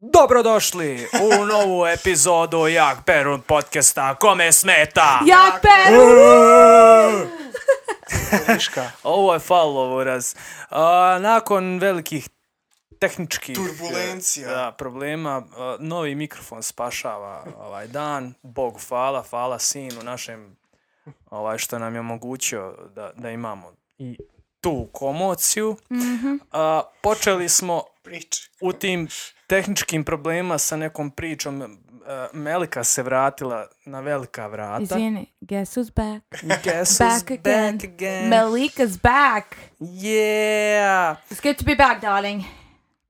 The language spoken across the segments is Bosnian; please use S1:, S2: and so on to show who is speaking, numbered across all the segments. S1: Dobrodošli u novu epizodu Jak Perun podcasta Kome smeta?
S2: Jak Peru!
S3: Viška.
S1: Ovo je follow raz. A, nakon velikih tehničkih
S3: Turbulencija.
S1: e, da, problema, a, novi mikrofon spašava ovaj dan. Bogu hvala, hvala sinu našem ovaj, što nam je omogućio da, da imamo i tu komociju. A, počeli smo
S3: Priči.
S1: u tim tehničkim problema sa nekom pričom e, Melika se vratila na velika vrata.
S2: Izvini, guess who's back?
S1: Guess who's
S2: Back again.
S1: Back again.
S2: Malika's back.
S1: yeah.
S2: It's good to be back, darling.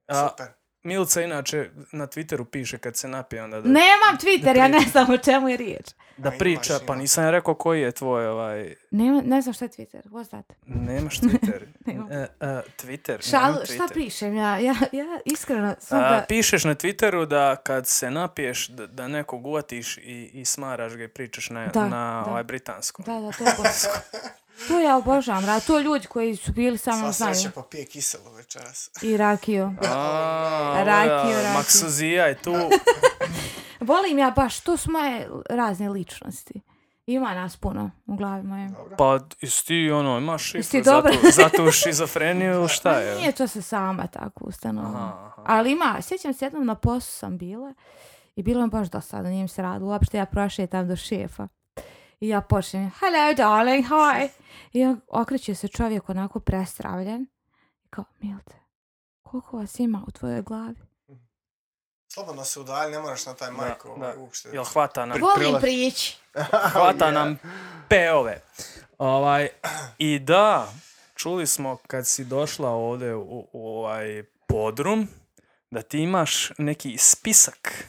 S1: A,
S3: Super.
S1: Milica inače na Twitteru piše kad se napije onda da,
S2: Nemam Twitter, ja ne znam o čemu je riječ.
S1: da
S3: imaš,
S1: priča, pa
S3: imaš.
S1: nisam ja rekao koji je tvoj ovaj
S2: Ne, ne znam šta je Twitter, what's that?
S1: nemaš Twitter.
S2: Nemam.
S1: e, e, Twitter.
S2: Šalu,
S1: nemam
S2: šta
S1: Twitter.
S2: pišem ja? Ja, ja iskreno sam
S1: A,
S2: da...
S1: pišeš na Twitteru da kad se napiješ da, da nekog uvatiš i, i smaraš ga i pričaš na,
S2: Da,
S1: na
S2: da.
S1: ovaj britansko.
S2: Da, da, to je bosko. To ja obožavam, ra, to ljudi koji su bili sa mnom
S3: Sva
S2: znaju.
S3: sreća pa pije kiselo večeras.
S2: I rakiju.
S1: A,
S2: Rakiju,
S1: ovo je,
S2: rakiju.
S1: Maksuzija je tu.
S2: Volim ja baš, to su moje razne ličnosti. Ima nas puno u glavi moje.
S1: Pa jesi ti ono, imaš
S2: Jesi
S1: šifru za
S2: dobra?
S1: tu, za tu šizofreniju ili šta
S2: Pa
S1: je?
S2: Nije to se sama tako ustanovila.
S1: Aha, aha.
S2: Ali ima, sjećam se jednom na poslu sam bila i bilo mi baš dosadno, nije mi se radilo. Uopšte ja prošetam do šefa. I ja počnem, hello darling, hi. I on okreće se čovjek onako prestravljen. I kao, Milte, koliko vas ima u tvojoj glavi?
S3: Slobodno se udalji, ne moraš na taj majko
S1: da.
S3: ovaj, uopšte.
S1: Jel hvata nam,
S2: Volim prići.
S1: hvata nam peove. Ovaj, I da, čuli smo kad si došla ovdje u, u ovaj podrum, da ti imaš neki spisak.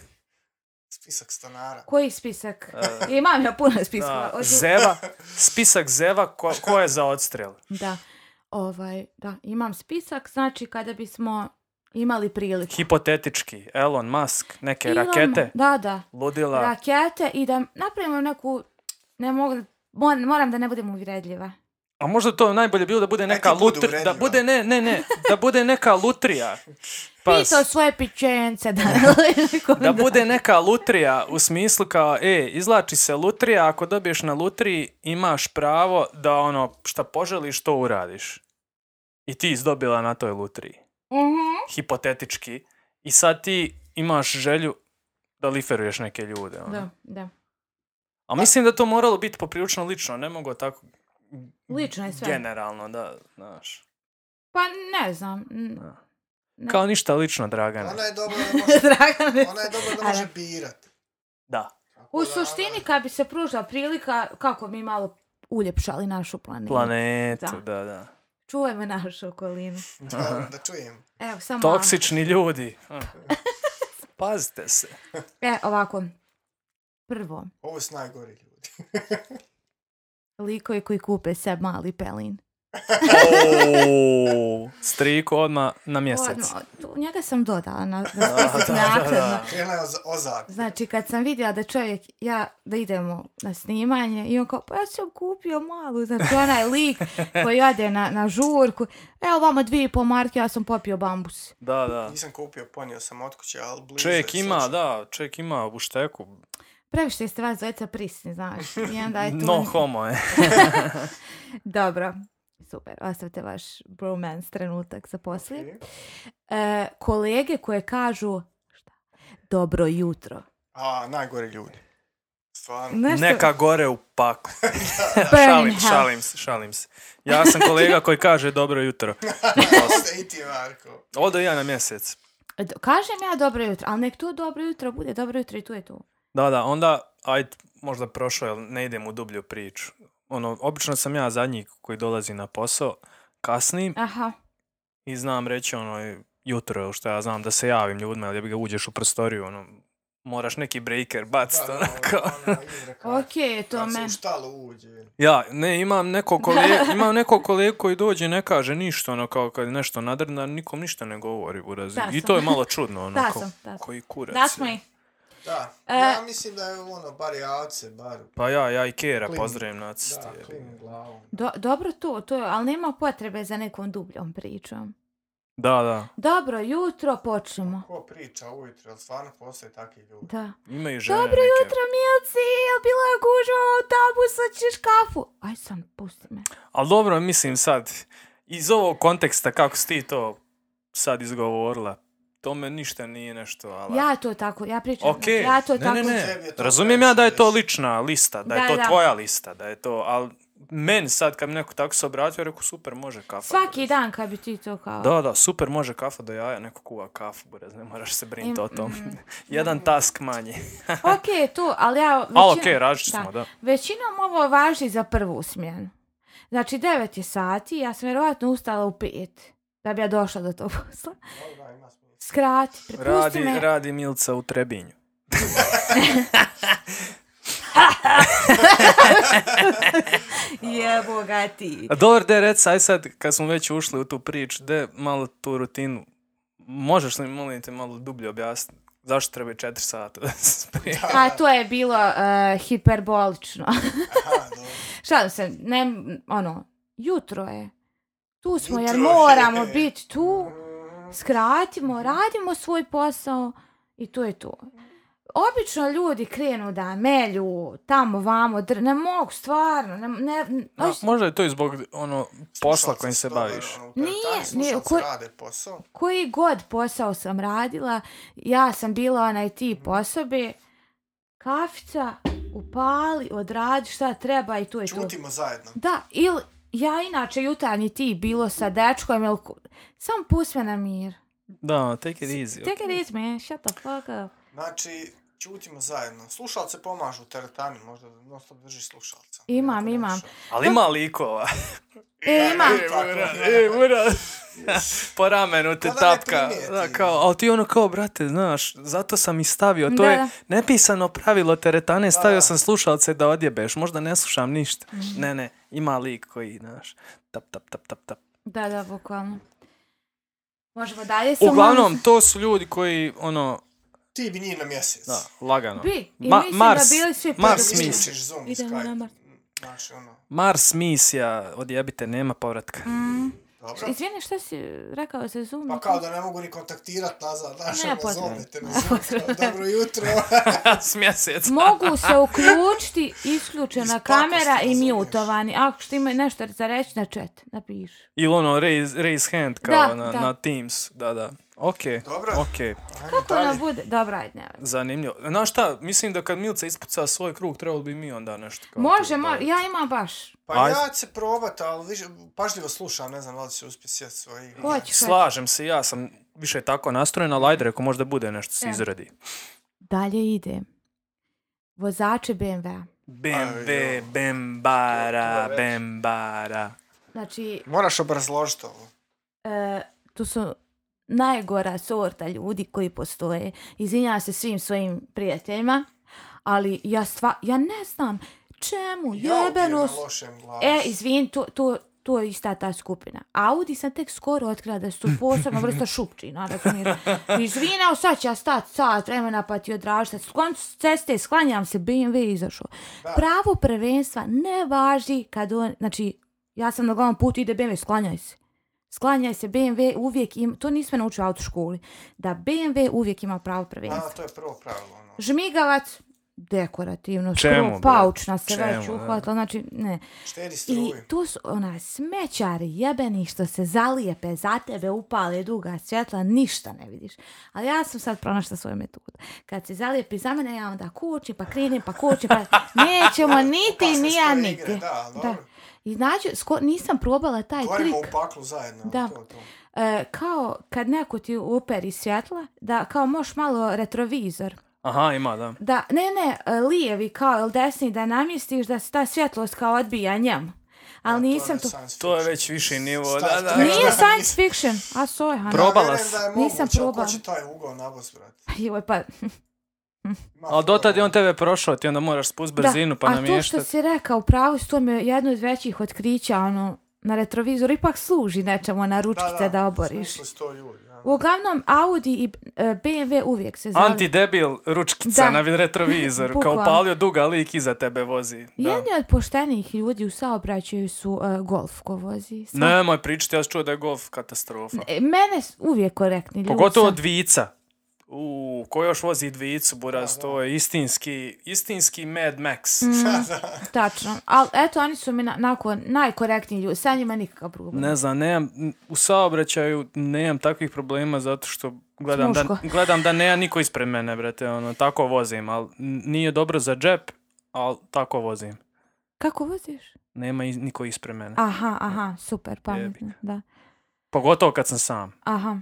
S3: Spisak stanara.
S2: Koji spisak? Imam ja puno spiskova.
S1: E. Da,
S2: Od-
S1: zeva, spisak zeva ko, ko je za odstrel.
S2: Da, ovaj, da, imam spisak, znači kada bismo imali priliku.
S1: Hipotetički, Elon Musk, neke
S2: Imam-
S1: rakete,
S2: Da, da.
S1: ludila.
S2: rakete i da napravimo neku, ne mogu, moram, moram da ne budem uvredljiva.
S1: A možda to najbolje bilo da bude neka
S3: ti budu
S1: lutrija, da
S3: uvredljiva.
S1: bude ne, ne, ne, da bude neka lutrija. Pa,
S2: Pitao svoje pičence da,
S1: da bude neka lutrija u smislu kao, e, izlači se lutrija, ako dobiješ na lutriji imaš pravo da ono, šta poželiš, to uradiš. I ti izdobila na toj lutriji,
S2: Mhm.
S1: hipotetički. I sad ti imaš želju da liferuješ neke ljude. Ono.
S2: Da, da.
S1: A mislim da to moralo biti poprilično lično, ne mogu tako
S2: Lično je sve.
S1: generalno, da, znaš.
S2: Pa ne znam. n- Ne.
S1: Kao ništa lično, Dragana.
S3: Ona je dobra da može,
S2: Dragan,
S3: ona je dobra da
S2: Ali-
S3: može birat.
S1: Da.
S2: U suštini kad bi se pružila prilika kako bi malo uljepšali našu planetu.
S1: Planetu,
S2: Da.
S1: da, da.
S2: Čuvajmo našu okolinu.
S3: Da, da čujem.
S2: Evo, samo...
S1: Toksični ljudi. Hm. Pazite se.
S2: E, ovako. Prvo,
S3: Ovo su najgori ljudi.
S2: likovi koji kupe se mali pelin.
S1: Striku odmah na mjesec.
S2: Oh! Odmah, tu- njega sam dodala na, na spisak naknadno.
S3: Krena je oz- ozak.
S2: Znači, kad sam vidjela da čovjek, ja, da idemo na snimanje i on kao, pa ja sam kupio malu, znači onaj lik koji ode na, na žurku, evo vama dvije i pol marke, ja sam popio bambus.
S1: Da, da.
S3: Nisam kupio, ponio sam od kuće, ali blizu.
S1: Čovjek
S3: je,
S1: ima,
S3: sad ću-
S1: da, čovjek ima u šteku.
S2: Previše ste vas dvojica prisni, znaš. I onda je tu...
S1: No homo eh. je.
S2: Dobro, super, ostavite vaš bromance trenutak za poslije.
S3: Okej.
S2: E, kolege koje kažu, šta? Dobro jutro.
S3: A, najgori ljudi. Stvarno.
S2: Nešto,
S1: Neka gore u paku.
S2: burn
S1: šalim,
S2: in hell.
S1: šalim se, šalim se. Ja sam kolega koji kaže dobro jutro.
S3: Osta i ti, Marko.
S1: Odo ja na mjesec.
S2: D- Kažem ja dobro jutro, ali nek to dobro jutro bude, dobro jutro i tu je tu.
S1: Da, da, onda, ajde, možda prošao, jer ne idem u dublju priču. Ono, obično sam ja zadnji koji dolazi na posao, kasnim,
S2: Aha.
S1: i znam reći ono jutro ili šta ja znam da se javim ljudima ili da bi ga uđeš u prostoriju ono moraš neki breaker bacit
S3: Da,
S1: onako.
S3: ona izreka.
S2: Okej, to
S3: Kad se
S2: me...
S3: u štalu uđe.
S1: Ja, ne, imam neko kolegu, imam neko kolegu koji dođe i ne kaže ništa, ono kao kad je nešto nadrna, nikom ništa ne govori urazi.
S2: Da
S1: I
S2: sam.
S1: to je malo čudno, ono
S2: Da
S1: kao,
S2: sam, da sam.
S1: koji kurac.
S2: That's
S1: je.
S2: me.
S3: Da,
S2: E.
S3: ja mislim da je ono, bar javce, bar...
S1: Pa ja, ja i Kera
S3: Klim.
S1: pozdravim nacisti.
S3: Da,
S1: jebi ga.
S3: klim glavom.
S2: Do, dobro to, to je, ali nema potrebe za nekom dubljom pričom.
S1: Da, da.
S2: Dobro, jutro počnemo.
S3: Ko priča ujutro, ali stvarno postoje takvi ljudi.
S2: Da.
S1: Imaju žene
S2: Dobro
S1: neke.
S2: jutro, Milci, jel bila je gužva u autobu, sad ćeš kafu. Aj sam, pusti me.
S1: Ali dobro, mislim sad, iz ovog konteksta kako si ti to sad izgovorila, to me ništa nije nešto, ali...
S2: Ja to tako, ja pričam. znači,
S1: Okej,
S2: Ja to
S1: ne,
S2: tako.
S1: ne, ne,
S3: Tebi je to
S1: razumijem ja da je to
S3: previše.
S1: lična lista, da,
S2: Da,
S1: je to
S2: da.
S1: tvoja lista, da je to, ali meni sad kad mi neko tako se obratio, rekao super, može kafa.
S2: Svaki dan kad bi ti to kao...
S1: Da, da, super, može kafa do jaja, neko kuva kafu, brez, ne moraš se brinuti
S2: Im- mm.
S1: o tom. Jedan task manje.
S2: Okej, tu, ali ja... Većina,
S1: Ali okej, različiti
S2: da.
S1: smo, da.
S2: Većinom ovo važi za prvu smjenu. Znači, 9 je sati, ja sam vjerovatno ustala u 5 da bi ja došla do tog posla.
S3: Dobro, da, ima smisla.
S2: Skrati, prepusti
S1: Radi,
S2: me.
S1: radi Milca u Trebinju.
S2: Jebo ga ti.
S1: A Dobar, de, rec, aj sad, kad smo već ušli u tu priču, de, malo tu rutinu, možeš li, molim te, malo dublje objasniti zašto treba i četiri sata da se sprije?
S2: A to je bilo uh, hiperbolično.
S3: Aha, dobro.
S2: Šalim se, ne, ono, jutro je. Tu smo jer
S3: Jutro je.
S2: moramo biti tu, skratimo, radimo svoj posao i to je to. Obično ljudi krenu da melju tamo, vamo, dr... ne mogu stvarno, ne, ne,
S1: A,
S2: ne
S1: možda je to i zbog ono, posla kojim se
S3: Slušalci,
S1: baviš.
S3: dobro, ono,
S2: Nije,
S3: taj
S2: nije,
S3: slušalci
S2: ko- Ovaj
S3: rade posao.
S2: koji god posao sam radila, ja sam bila onaj tip osobe, kafica, upali, odradi šta treba i to je to.
S3: Čutimo zajedno.
S2: Da, ili ja inače jutarnji ti bilo sa dečkom ili ko- samo pusti me na mir.
S1: Da, ono, take it easy.
S2: Take it easy, man. Shut the fuck up.
S3: Znači, čutimo zajedno. Slušalce pomažu u teretani, možda da non stop držiš slušalca.
S2: Imam,
S3: Neko
S2: imam.
S3: nešto.
S1: Ali ima likova.
S2: E, ima.
S3: E,
S1: Ura,
S3: tako,
S1: e, ura. po ramenu te
S3: Ko Pa da ne
S1: tapka.
S3: primijeti.
S1: Da, kao, ali ti ono kao, brate, znaš, zato sam i stavio. To
S2: Da,
S1: je
S2: da.
S1: nepisano pravilo teretane, stavio
S3: da.
S1: sam slušalce da odjebeš. Možda ne slušam ništa.
S2: Mhm.
S1: Ne, ne, ima lik koji, znaš, tap, tap, tap, tap, tap.
S2: Da, da, bukvalno. Možemo dalje sa
S1: Uglavnom, to su ljudi koji, ono,
S3: Ti bi njih na mjesec.
S1: da, lagano.
S2: Bi, i
S1: Ma-
S2: mislim
S1: Mars,
S2: da bili svi
S1: Mars
S2: prvi.
S1: misli.
S3: Isključiš Zoom i
S2: Idemo na
S3: Skype.
S2: Mars.
S3: Znači, ono,
S1: Mars misija, odjebite, nema povratka.
S2: Mm.
S3: dobro.
S2: Izvini, šta si rekao za Zoom?
S3: Pa kao da ne mogu ni kontaktirat nazad, znaš,
S2: Ne,
S3: ono,
S2: potrebno.
S3: zovnete na Zoom, kao, dobro jutro.
S1: S mjeseca.
S2: Mogu se uključiti isključena
S3: Iz
S2: kamera
S3: pakosti,
S2: i
S3: razumiješ?
S2: mutovani. Ako što ima nešto za reći na chat, napiši.
S1: Ili ono, raise, raise hand, kao
S2: Da,
S1: na,
S2: da.
S1: na Teams. Da, da. Okej,
S3: Dobro.
S1: okej.
S3: Ajmo
S2: Kako nam
S3: dalje.
S2: bude? Dobra, ajde, nema.
S1: Zanimljivo. Znaš šta, mislim da kad Milca ispuca svoj krug, trebalo bi mi onda nešto. Kao
S2: Može,
S1: to
S2: može.
S1: dodati.
S2: Ja imam baš.
S3: Pa
S1: Ajde.
S3: ja ću se probat, ali više, pažljivo slušam, ne znam da li će uspjeti sjeti svoje igre.
S2: Hoću, hoću.
S1: Slažem se, ja sam više tako nastrojen, ali ajde rekao, možda bude nešto se
S2: Evo.
S1: izradi.
S2: Dalje ide. Vozače BMW-a.
S1: Bem,
S3: Aj,
S1: be,
S3: jo.
S1: bem,
S3: To- to
S1: bara,
S3: je već.
S1: bem, bara.
S2: Znači,
S3: Moraš obrazložiti ovo.
S2: e, tu su najgora sorta ljudi koji postoje. Izvinjavam se svim svojim prijateljima, ali ja stva, ja ne znam čemu, jebeno...
S3: Ja na lošem glasu.
S2: E, izvin, to, to, to je ista ta skupina. Audi sam tek skoro otkrila da su posebna vrsta šupčina, razumiješ. Izvini, evo sad ću ja stat sat vremena pa ti odražiti. Sklon s ceste, sklanjam se, BMW je izašao.
S3: Da.
S2: Pravo prvenstva ne važi kad on, znači, ja sam na glavnom putu, ide BMW, sklanjaj se. Sklanjaj se, BMW uvijek ima, to nismo naučili u autoškoli, da BMW uvijek ima pravo
S3: A,
S2: prvenstva.
S3: to je prvo pravilo, ono.
S2: Žmigavac, dekorativno,
S1: Čemu,
S2: skoro
S1: bre?
S2: paučna se već
S1: Čemu, da?
S2: uhvatila, znači, ne.
S3: Štedi
S2: I
S3: struju.
S2: tu su ona smećari jebeni što se zalijepe za tebe, upale duga svjetla, ništa ne vidiš. Ali ja sam sad pronašla svoju metodu. Kad se zalijepi za mene, ja onda kući, pa krenem, pa kući, pa nećemo niti,
S3: Upasne
S2: ni ja
S3: svoje
S2: niti.
S3: igre, da, dobro.
S2: I znači, sko, nisam probala taj
S3: Govorimo u
S2: trik.
S3: paklu zajedno.
S2: Da.
S3: To, to.
S2: E, kao kad neko ti uperi svjetla, da kao moš malo retrovizor.
S1: Aha, ima, da.
S2: Da, ne, ne, e, lijevi kao ili desni da namjestiš da se ta svjetlost kao odbija njemu. Ali
S3: je
S2: nisam to...
S3: science
S1: To je
S3: fiction.
S1: već viši nivo,
S3: Šta
S1: da,
S3: je
S1: da.
S3: to?
S2: Nije
S3: Da,
S2: science
S3: nisam-
S2: fiction, a soj, Hana.
S1: Pro- Probala
S3: Ja vjerujem
S1: si.
S3: da je
S2: Nisam
S3: moguće, ali
S2: probala.
S3: Ko će taj ugao nabos, brate?
S2: Joj, pa,
S3: Ima
S1: Ali dotad je
S3: problem.
S1: on tebe prošao, ti onda moraš spust brzinu pa
S2: a to što
S1: namještati.
S2: si rekao, pravo si, to mi je jedno od većih otkrića, ono, na retrovizoru ipak služi nečemu na ručkice da, oboriš.
S3: Smisli sto ljudi, ono. da.
S2: Uglavnom, Audi i e, BMW uvijek se zavljaju.
S1: Antidebil, ručkica
S2: Da.
S1: na vid- retrovizoru, kao
S2: Bukvalno.
S1: palio duga lik iza tebe vozi. Da.
S2: Jedni od poštenih ljudi u saobraćaju su e, golf ko vozi. Sva-
S1: Nemoj pričati, ja sam čuo da je golf katastrofa.
S2: E, mene s- uvijek korektni ljudi.
S1: Pogotovo
S2: su-
S1: dvijica. U, ko još vozi dvijicu, buraz,
S3: Da, da.
S1: to je istinski, istinski Mad Max.
S2: Mm. Tačno. Ali eto, oni su mi na, nakon najkorektniji ljudi. Sa njima nikakav problem.
S1: Ne znam, nemam, u saobraćaju nemam takvih problema zato što gledam da,
S2: Muško.
S1: gledam da nema niko ispred mene, brate, ono, tako vozim, ali nije dobro za džep, ali tako vozim.
S2: Kako voziš?
S1: Nema i, niko ispred mene.
S2: Aha, aha, super, pametno. Da.
S1: Pogotovo kad sam sam.
S2: Aha.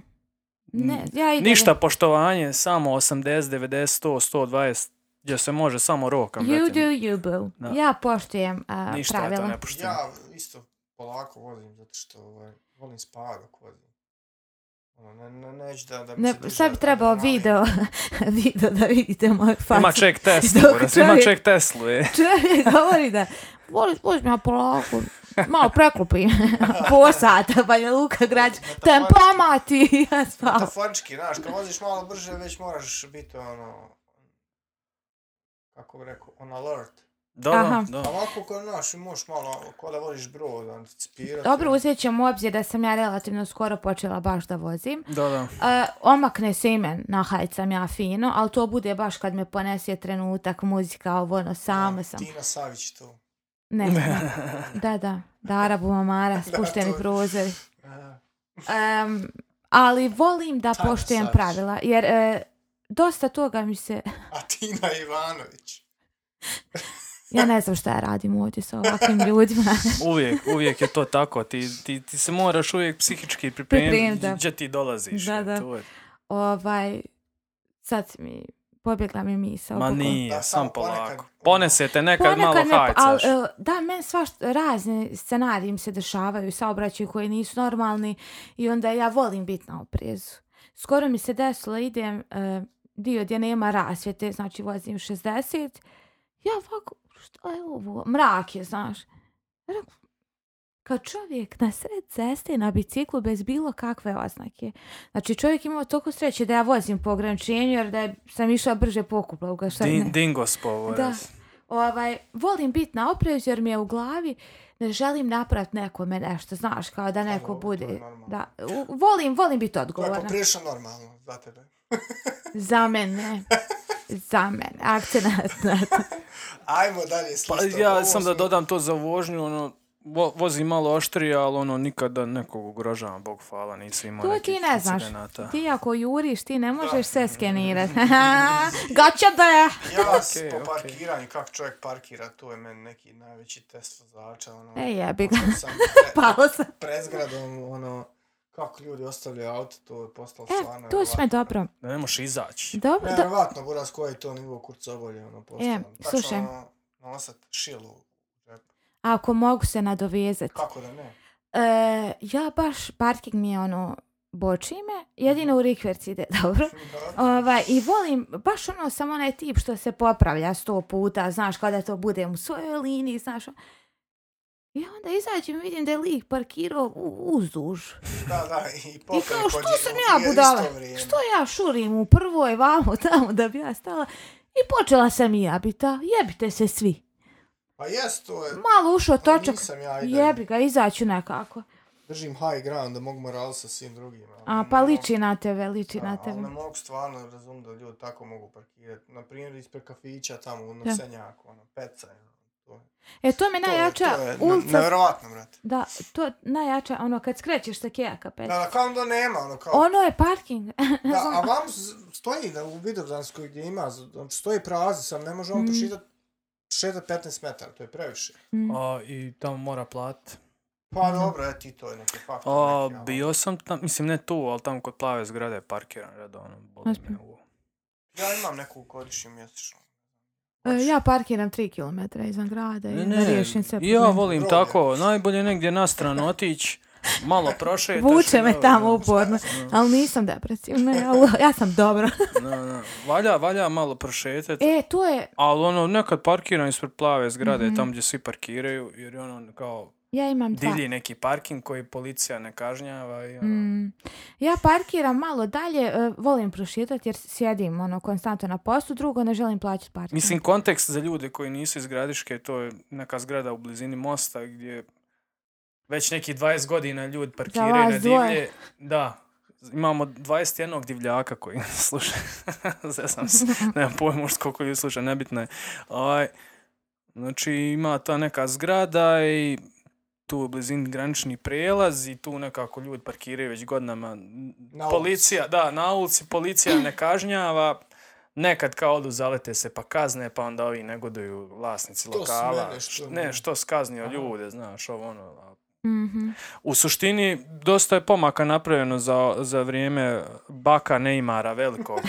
S2: Ne, ja idem.
S1: Mm. Ništa poštovanje, samo 80, 90, 100, 120, gdje se može samo rokam,
S2: You do,
S1: brate.
S2: you boo.
S1: Da.
S2: Ja poštujem a,
S1: Ništa ja to
S2: pravila.
S1: ne poštujem.
S3: Ja isto polako vozim, zato što ovaj, volim spavat dok vozim. Ono, ne, ne, neću da, da mi
S2: Ne,
S3: se diže
S2: sad bi trebao
S3: adrenalin.
S2: video, video da vidite moju facu.
S1: Ima ček Teslu,
S2: Dok
S1: brate, ima
S2: čovjek-
S1: ček Teslu, e. je.
S2: Čovjek govori da voli vozi ja polako, malo preklopi, po sata, Banja Luka građ, tempomati, ja spavam.
S3: Metaforički, znaš, kad voziš malo brže, već moraš biti ono... Kako bi rekao, on alert.
S1: Da,
S2: Aha.
S1: da,
S3: A
S1: da.
S3: ovako kad naš, možeš malo, ko da voliš brod, anticipirati.
S2: Dobro, uzet ćemo u obzir da sam ja relativno skoro počela baš da vozim.
S1: Da, da.
S2: E, omakne se imen, nahajcam ja fino, ali to bude baš kad me ponese trenutak, muzika, ovo ono, sama sam.
S3: Tina Savić to.
S2: Ne, ne. da, da, Dara Bumamara, spušteni
S3: to je.
S2: prozori.
S3: E,
S2: Em, ali volim da
S3: Tajna
S2: poštujem
S3: savjest.
S2: pravila, jer e, dosta toga mi se...
S3: a Tina Ivanović.
S2: Ja ne znam šta ja radim ovdje sa ovakvim ljudima.
S1: Uvijek, uvijek je to tako. Ti, ti, ti se moraš uvijek psihički pripremiti
S2: Pripremit, da.
S1: gdje ti dolaziš.
S2: Da,
S1: je,
S2: da.
S1: To je.
S2: ovaj, sad mi... Pobjegla mi misao.
S1: Ma
S2: kako-
S1: nije,
S3: Da,
S1: sam
S3: samo
S1: polako.
S3: ponekad-
S1: Ponesete nekad,
S2: Ponekad
S1: malo
S2: me- al,
S1: hajcaš.
S2: e, da, meni svašt, razni scenariji mi se dešavaju, saobraćaju koji nisu normalni i onda ja volim biti na oprezu. Skoro mi se desilo, idem e, dio gdje nema rasvjete, znači vozim 60, ja ovako, šta je ovo, mrak je, znaš. Ja rekao, Kao čovjek na sred ceste na biciklu bez bilo kakve oznake. Znači čovjek imao toliko sreće da ja vozim po ograničenju jer da je, sam išla brže pokupla ga šta ne.
S1: Din, dingos povoraz.
S2: Ovaj, volim biti na oprezu jer mi je u glavi ne želim napraviti nekome nešto, znaš, kao da neko
S3: dobro, to je
S2: bude.
S3: normalno.
S2: Da, u- volim, volim biti
S3: To je
S2: odgovorna.
S3: poprilično normalno za tebe.
S2: Za mene. Za mene. Akcenat na to.
S3: Ajmo dalje s
S1: Pa
S3: listom.
S1: ja
S3: Ovo
S1: sam da
S3: smo-
S1: dodam to za vožnju, ono, vo, vozi malo oštrije, ali ono, nikada nekog ugrožavam, bog hvala, nisam imao
S2: To
S1: nekih
S2: ti ne znaš.
S1: incidenata.
S2: Ti ako juriš, ti ne možeš sve skenirati. Gotcha da!
S3: Ja s-
S1: Okej,
S3: po
S1: okej.
S3: parkiranju, kako čovjek parkira, to je meni neki najveći test vozača. Ono,
S2: E jebi ga. Pa.
S3: sam pre-
S2: Palo sam.
S3: pred zgradom, ono, kako ljudi ostavljaju auto, to je postalo stvarno...
S2: E, tu smo dobro.
S1: Da ne možeš izaći.
S2: Dobro, do,
S3: Nevjerovatno, buraz, koji je to nivo kurcobolje, ono, postalo.
S2: E,
S3: Tačno,
S2: slušaj.
S3: ono, Nosat šilu. u džepu.
S2: ako mogu se nadovezati.
S3: Kako da ne?
S2: E, ja baš, parking mi je ono, boči me, jedino u rikverci ide, dobro. Ovaj, I volim, baš ono, samo onaj tip što se popravlja sto puta, znaš, kao da to budem u svojoj liniji, znaš. I onda izađem i vidim da je lik parkirao u- uzduž.
S3: Da, da, i
S2: I
S3: popeo
S2: kao,
S3: kod
S2: što
S3: nje
S2: sam
S3: u
S2: ja
S3: isto
S2: budala?
S3: vrijeme.
S2: Što ja šurim u prvoj, vamo, tamo, da bi ja stala? I počela sam i ja bita, jebite se svi.
S3: Pa jes, to je...
S2: Malo ušao točak,
S3: Pa Nisam ja, ajde,
S2: jebi ga, izaću nekako.
S3: držim high ground da mogu moral sa svim drugim. ali ono-
S2: A,
S3: ne
S2: pa
S3: mogu-
S2: liči na tebe, liči na
S3: Da, ali
S2: tebe.
S3: ne mogu stvarno razum da ljudi tako mogu parkirati. Na primjer, ispred kafića tamo, na
S2: Da.
S3: senjaku, ono, peca. Ono. To,
S2: E, to mi je
S3: to je-
S2: najjača
S3: to je ne-
S2: ulica
S3: Nevjerovatno, brate.
S2: Da, to je najjača, ono, kad skrećeš sa kijaka pet.
S3: Da, da, kao da nema, ono, kao...
S2: Ono je parking.
S3: da, a vam z- stoji na, u Vidovdanskoj gdje ima, z- on stoji prazni, sam ne može on
S2: Mm.
S3: prošetati šetat 15 metara, to je previše.
S2: Mhm.
S1: A, I tamo mora platiti.
S2: Mm.
S3: Pa dobro, e, ti to je neki faktor.
S1: A,
S3: neki, ali-
S1: bio sam tam, mislim ne tu, ali tamo kod plave zgrade je parkiran redovno. Boli me
S2: Ozbiljno?
S1: uvo.
S3: Ja imam neku godišnju mjesečno.
S2: E, ja parkiram 3 km izvan grada i
S1: Ne,
S2: ne,
S1: ne,
S2: riješim sve
S1: ja
S2: probleme.
S1: volim
S3: Groblje.
S1: tako, najbolje negdje na stranu otići, malo prošetaš.
S2: Vuče me
S1: da,
S2: tamo
S1: da,
S2: uporno.
S1: da.
S2: Ali nisam depresivna, ja, ja sam dobro.
S1: Da, da. Valja, valja malo prošetati.
S2: E, to je,
S1: Ali ono, nekad parkiram ispred plave zgrade,
S2: Mhm.
S1: tamo gdje svi parkiraju, jer je ono kao
S2: ja imam dva.
S1: divlji neki parking koji policija ne kažnjava i ono,
S2: Mm. Ja parkiram malo dalje, e, volim prošetati jer sjedim ono konstantno na poslu, drugo ne želim plaćati parking.
S1: Mislim, kontekst za ljude koji nisu iz Gradiške, to je neka zgrada u blizini mosta gdje već neki 20 godina ljudi parkiraju
S2: vas
S1: na
S2: dvoje.
S1: divlje. Da, imamo 21 divljaka koji nas sluša. Zezam se, nemam pojma možda koliko ljudi sluša, nebitno je. Ovaj, znači, ima ta neka zgrada i tu u blizini granični prijelaz i tu nekako ljudi parkiraju već godinama.
S3: Na
S1: policija, da, na ulici policija ne kažnjava. Nekad kao odu zalete se pa kazne, pa onda ovi negoduju vlasnici
S3: To s
S1: lokala.
S3: mene što
S1: Š-
S3: ne.
S1: ne, što skaznio ljude, znaš, ovo ono. a-
S2: Mhm.
S1: U suštini, dosta je pomaka napravljeno za, za vrijeme baka Neymara velikog.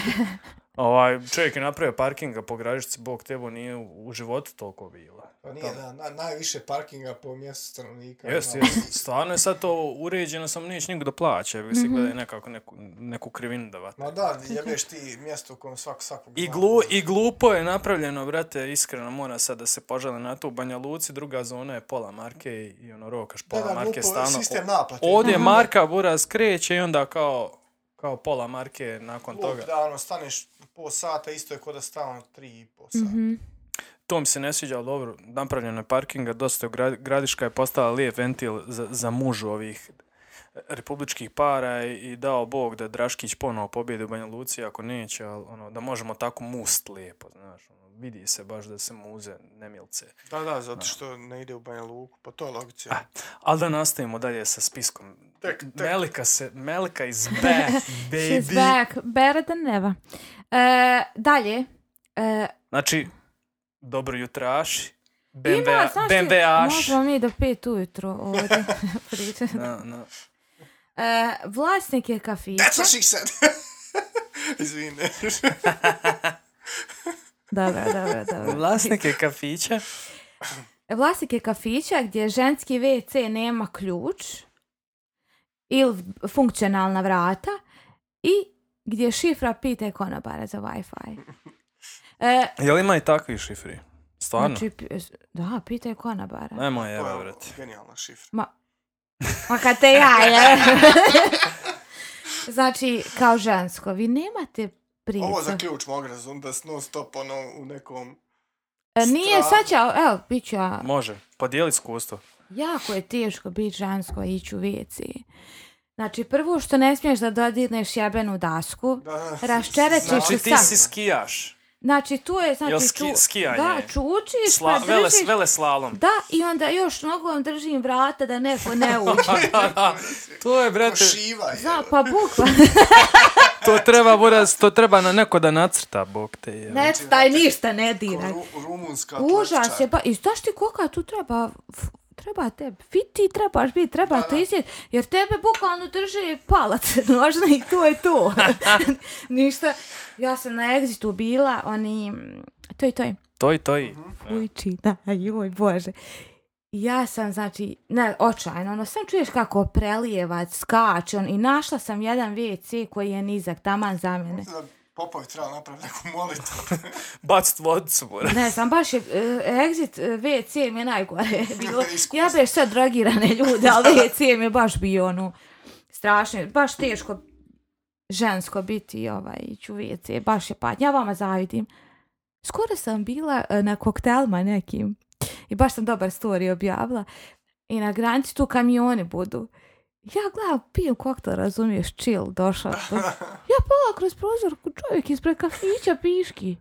S1: ovaj, čovjek je napravio parkinga po gražici, bog tebo nije u, u životu toliko bila.
S3: Pa nije, da, na, najviše parkinga po mjestu stanovnika. ono,
S1: Jest,
S3: ima.
S1: jest. Stvarno je sad to uređeno, samo neće niko da plaća. Vi se gledaju nekako neku, neku krivinu da vate.
S3: Ma da, jebeš ti mjesto u kojem svak svakog
S1: I,
S3: zna.
S1: glu, I glupo je napravljeno, brate, iskreno mora sad da se požale na to. U Banja Luci druga zona je pola marke i, i ono rokaš
S3: Da,
S1: pola
S3: da,
S1: marke
S3: glupo,
S1: stalno.
S3: sistem naplate.
S1: Ovdje marka buraz kreće i onda kao, kao pola marke nakon
S3: Glup,
S1: toga.
S3: Da, ono, staneš po sata, isto je kod da stavamo tri i po sata.
S2: Mhm.
S1: To mi se ne sviđa, ali dobro, napravljeno je parkinga, dosta je, gra- gradiška je postala lijep ventil za, za mužu ovih republičkih para i, i dao Bog da Draškić ponovo pobjede u Banja Luci, ako neće, ali ono, da možemo tako must lijepo, znaš, ono, vidi se baš da se muze nemilce.
S3: Da, da, E, zato što ne ide u Banja Luku, pa po toj logici.
S1: Ali da nastavimo dalje sa spiskom.
S3: Tek, tek.
S1: Melika se, Melika is back,
S2: She's
S1: baby.
S2: back, better than ever. E, dalje, e,
S1: Znači, dobro jutraši,
S2: ima,
S1: BMW,
S2: znaš ti,
S1: BMW-aš.
S2: možemo mi do pet ujutro ovdje pričati.
S1: Na, na.
S2: E, vlasnik je kafića.
S3: That's what she said. Izvine.
S2: Dobro, dobro, dobro. E,
S1: Vlasnik je kafića.
S2: Vlasnik je kafića gdje ženski WC nema ključ ili funkcionalna vrata i gdje šifra pita konobara za Wi-Fi. E,
S1: Jel ima i takvi šifri? Stvarno?
S2: znači, pi- da, pita konobara.
S1: Nema jebe,
S3: Ovo je
S1: brate.
S3: Genijalna šifra.
S2: Ma, ma kad te ja, je. znači, kao žensko, vi nemate
S3: Ovo
S2: pricu.
S3: za ključ mogu razum da s non stop ono u nekom...
S2: E, Nije,
S3: strava.
S2: sad će, evo, bit ću ja,
S1: Može, podijeli iskustvo.
S2: Jako je teško biti žensko i ići u WC. Znači, prvo što ne smiješ da dodirneš jebenu dasku,
S3: Da, da.
S2: Raščeretiš
S1: Znači
S2: Znači,
S3: Znači,
S1: ti
S2: sam.
S1: si skijaš.
S2: znači tu je, znači,
S1: Jel ski-
S2: ču-
S1: skijanje?
S2: da, čučiš,
S1: Sla,
S2: pa
S1: vele,
S2: držiš,
S1: vele slalom.
S2: da, i onda još nogom držim vrata da neko ne uđe.
S1: To je, brate,
S3: Šiva je.
S2: Da, pa bukva,
S1: to treba, buraz, to treba na neko da nacrta, bog te je.
S2: ne staj ništa, ne diraj.
S3: Ru, rumunska
S2: Užas
S3: atletičarka.
S2: je, pa, i znaš ti koga tu treba, f- treba te, fiti trebaš biti, treba te izjet, jer tebe bukvalno drži palac, nožna i to je to. Ništa, ja sam na egzitu bila, oni, mm, to je to je,
S1: To i to i.
S2: fujči, da, joj bože. Ja sam, znači, ne, očajno, ono, sam čuješ kako prelijevac, skače, on, i našla sam jedan WC koji je nizak, taman za mene.
S3: Mislim da Popović treba napraviti neku molitvu.
S1: Bacit vodicu, buraz.
S2: Ne znam, baš je, e, exit e, WC mi je najgore bilo.
S3: Iskustvo.
S2: ja bih sve drogirane ljude, ali WC mi je baš bio ono, strašno, baš teško žensko biti ovaj, ići u WC, baš je patnja, ja vama zavidim. Skoro sam bila e, na koktelma nekim i baš sam dobar story objavila i na granici tu kamioni budu. Ja gledam, pijem koktel, razumiješ, chill, došla. sam. Ja pola kroz prozor, čovjek ispred kafića piški.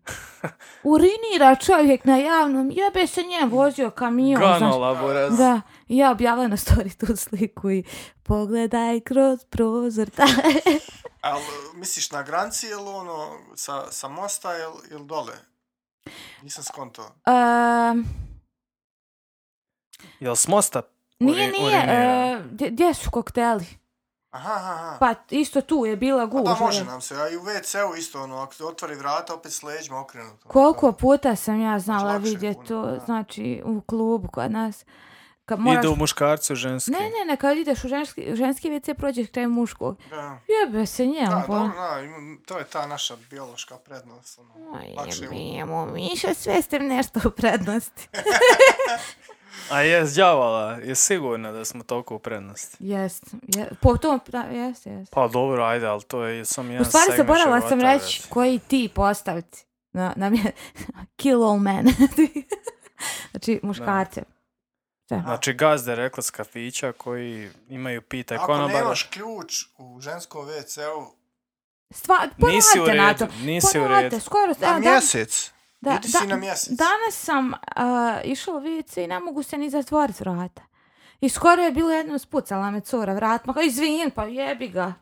S2: Urinira čovjek na javnom, jebe se njem vozio kamion. znaš.
S1: Ganola, buraz.
S2: Da, i ja objavila na story tu sliku i pogledaj kroz prozor. Da.
S3: Al, misliš na granci ili ono sa, sa mosta ili il dole? Nisam skonto.
S2: Ehm,
S1: Jel s mosta?
S2: nije,
S1: Uri-
S2: nije,
S1: urinira.
S2: e, gdje- gdje su kokteli?
S3: Aha, aha, aha.
S2: Pa isto tu je bila
S3: Pa
S2: gužva.
S3: da, može nam se. A i u WC-u isto ono, ako te otvori vrata, opet s leđima okrenuto.
S2: Koliko puta sam ja znala
S3: lakše je
S2: vidjeti
S3: puno,
S2: to,
S3: da.
S2: znači u klubu kod nas. Kad moraš...
S1: Ide u muškarcu ženski.
S2: Ne, ne, ne, kad ideš u ženski, u ženski WC prođeš kraj muškog.
S3: Da.
S2: Jebe se njemu,
S3: Da,
S2: pa.
S3: dobro, da, ima- to je ta naša biološka prednost. Ono.
S2: Oj,
S3: Lakše je u-
S2: jebimo, Miša, sve ste mi nešto u prednosti.
S1: A je djavala, je sigurna da smo toliko u prednosti.
S2: Jest, je, po tom, da, jest, jest.
S1: Pa dobro, ajde, ali to je samo jedan
S2: U stvari
S1: segment
S2: zaboravila
S1: života,
S2: sam reći
S1: brate.
S2: koji ti postaviti. Na, na mje, kill all men. znači, muškarce.
S1: Znači, gazde rekla s kafića koji imaju ono pitaj
S3: Ako
S1: konobara.
S3: nemaš ključ u ženskom WC-u
S2: Stva,
S1: Nisi u
S2: poradite na to.
S1: redu, nisi u redu.
S2: Poradite, skoro.
S3: na
S2: da, dan,
S3: pa mjesec,
S2: da,
S3: idi si na
S2: da,
S3: mjesec.
S2: danas sam uh, išla u WC i ne mogu se ni zatvoriti vrata. I skoro je bilo jednom spucala me cura vrat. Ma kao, izvin, pa jebi ga.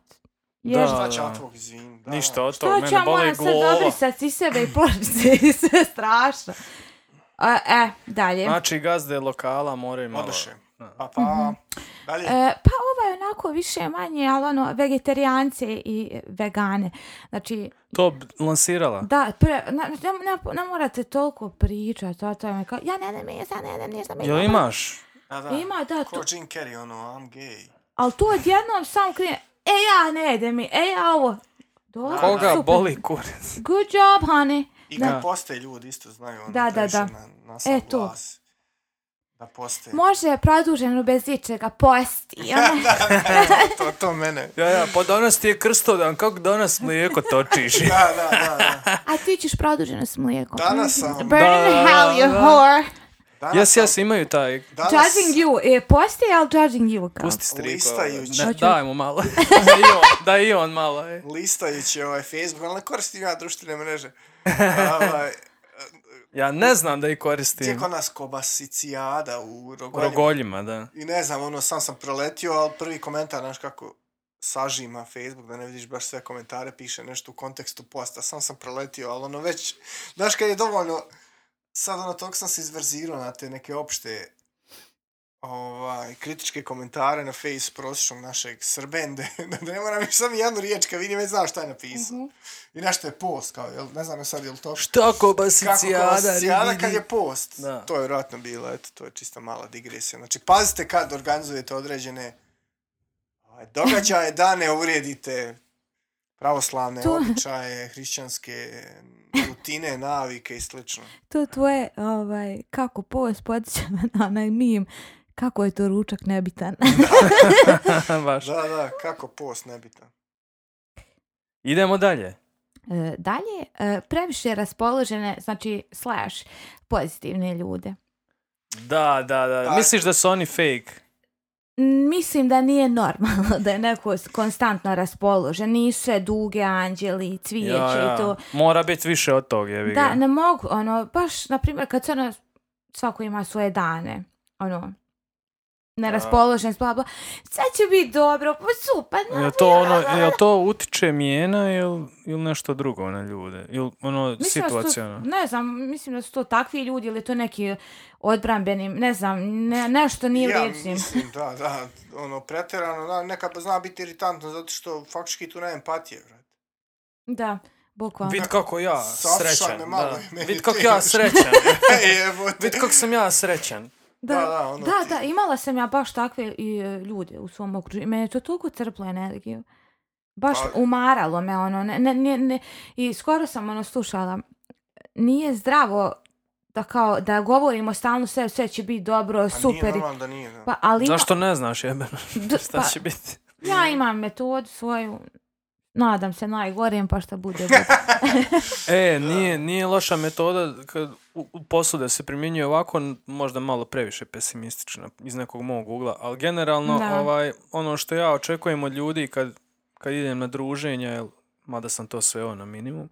S2: Jebi.
S1: Pa, Da,
S3: Šta će
S1: da.
S3: od tvog izvin? Da.
S1: Ništa od
S2: To
S1: toga,
S2: ću ja
S1: mene boli
S2: moram sad
S1: glava.
S2: dobrisati iz sebe i plašiti se i sve strašno. A, e, dalje.
S1: Znači, gazde lokala moraju malo...
S3: Odoše.
S1: Da.
S3: Pa, pa, dalje.
S2: E, pa ovo je onako više manje, ali ono, vegetarijance i vegane. Znači,
S1: To b- lansirala.
S2: da, pre, na, ne, ne, ne morate toliko pričati, to, to je me kao, ja ne idem mesa, ne idem ništa mesa.
S1: Jel imaš?
S3: Da, da.
S2: Ima, da, to,
S3: Ko Jim Carrey, ono, I'm gay.
S2: ali to odjednom sam krije, e ja ne idem, i, e ja ovo. Dobro,
S1: Koga
S2: super.
S1: boli kurac?
S2: Good job, honey.
S3: I
S2: Da.
S3: kad postoje ljudi, isto znaju, ono,
S2: Da, da,
S3: previše
S2: da.
S3: Na, na sam
S2: E, to.
S3: glas. Da postoje.
S2: Može produženo bez ičega posti. Ono,
S3: to, to mene.
S1: Ja, ja, pa danas ti je krstodan, kako danas mlijeko točiš?
S3: Da, da, da, da.
S2: a ti ćeš produženo s mlijekom. Mm.
S3: Danas sam.
S2: Burn
S1: Da,
S2: in
S1: da,
S2: hell, you
S1: da.
S2: whore.
S3: Danas
S1: Jes,
S3: sam-
S1: jes, imaju taj...
S3: Danas,
S2: Judging you. E, posti, ali judging you kao.
S1: Pusti striku. ovaj.
S3: Listajući.
S1: Ne,
S2: Hoću-
S1: daj mu malo. da, i on, da i on malo. e. Je.
S3: listajući ovaj Facebook, ali ne koristim ja društvene mreže. Ovaj,
S1: Ja ne znam da ih koristim.
S3: Tijeko nas kobasicijada u Rogolju.
S1: Rogoljima, da.
S3: I ne znam, ono, sam sam proletio, ali prvi komentar, znaš kako sažima Facebook, da ne vidiš baš sve komentare, piše nešto u kontekstu posta. Sam sam proletio, ali ono već, znaš kad je dovoljno, sad ono, toliko sam se izverzirao na te neke opšte ovaj, kritičke komentare na face prosječnog našeg srbende, da ne moram još samo jednu riječ, kad vidim, već znam šta je napisao.
S2: Mhm.
S3: I nešto je post, kao, jel, ne znam sad je li to
S1: Šta
S3: kako
S1: kobasicijada?
S3: kobasicijada kad je post.
S1: Da.
S3: To je vjerojatno bilo, eto, to je čista mala digresija. Znači, pazite kad organizujete određene ovaj, događaje da ne uvrijedite pravoslavne
S2: To-
S3: običaje, hrišćanske rutine, navike i slično.
S2: To tvoje, ovaj, kako post podsjeća me na onaj mim, kako je to ručak nebitan.
S1: Baš.
S3: Da, da, kako post nebitan.
S1: Idemo dalje.
S2: E, dalje, e, previše raspoložene, znači slash, pozitivne ljude.
S1: Da, da, da.
S3: Da.
S1: Misliš da su oni fake?
S2: M, Mislim da nije normalno da je neko s- konstantno raspoložen. Nisu sve duge anđeli, cvijeće i to.
S1: Mora biti više od toga, jebi
S2: Da,
S1: ga.
S2: ne mogu, ono, baš, na primjer, kad se ono, svako ima svoje dane, ono, neraspoložen, bla, bla, sad će biti dobro, pa super, no,
S1: Jel to, ono, jel to utiče mijena ili il nešto drugo na ljude? Ili ono
S2: da su to-
S1: situacijano?
S2: ne znam, mislim da su to takvi ljudi ili to neki odbranbeni, ne znam, ne, nešto nije ja,
S3: ja
S2: riječnim.
S3: mislim, da, da, ono, pretjerano, da, nekad zna biti iritantno zato što faktički tu nema empatije, brate.
S2: Da, bukvalno.
S1: Vid kako ja
S3: Sasša me
S1: srećan.
S3: malo
S1: Da.
S3: i meni
S1: Vid kako
S3: ti.
S1: ja srećan.
S3: Jebote.
S1: Vid kako sam ja srećan.
S2: Da,
S3: Da,
S2: da,
S3: da,
S2: da,
S3: ono ti-
S2: da, imala sam ja baš takve i, e, ljude u svom okruženju. Mene je to toliko crplo energiju. Baš
S3: Pa-
S2: umaralo me ono. Ne, ne, ne, ne. I skoro sam ono slušala. Nije zdravo da kao da govorimo stalno sve, sve će biti dobro,
S3: Pa Nije
S2: super. i-
S3: normalno da nije, da.
S2: Pa, ali ima,
S1: Zašto ne znaš jebeno
S2: d-
S1: šta
S2: pa,
S1: će biti?
S2: ja imam metodu svoju. Nadam se najgorim pa šta bude. bude.
S1: E, nije, nije loša metoda kad u, u poslu da se primjenjuje ovako, n- možda malo previše pesimistična iz nekog mog ugla, ali generalno
S2: Da.
S1: ovaj, ono što ja očekujem od ljudi kad, kad idem na druženja, jel, mada sam to sve ono minimum,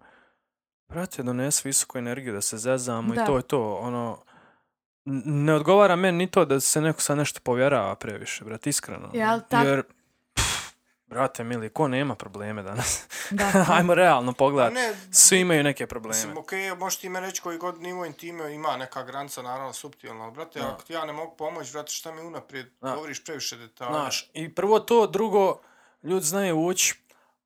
S1: brate, dones visoku energiju da se zezamo
S2: Da.
S1: i to je to, ono, n- ne odgovara meni ni to da se neko sad nešto povjerava previše, brate, iskreno. ono.
S2: Jel tak-
S1: Jer, pff, brate mili, ko nema probleme danas?
S2: Da.
S1: Ajmo realno
S3: Pa
S1: pogledat.
S3: ne,
S1: Svi imaju neke probleme.
S3: Mislim, okej, možeš ti me reći koji god nivo intime ima neka granica, naravno, suptilna, ali, brate,
S1: Da.
S3: ako ti ja ne mogu pomoći, brate, šta mi unaprijed
S1: Da.
S3: govoriš previše detalja?
S1: Znaš, i prvo to, drugo, ljudi znaju ući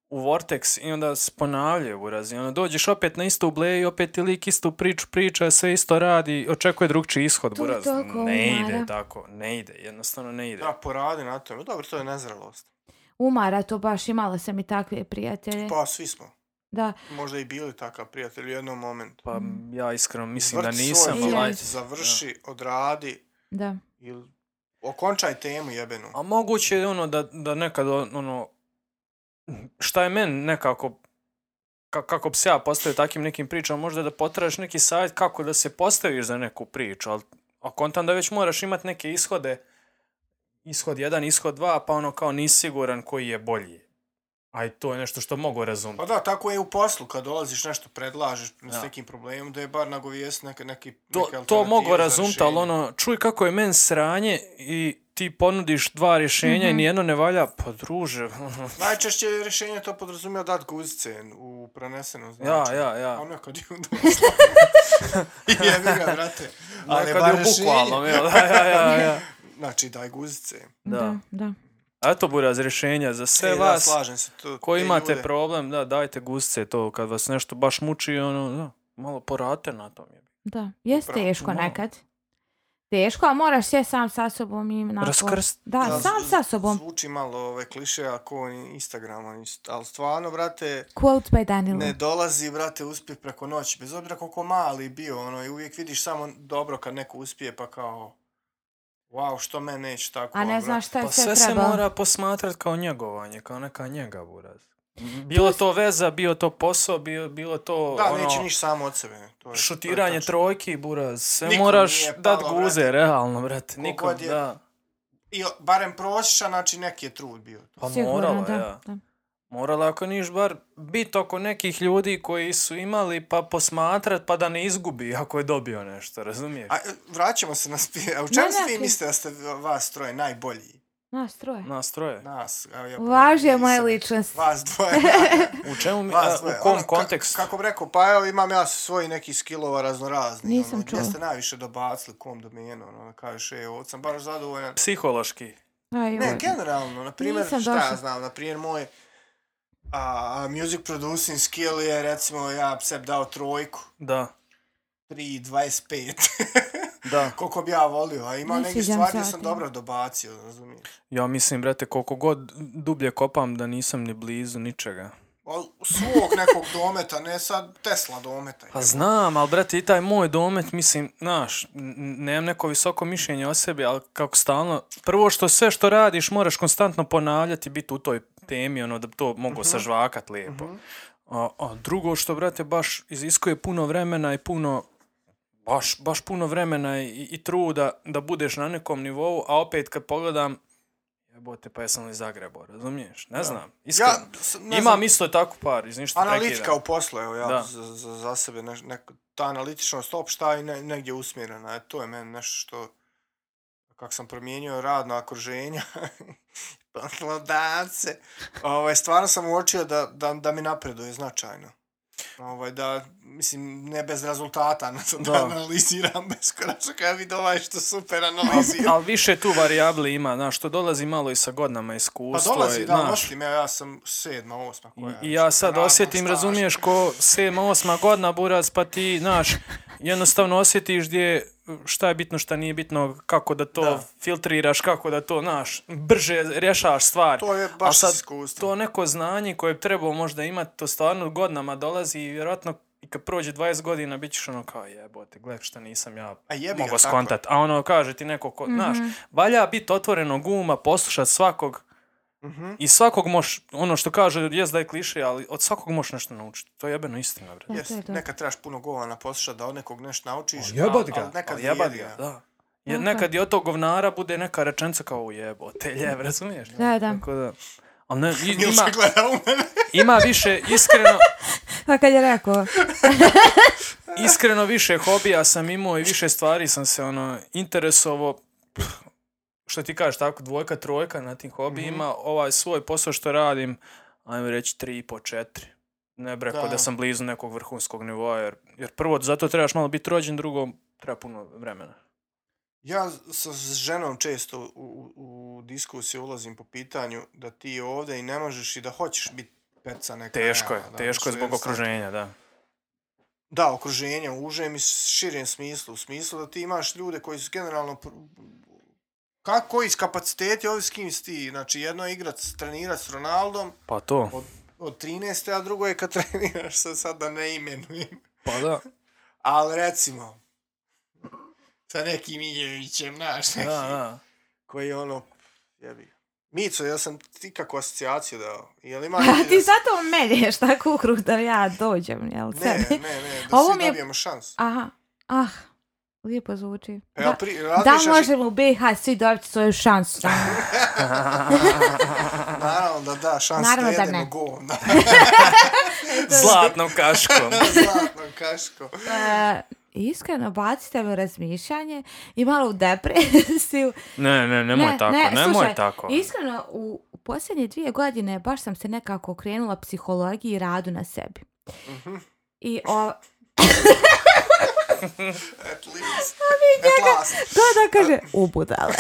S1: u Vortex i onda se ponavljaju urazi. Onda dođeš opet na isto ubleje i opet ti lik istu priču priča, sve isto radi, očekuje drugčiji ishod
S2: To je
S1: buraz.
S2: tako
S1: Ne
S2: umara.
S1: ide tako, ne ide, jednostavno ne ide.
S3: Da, poradi na tome. Dobro, to je nezrelost.
S2: Umara to baš, imala sam i takve prijatelje.
S3: Pa, svi smo.
S2: Da,
S3: Možda i bili takav prijatelj u jednom momentu.
S1: Pa ja iskreno mislim da
S3: Vrti svoj
S1: nisam,
S3: film,
S1: ali...
S2: Ajde.
S3: Završi, odradi
S2: da.
S3: ili okončaj temu jebenu.
S1: A moguće je ono da, da nekad on- ono, šta je men nekako, ka, kako bi se ja postavio takvim nekim pričama, možda da potražiš neki savjet kako da se postaviš za neku priču, ali a kontam da već moraš imati neke ishode, ishod 1, ishod 2, pa ono kao nisi siguran koji je bolji. A i to je nešto što mogu razumjeti.
S3: Pa da, tako je i u poslu, kad dolaziš nešto predlažeš
S1: Da.
S3: s nekim problemom, da je bar nagovijest neke, neke,
S1: to,
S3: neke
S1: to
S3: alternative
S1: mogu
S3: za
S1: razumjeti,
S3: rješenje.
S1: ali ono, čuj kako je men sranje i ti ponudiš dva rješenja i
S2: Mhm.
S1: nijedno ne valja, pa druže, ono,
S3: Najčešće je rješenje to podrazumija dat guzice u prenesenom
S1: ja,
S3: značaju.
S1: ja, ja.
S3: Ono kad je u Jebi ga, brate.
S1: Ali
S3: bar
S1: kad je
S3: rješenje.
S1: bukvalno, jel? da, ja, ja, ja.
S3: Znači, daj guzice.
S1: Da.
S2: Da, da.
S1: A Eto buraz rješenja za sve
S3: Sve Ej, vas, E, da,
S1: vas
S3: slažem se. To,
S1: koji
S3: te
S1: imate
S3: ljude.
S1: problem, da, dajte gusce to kad vas nešto baš muči, ono, da, malo porate na tom. Je.
S2: Da, jest
S3: Upravo,
S2: teško
S1: malo.
S2: nekad. Teško, a moraš sve sam sa sobom i nakon.
S1: Raskrst.
S2: Da,
S3: Da,
S2: Pa, sam
S3: z-
S2: sa sobom.
S3: Zvuči malo ove kliše, ako Instagrama, nist- ali stvarno, brate,
S2: Quote by Danilo.
S3: ne dolazi, brate, uspjeh preko noći. Bez obzira koliko mali bio, ono, i uvijek vidiš samo dobro kad neko uspije, pa kao, wow, što me neće tako, ono,
S2: a ne
S3: brate.
S2: znaš šta je
S1: Pa sve se
S2: treba.
S1: mora posmatrat kao njegovanje, kao neka njega buraz. Bilo to veza, bio to posao, bio, bilo to
S3: Da,
S1: ono,
S3: neće niš samo od sebe. To je, to
S1: šutiranje
S3: je tačno.
S1: trojki buraz. Sve
S3: Nikom
S1: moraš
S3: nije
S1: dat
S3: palo,
S1: guze,
S3: brate.
S1: realno, brate.
S3: Ko
S1: Nikom,
S3: god je-
S1: da.
S3: I o- barem prosječan, znači neki je trud bio.
S1: Pa
S2: Sigurno,
S1: morala,
S2: da,
S1: ja.
S2: da.
S1: Morala ako niš bar bit oko nekih ljudi koji su imali pa posmatrat pa da ne izgubi ako je dobio nešto, razumiješ?
S3: A e, vraćamo se na spije. A u čemu
S2: Ne, ne,
S3: ste vi
S2: ti-
S3: mislite da ste vas troje najbolji?
S2: Nas troje.
S1: Nas troje.
S3: Nas. evo ja
S2: Važi je
S3: nisam-
S2: moja ličnost.
S3: Vas dvoje.
S1: U čemu mi, a,
S3: Vas dvoje.
S1: u kom
S3: Ono, ka-
S1: kontekstu?
S3: kako bi rekao, pa evo imam ja svoji neki skillova raznorazni.
S2: Nisam
S3: ono,
S2: čula.
S3: Gdje ste najviše dobacili, kom domenu, ono, kažeš, e, ovdje sam baš zadovoljan.
S1: Psihološki.
S2: Aj, ovaj.
S3: Ne,
S2: joj.
S3: generalno, na primjer,
S2: Nisam
S3: šta
S2: došla.
S3: ja znam, na primjer, moj a, a, music producing skill je, recimo, ja sebi dao trojku,
S1: Da,
S3: 3.25.
S1: da.
S3: koliko bi ja volio, a ima
S2: Ne
S3: nekih
S2: sviđam
S3: stvari gdje
S2: se ja
S3: sam
S2: ti.
S3: dobro dobacio, razumiješ?
S1: Ja mislim, brate, koliko god dublje kopam da nisam ni blizu ničega.
S3: Al svog nekog dometa, ne sad Tesla dometa.
S1: Pa znam, ali brate, i taj moj domet, mislim, znaš, n- n- nemam neko visoko mišljenje o sebi, ali kako stalno, prvo što sve što radiš moraš konstantno ponavljati, biti u toj temi, ono, da bi to
S3: Mhm.
S1: mogu sažvakat lijepo. A, a drugo što, brate, baš iziskuje puno vremena i puno baš, baš puno vremena i, i truda da budeš na nekom nivou, a opet kad pogledam, jebote, pa jesam li Zagrebo, razumiješ? Ne znam, iskreno.
S3: Ja, s- ne
S1: Imam
S3: znam,
S1: isto tako par, iz ništa
S3: analitika
S1: prekidam.
S3: u poslu, evo ja
S1: Da.
S3: za, za, za sebe, ne, neko, ta analitičnost opšta i ne, negdje usmjerena, e, to je meni nešto što, kak sam promijenio radno okruženje, poslodavce, pa ovaj, stvarno sam uočio da, da, da mi napreduje značajno. Ovaj, da, mislim, ne bez rezultata, na to da,
S1: Da. Pa
S3: analiziram bez konačno kada vidim ovaj što super
S1: Ali
S3: analizira.
S1: al više tu varijabli ima, znaš, što dolazi malo i sa godinama
S3: Pa
S1: iskustva.
S3: dolazi,
S1: i,
S3: da,
S1: znaš,
S3: osjetim, ja, ja sam sedma, osma. koja je,
S1: I, I ja
S3: znači,
S1: sad
S3: radno,
S1: osjetim,
S3: staž.
S1: razumiješ, ko 7. 8. godina buraz, pa ti, znaš, jednostavno osjetiš gdje šta je bitno, šta nije bitno, kako da to
S3: Da.
S1: filtriraš, kako da to, znaš, brže rješavaš stvari.
S3: To je
S1: A
S3: baš
S1: sad
S3: iskustvo.
S1: To neko znanje koje bi trebao možda imati, to stvarno godinama dolazi i vjerojatno i kad prođe 20 godina bit ćeš ono kao jebote, gledaj šta nisam ja
S3: A jebi
S1: mogo
S3: ga, tako je.
S1: skontat. A ono kaže ti neko
S2: Mhm.
S1: ko, znaš, valja biti otvorenog uma, poslušat svakog
S3: Mhm.
S1: i svakog moš, ono što kaže, jest da je kliše, ali od svakog moš nešto naučiti. To je jebeno istina, bre.
S2: Da,
S3: Jes,
S2: to je to.
S3: nekad trebaš puno govana poslušati da od nekog nešto naučiš.
S1: Jebat
S3: al-
S1: ga,
S3: al nekad
S1: al jebat
S3: vrijedi,
S1: ga,
S3: ja.
S1: da. Jer
S2: Tako
S1: nekad i od tog govnara bude neka rečenca kao ujebote, ljeb, razumiješ?
S2: Da, da.
S1: Tako da. Ali ne, i-
S3: Milša
S1: ima,
S3: gleda u mene.
S1: ima više, iskreno,
S2: Pa kad je rekao,
S1: iskreno više hobija sam imao i više stvari sam se ono interesovao pff, što ti kažeš tako dvojka trojka na tim hobijima ovaj svoj posao što radim ajmo reći tri i po četiri ne bi rekao da.
S3: Da.
S1: sam blizu nekog vrhunskog nivoa jer, jer prvo zato trebaš malo biti rođen drugo treba puno vremena
S3: Ja sa s ženom često u, u, u diskusiju ulazim po pitanju da ti ovdje i ne možeš i da hoćeš biti peca neka.
S1: Teško je,
S3: nema, da,
S1: teško je
S3: što
S1: zbog
S3: jednostavno-
S1: okruženja, da.
S3: Da, okruženje u užem i širem smislu. U smislu da ti imaš ljude koji su generalno pr- kako iz kapaciteti, ovi s kim si ti. Znači, jedno je igrat, trenirat s Ronaldom
S1: Pa to,
S3: od, od 13. a drugo je kad treniraš sa sad da ne imenujem.
S1: pa da.
S3: Ali recimo, sa nekim Iljevićem, znaš,
S1: Da,
S3: neki,
S1: da.
S3: koji je ono, jebi ga. Mico, ja sam ti kakvu asocijaciju dao. Jel ima
S2: A
S3: neki
S2: ti
S3: da-
S2: zato melješ tako ukru da ja dođem, jel?
S3: Ne,
S2: sebi?
S3: ne, ne, da
S2: Ovo
S3: svi
S2: mi je-
S3: dobijemo šansu.
S2: Aha, ah, lijepo zvuči.
S3: Evo,
S2: Da,
S3: pri,
S2: da
S3: E, razmišljaš,
S2: možemo u BiH svi dobiti svoju šansu.
S3: naravno da da, šansu
S2: Naravno
S3: da
S2: da
S3: jedemo
S2: ne.
S3: go. Da,
S1: Zlatnom kaškom.
S3: zlatno kaško.
S2: E, iskreno, bacite me u razmišljanje i malo u depresiju.
S1: Ne, ne, nemoj tako, nemoj
S2: slušaj,
S1: tako.
S2: Iskreno, u u posljednje dvije godine baš sam se nekako okrenula psihologiji i radu na sebi. I o,
S3: At least. At last.
S2: To da kaže, ubudala.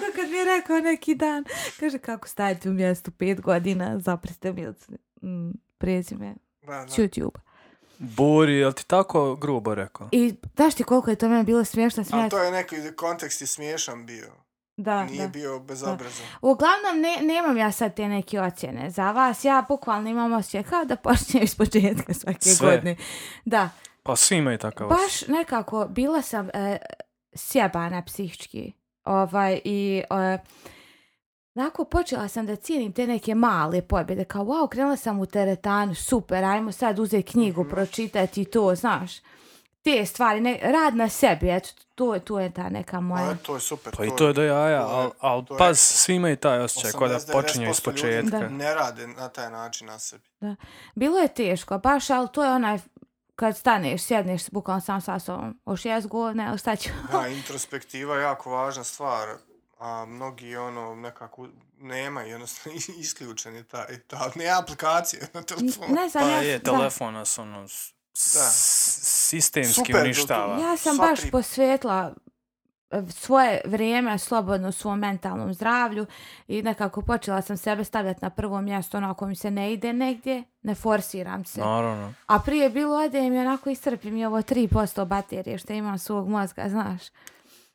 S2: Ko kad mi je rekao neki dan, kaže kako stajete u mjestu pet godina, zapriste mi od mm, prezime
S3: Da,
S2: s
S3: da.
S2: YouTube.
S1: Buri, jel ti tako grubo rekao?
S2: I znaš ti koliko je to meni bilo smiješno
S3: A
S2: smiješno?
S3: to je neki kontekst i smiješan bio.
S2: Da,
S3: Nije
S2: da.
S3: bio bezobrazan.
S2: Uglavnom, ne, nemam ja sad te neke ocjene za vas. Ja bukvalno imam osjećaj kao da počnem iz početka svake
S1: Sve.
S2: godine. Da,
S1: Pa svi imaju takav osjećaj.
S2: baš nekako bila sam e, sjebana psihički. Ovaj, i e, Onako počela sam da cijenim te neke male pobjede, kao wow, krenula sam u teretanu, super, ajmo sad uzeti knjigu,
S1: Mhm.
S2: pročitati to, znaš. Te stvari, ne, rad na sebi, eto, to, to je ta neka moja.
S3: A, to je super.
S1: Pa i to je do jaja,
S3: to je-
S1: ali al,
S3: to je-
S1: paz, svi imaju taj osjećaj kao da
S3: 80-90%
S1: počinju iz
S3: ljudi
S1: početka.
S2: Da.
S3: Ne rade na taj način na sebi.
S2: Bilo je teško, baš, ali to je onaj, kad staneš, sjedneš bukvalno sam sa sobom, još jes godine, ali šta ću?
S3: Da, introspektiva je jako važna stvar, a mnogi ono nekako nema jednostavno isključen je ta, ta ne aplikacije na telefonu.
S2: ne znam,
S1: Pa
S2: ja,
S1: je,
S2: da.
S1: telefon nas ono s-
S3: Da.
S1: s- sistemski
S3: Super,
S1: uništava.
S3: dok-
S2: Ja sam
S3: Pa, Sva
S2: baš
S3: tri-
S2: posvetla e, svoje vrijeme slobodno svom mentalnom zdravlju i nekako počela sam sebe stavljati na prvo mjesto ono ako mi se ne ide negdje, ne forsiram se.
S1: Naravno.
S2: A prije je bilo odem i onako istrpim i ovo 3% baterije što imam svog mozga, znaš.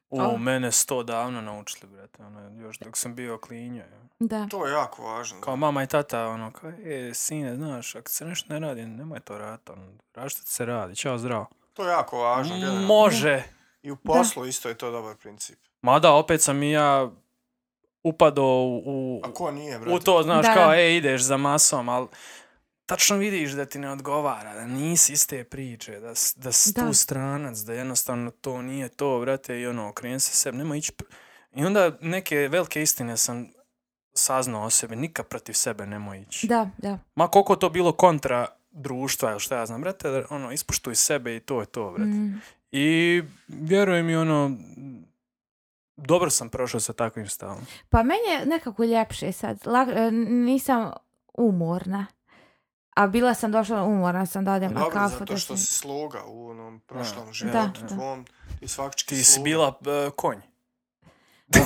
S1: U,
S2: Al-
S1: mene sto davno naučili, brate, ono, još dok sam bio klinjo. je.
S2: Da.
S3: To je jako važno.
S1: Kao mama i tata, ono, kao, e, sine, znaš, ako se nešto ne radi, nemoj to raditi, ono, radi što ti se radi, čao, zdravo.
S3: To je jako važno. generalno.
S1: Može!
S3: I u poslu isto je to dobar princip.
S1: Mada, opet sam i ja upadao u, u,
S3: A ko nije, brate?
S1: u to, znaš,
S2: Da,
S1: kao,
S2: da.
S1: e, ideš za masom, ali tačno vidiš da ti ne odgovara, da nisi iz te priče, da, s- da si
S2: Da.
S1: tu stranac, da jednostavno to nije to, vrate, i ono, okren se sebi, nema ići... pr- I onda neke velike istine sam saznao o sebi, nikad protiv sebe nemoj ići.
S2: Da, da.
S1: Ma koliko to bilo kontra društva, ili šta ja znam, brate, ono, ispuštuj sebe i to je to, brate.
S2: Mm.
S1: I vjerujem mi, ono, dobro sam prošao sa takvim stavom.
S2: Pa meni je nekako ljepše sad. Lak, e, nisam umorna. A bila sam došla umorna sam da odem na
S3: Pa Dobro,
S2: kafu.
S3: zato
S2: da sam-
S3: što si sloga u onom prošlom
S1: Da,
S3: životu
S2: da.
S3: tvom. Ti svakčki
S1: Ti si bila e, konj.
S3: Da,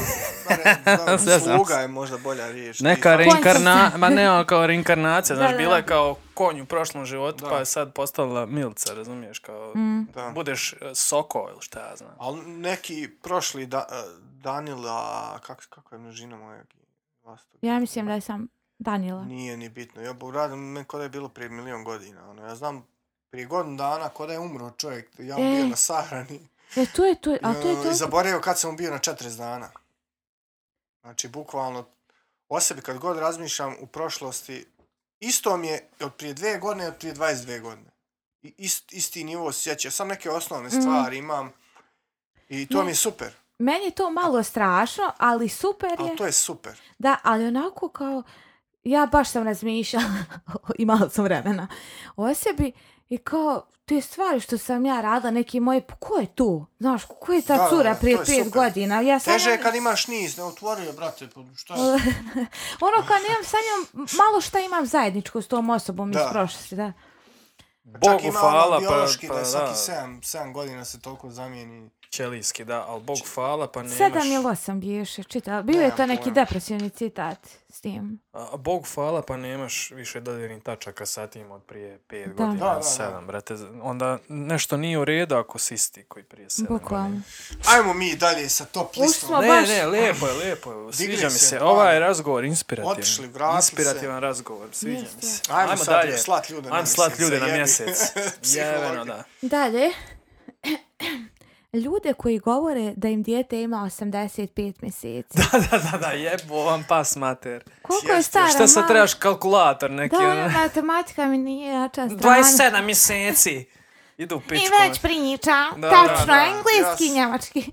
S3: ne, da,
S1: Sve znam.
S3: sloga je možda bolja riječ. Ti
S1: Neka
S2: Konj sam
S1: reinkarna... Ma ne, ono kao reinkarnacija,
S2: Da,
S1: znaš,
S2: da,
S1: bila je
S2: da.
S1: kao konj u prošlom životu,
S3: Da.
S1: pa je sad postala milca, razumiješ, kao...
S2: Mm.
S3: fakt- da.
S1: Budeš e, soko ili šta ja znam.
S3: Ali neki prošli da, e, Danila, kak, kako je množina moja? Vlastog?
S2: Ja mislim da sam Danila.
S3: Nije ni bitno. Ja bo radim, meni kod je bilo prije milion godina. Ono, ja znam prije godinu dana kod je umro čovjek, ja mu
S2: E.
S3: bio na sahrani.
S2: E, to je to, a to je
S3: I,
S2: to.
S3: I zaboravio kad sam mu bio na 40 dana. Znači, bukvalno, o sebi kad god razmišljam u prošlosti, isto mi je od prije dve godine, od prije 22 godine. I ist, isti nivo sjeća. Sam neke osnovne stvari imam. I to
S2: Mhm. Ne.
S3: mi je super.
S2: Meni je to malo strašno, ali super je.
S3: Ali to je super.
S2: Da, ali onako kao, ja baš sam razmišljala, imala sam vremena o sebi i kao, te stvari što sam ja radila, neki moji, pa ko je tu? Znaš, ko je ta
S3: Da, da,
S2: cura
S3: da,
S2: prije
S3: to je
S2: pet
S3: super.
S2: godina? Ja sam
S3: Teže je kad imaš niz, ne otvorio, brate, pa šta je?
S2: Ono kao nemam sa njom, malo šta imam zajedničko s tom osobom
S3: Da.
S2: iz prošlosti, da.
S3: Čak
S1: Bogu
S3: ima ono
S1: hvala, pa,
S3: biološki
S1: pa
S3: da je
S1: da.
S3: svaki 7, 7 godina se toliko zamijeni
S1: Ćelijski, da, ali bog hvala, pa nemaš...
S2: Sedam ili osam biješe, čita. Bio je to
S3: Nemam
S2: neki
S3: pojma.
S2: depresivni citat s tim.
S1: A, bog hvala, pa nemaš više dodirnih tačaka sa tim od prije pet
S2: Da.
S1: godina,
S3: Da, da, da.
S1: sedam, brate. Onda nešto nije u redu ako si isti koji prije sedam
S2: Bukvalno.
S3: Ajmo mi dalje sa top
S2: Ušli
S3: listom.
S2: smo.
S1: Ne,
S2: baš-
S1: ne, lijepo je, lijepo je.
S3: Digli
S1: Sviđa mi
S3: se,
S1: se.
S3: pa.
S1: Ovaj razgovor inspirativan.
S3: Otišli, vratili se.
S1: Inspirativan razgovor, sviđa mi
S2: Jeste.
S1: se.
S3: Ajmo sad slat ljude na
S1: Ajmo slat
S3: mjesec,
S1: ljude na
S3: jebi.
S1: mjesec.
S3: Psihologi.
S1: Jeveno, da.
S2: Dalje. Ljude koji govore da im dijete ima 85 mjeseci.
S1: Da, da, da, da, jebo vam pas mater.
S2: Koliko je
S3: Jeste.
S2: stara
S1: Šta sad
S2: mama?
S1: trebaš kalkulator neki?
S2: Da, ona
S1: ono?
S2: matematika mi nije jača strana.
S1: 27 mjeseci. Idu u
S2: I
S1: pičku.
S2: već pa- priča.
S1: Da,
S2: Tačno,
S3: da, da,
S2: engleski,
S3: jas.
S2: njemački.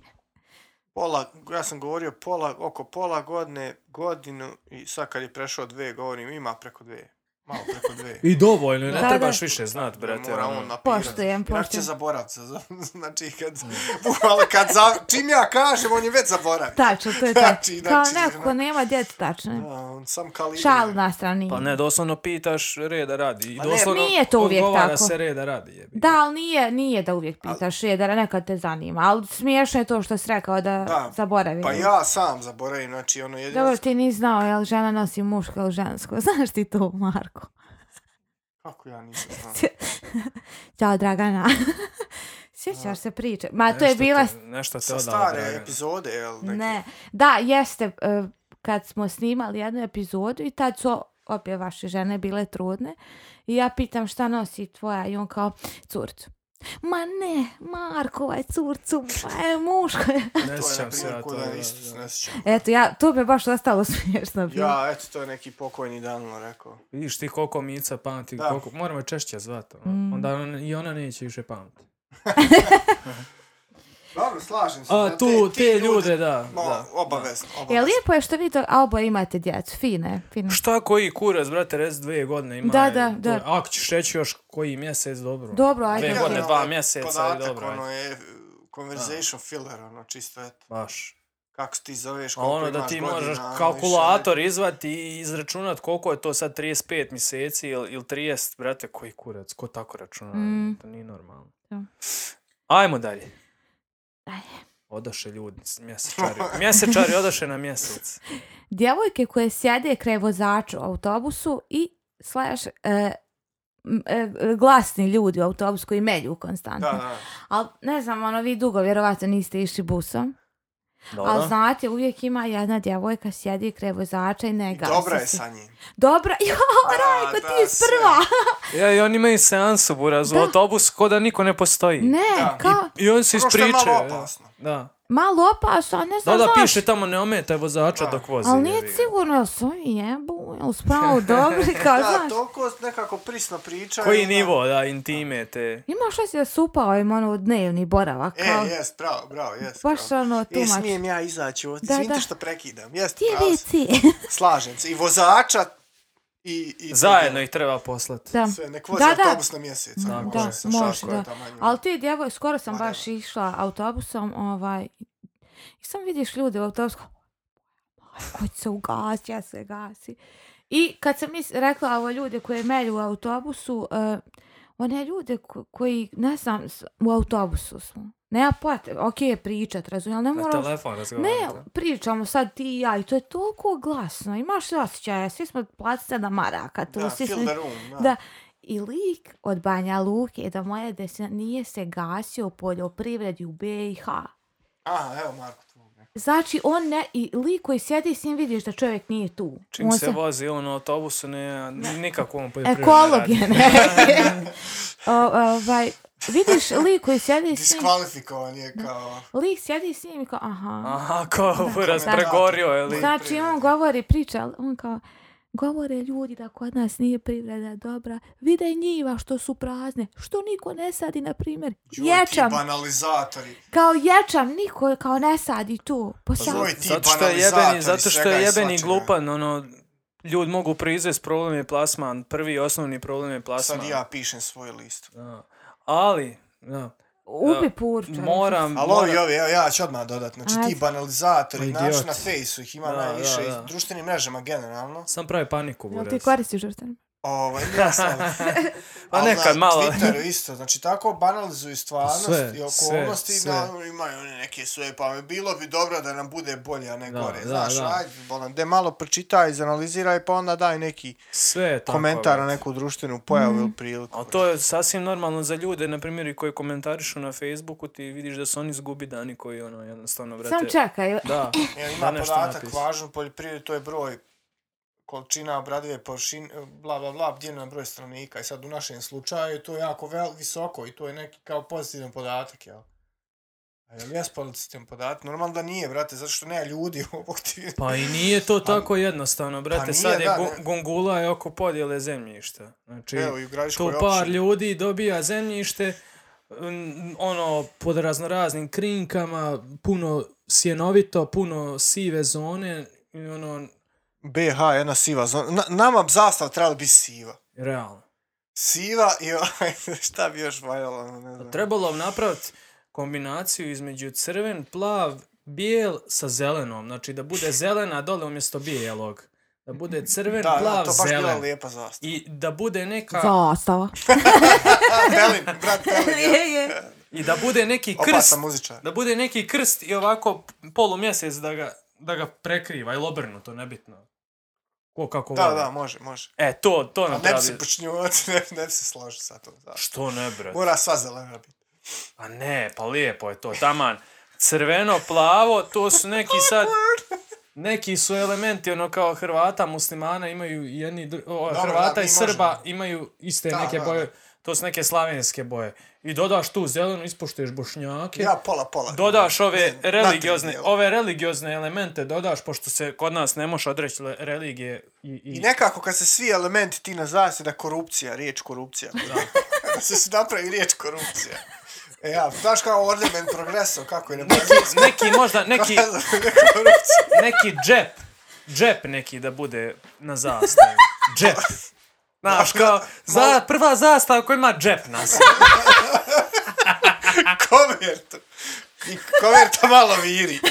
S3: Pola, ja sam govorio pola, oko pola godine, godinu i sad kad je prešao dve, govorim ima preko dve. Malo preko dve.
S1: I dovoljno, ne
S2: Da,
S1: trebaš
S2: da.
S1: više znat, brate.
S3: Mora
S1: ono.
S3: on napirat.
S2: Poštujem,
S3: Inak će
S2: poštujem.
S3: zaboravit se. Znači, kad,
S1: Mm.
S3: bukvalno kad za, čim ja kažem, on je već zaboravio.
S2: Tačno, to je tačno.
S3: Znači,
S2: Kao
S3: znači,
S2: neko ko
S3: znači.
S2: nema djece, tačno. je.
S3: Da, on sam kalira.
S2: Šalu na strani.
S1: Pa ne, doslovno pitaš reda radi. I
S3: Pa ne,
S1: doslovno
S2: nije to uvijek
S1: odgovara
S2: tako.
S1: se reda radi. Jebi.
S2: Da, ali nije, nije da uvijek pitaš je, da nekad te zanima. Ali smiješno je to što si rekao da,
S3: Da.
S2: zaboravim.
S3: Pa ja sam zaboravim, znači ono jedino...
S2: Dobro, ti nisi znao je li žena nosi muško ili žensko. Znaš ti to, Marko?
S3: Kako ja nisam znao?
S2: Ćao, Dragana. Sjećaš se priče? Ma, to je
S1: Nešto
S2: bila...
S1: te- Nešto te
S3: Sa
S1: odala,
S3: stare
S1: Dragana.
S3: epizode, jel? neke?
S2: Ne. Da, jeste, e, kad smo snimali jednu epizodu i tad su opet vaše žene bile trudne i ja pitam šta nosi tvoja i on kao curcu. Ma ne, Markova je curcu, ma je muško. je.
S1: Ne
S3: To je,
S1: sjećam
S3: na
S1: se ja
S3: primjer,
S1: to.
S3: ko da
S1: da,
S3: isto se
S1: da.
S3: ne sjećam.
S2: Eto, ja, to me baš ostalo smiješno bilo.
S3: Ja, eto, to je neki pokojni Danilo rekao.
S1: Vidiš ti koliko Mica pamti,
S3: Da.
S1: koliko... Moramo je češće zvati. ono.
S2: Mm.
S1: Onda on- i ona neće više pamti.
S3: Dobro, slažem se.
S1: A
S3: da,
S1: tu,
S3: ti- ti
S1: te ljude, da.
S3: Ma,
S1: da.
S3: obavezno, obavezno.
S2: Je lijepo je što vi to a oboje imate djecu, fine, fine.
S1: Šta koji kurac, brate, res dvije godine ima.
S2: Da,
S1: je,
S2: da,
S1: to
S2: da.
S1: je- Ako ćeš reći još koji mjesec, dobro.
S2: Dobro,
S1: Dve
S2: ajde.
S3: Ja,
S1: godine,
S3: ono,
S1: dva
S3: ovaj
S1: mjeseca i
S3: Podatak,
S1: dobro, ajde.
S3: ono je eh, conversation filler, ono, čisto, eto.
S1: Baš.
S3: Kako se ti zoveš,
S1: A
S3: koliko
S1: ono da
S3: imaš
S1: ti
S3: godina,
S1: možeš
S3: ono, više
S1: kalkulator izvati i izračunat koliko je to sad 35 mjeseci ili, ili 30, brate, koji kurac, ko tako računa, ono,
S2: Mm.
S1: to nije normalno.
S2: Da.
S1: Ajmo dalje.
S2: Dalje.
S1: Odaše ljudi, s- mjesečari. Mjesečari odaše na mjesec.
S2: Djevojke koje sjede kraj vozača u autobusu i slash e, m- e, glasni ljudi u autobusu koji melju
S3: ne-
S2: konstantno.
S3: ono, Da, da.
S2: Ali ne znam, ono, vi dugo vjerovatno niste išli busom.
S1: Dobro.
S2: Ali znate, uvijek ima jedna djevojka sjedi kraj vozača i ne
S3: I
S2: gasi
S3: Dobra je
S2: se.
S3: sa njim.
S2: Dobra, jo,
S3: Da,
S2: Rajko,
S3: da,
S2: ti si
S3: sve.
S2: prva.
S1: Ja, I oni imaju seansu, buraz, u
S2: Da.
S1: autobus, ko da niko ne postoji.
S2: Ne,
S3: Da.
S2: kao,
S1: I on se
S3: Ono što je
S1: ispričaju.
S3: malo
S1: da.
S3: opasno.
S1: Da.
S2: malo opasno, a ne
S1: Da,
S2: znam
S1: da,
S2: zašto.
S1: piše tamo ne ometaj vozača
S3: Da.
S1: dok vozi.
S2: Ali
S1: jebi
S2: nije
S1: ga.
S2: sigurno, jel su ovi jebu, jel su pravo dobri, kao,
S3: Da,
S2: Pa znaš.
S3: toliko nekako prisno ono. priča. i
S1: Koji
S3: onda-
S1: nivo, da, intime te.
S2: Imaš li si da su upao im ono dnevni boravak,
S3: E,
S2: kao,
S3: jes, bravo, bravo, jes.
S2: baš
S3: bravo.
S2: ono
S3: E,
S2: tumač.
S3: smijem ja izaći ovdje,
S2: Da,
S3: izvinite
S2: da.
S3: što prekidam. Jeste,
S2: Ti je
S3: pravo ste.
S2: vici.
S3: Slažem se. I vozača i... i
S1: Zajedno ih treba poslati.
S2: Da.
S3: Sve, nek vozi
S2: Da, da.
S3: autobus na mjesec. ako
S1: Da,
S3: može, sa
S2: može,
S3: šakom je
S2: da.
S3: taman, ono.
S2: Ali ti djevoj, skoro sam
S3: Ma,
S2: baš išla autobusom, ovaj, i sam vidiš ljude u autobusu, kao, "Aj, hoće se ugasi, ja se gasi. I kad sam mis, rekla ovo ljude koje melju u autobusu, uh, one ljude ko, koji, ne znam, s- u autobusu smo. Nema potrebe, okej je pričat, razumijem, ali ne
S1: Na
S2: moram
S1: telefon
S2: Ne,
S1: razgovarati.
S2: pričamo sad ti i ja i to je toliko glasno. Imaš li osjećaja? Svi smo platili 7 maraka. Tu,
S3: Da,
S2: svi
S3: fill
S2: smo-
S3: the room, da.
S2: Da. I lik od Banja Luke do moje desne nije se gasio u poljoprivredi u BiH.
S3: Aha, evo Marko tu.
S2: Znači, on ne, i lik koji sjedi s njim vidiš da čovjek nije tu.
S1: Čim
S2: on
S1: se vozi on u autobusu, ne, nikako on poljoprivredno
S2: Ekolog
S1: radi.
S2: je ne. o, ovaj, vidiš lik koji sjedi s njim,
S3: Diskvalifikovan je kao...
S2: lik sjedi s njim i kao, aha.
S1: Aha, ko buraz
S3: Da.
S1: pregorio, je li?
S3: Da.
S2: Znači, on
S3: privrede.
S2: govori, priča, ali on kao, govore ljudi da kod nas nije privreda dobra, vide njiva što su prazne, što niko ne sadi, na primjer,
S3: Joj, ti
S2: ječam,
S3: banalizatori.
S2: kao ječam, niko kao ne sadi tu, Pa po
S3: za-
S2: sjalu.
S3: Joj, ti pa
S1: Zato što je jebeni,
S3: banalizatori
S1: zato što
S3: svega
S1: je
S3: i
S1: jebeni
S3: svačega.
S1: glupan, ono, ljudi mogu proizvesti problem je plasman, prvi i osnovni problem je
S3: Sad
S1: plasman.
S3: i ja pišem svoj list.
S1: Da. Ali, da,
S2: ubi purčar.
S1: moram,
S3: Ali ovi,
S1: Mm, moram,
S3: ovi, evo ja ću odmah dodat. Znači
S2: Ajde.
S3: ti banalizatori,
S1: Ma,
S3: naš
S1: idiot.
S3: na fejsu ih ima
S1: Da,
S3: najviše
S1: da,
S3: i
S1: da.
S3: društvenim mrežama generalno.
S1: sam pravi paniku,
S2: Jel ti
S1: buraz.
S2: koristiš društvene?
S3: Ovaj, ne znam.
S1: Pa
S3: Ali
S1: nekad
S3: na
S1: malo.
S3: Twitteru isto, znači tako banalizuju stvarnost
S4: Sve,
S3: i okolnosti,
S1: sve,
S3: da imaju oni neke svoje pame. Bilo bi dobro da nam bude bolje, a ne
S4: Da,
S3: gore.
S4: da,
S3: znaš,
S4: da.
S3: ajde, bolan, de malo pročitaj, izanaliziraj, pa onda daj neki
S1: Sve je tako.
S3: komentar na
S1: brate.
S3: neku društvenu pojavu ili priliku.
S1: Ali to je sasvim normalno za ljude, na primjer, i koji komentarišu na Facebooku, ti vidiš da su oni zgubi dani koji, ono, jednostavno, brate...
S2: Samo čekaj.
S1: Da, da
S3: Ja, ima
S1: nešto
S3: podatak
S1: napis.
S3: važan u poljoprivredi, to je broj količina obradive površine, bla, bla, bla, dijeljeno na broj stanovnika. I sad u našem slučaju je to jako vel, visoko i to je neki kao pozitivan podatak, jel? A jel jes pozitivan podatak? Normalno da nije, brate, zato što nema ljudi u ovog ti...
S1: Pa i nije to tako jednostavno, brate.
S3: pa nije,
S1: Sad je
S3: da,
S1: gu-
S3: ne.
S1: Gungula je oko podjele zemljišta. Znači,
S3: Evo, i u
S1: tu
S3: Gradiškoj
S1: par
S3: općini.
S1: ljudi dobija zemljište, mm, ono, pod raznoraznim krinkama, puno sjenovito, puno sive zone, i ono,
S3: BH, jedna siva zona. Na, nama bi zastav trebala biti siva.
S1: realno.
S3: Siva i ovaj, šta bi još valjalo, ono,
S1: Pa
S3: ne znam.
S1: Trebalo bi napraviti kombinaciju između crven, plav, bijel sa zelenom. Znači, da bude zelena dole umjesto bijelog. Da bude crven,
S3: Da, da,
S1: plav,
S3: to baš bila
S1: zelen.
S3: lijepa zastava.
S1: I da bude neka...
S2: Zastava.
S3: A, Belin, brat Belin, ja.
S2: je, je.
S1: I da bude neki krst.
S3: Opasan muzičar.
S1: Da bude neki krst i ovako polumjesec da ga, da ga prekriva ili obrnuto, nebitno. Ko kako
S3: Da,
S1: voli.
S3: da, može, može.
S1: E, to, to
S3: Pa ne bi
S1: napravi.
S3: se počinjavac, ne, ne bi se složio sa to. Da.
S1: Što ne, bre?
S3: Mora sva zelena biti.
S1: Pa ne, pa lijepo je to, taman. Crveno, plavo, to su neki sad... Neki su elementi, ono kao Hrvata, muslimana imaju i jedni, dru- o,
S3: Dobro,
S1: Hrvata
S3: da, mi
S1: i Srba
S3: možemo.
S1: imaju iste
S3: Da,
S1: neke
S3: da,
S1: boje, to su neke slavenske boje. I dodaš tu zelenu, ispoštuješ bošnjake.
S3: Ja pola, pola.
S1: dodaš ove
S3: Ne,
S1: religiozne,
S3: natrijed, jel?
S1: ove religiozne elemente dodaš, pošto se kod nas ne može odreći le- religije i, i,
S3: I nekako kad se svi elementi ti nazvaju se da korupcija, riječ korupcija. Da. da se se napravi riječ korupcija. E ja, znaš kao ornament progreso, kako je na
S1: neki, neki možda, neki,
S3: korupcija.
S1: neki džep, džep neki da bude na zastavi. Džep. Znaš, kao, za, prva zastava koja ima džep nas.
S3: Koverta. I koverta malo viri.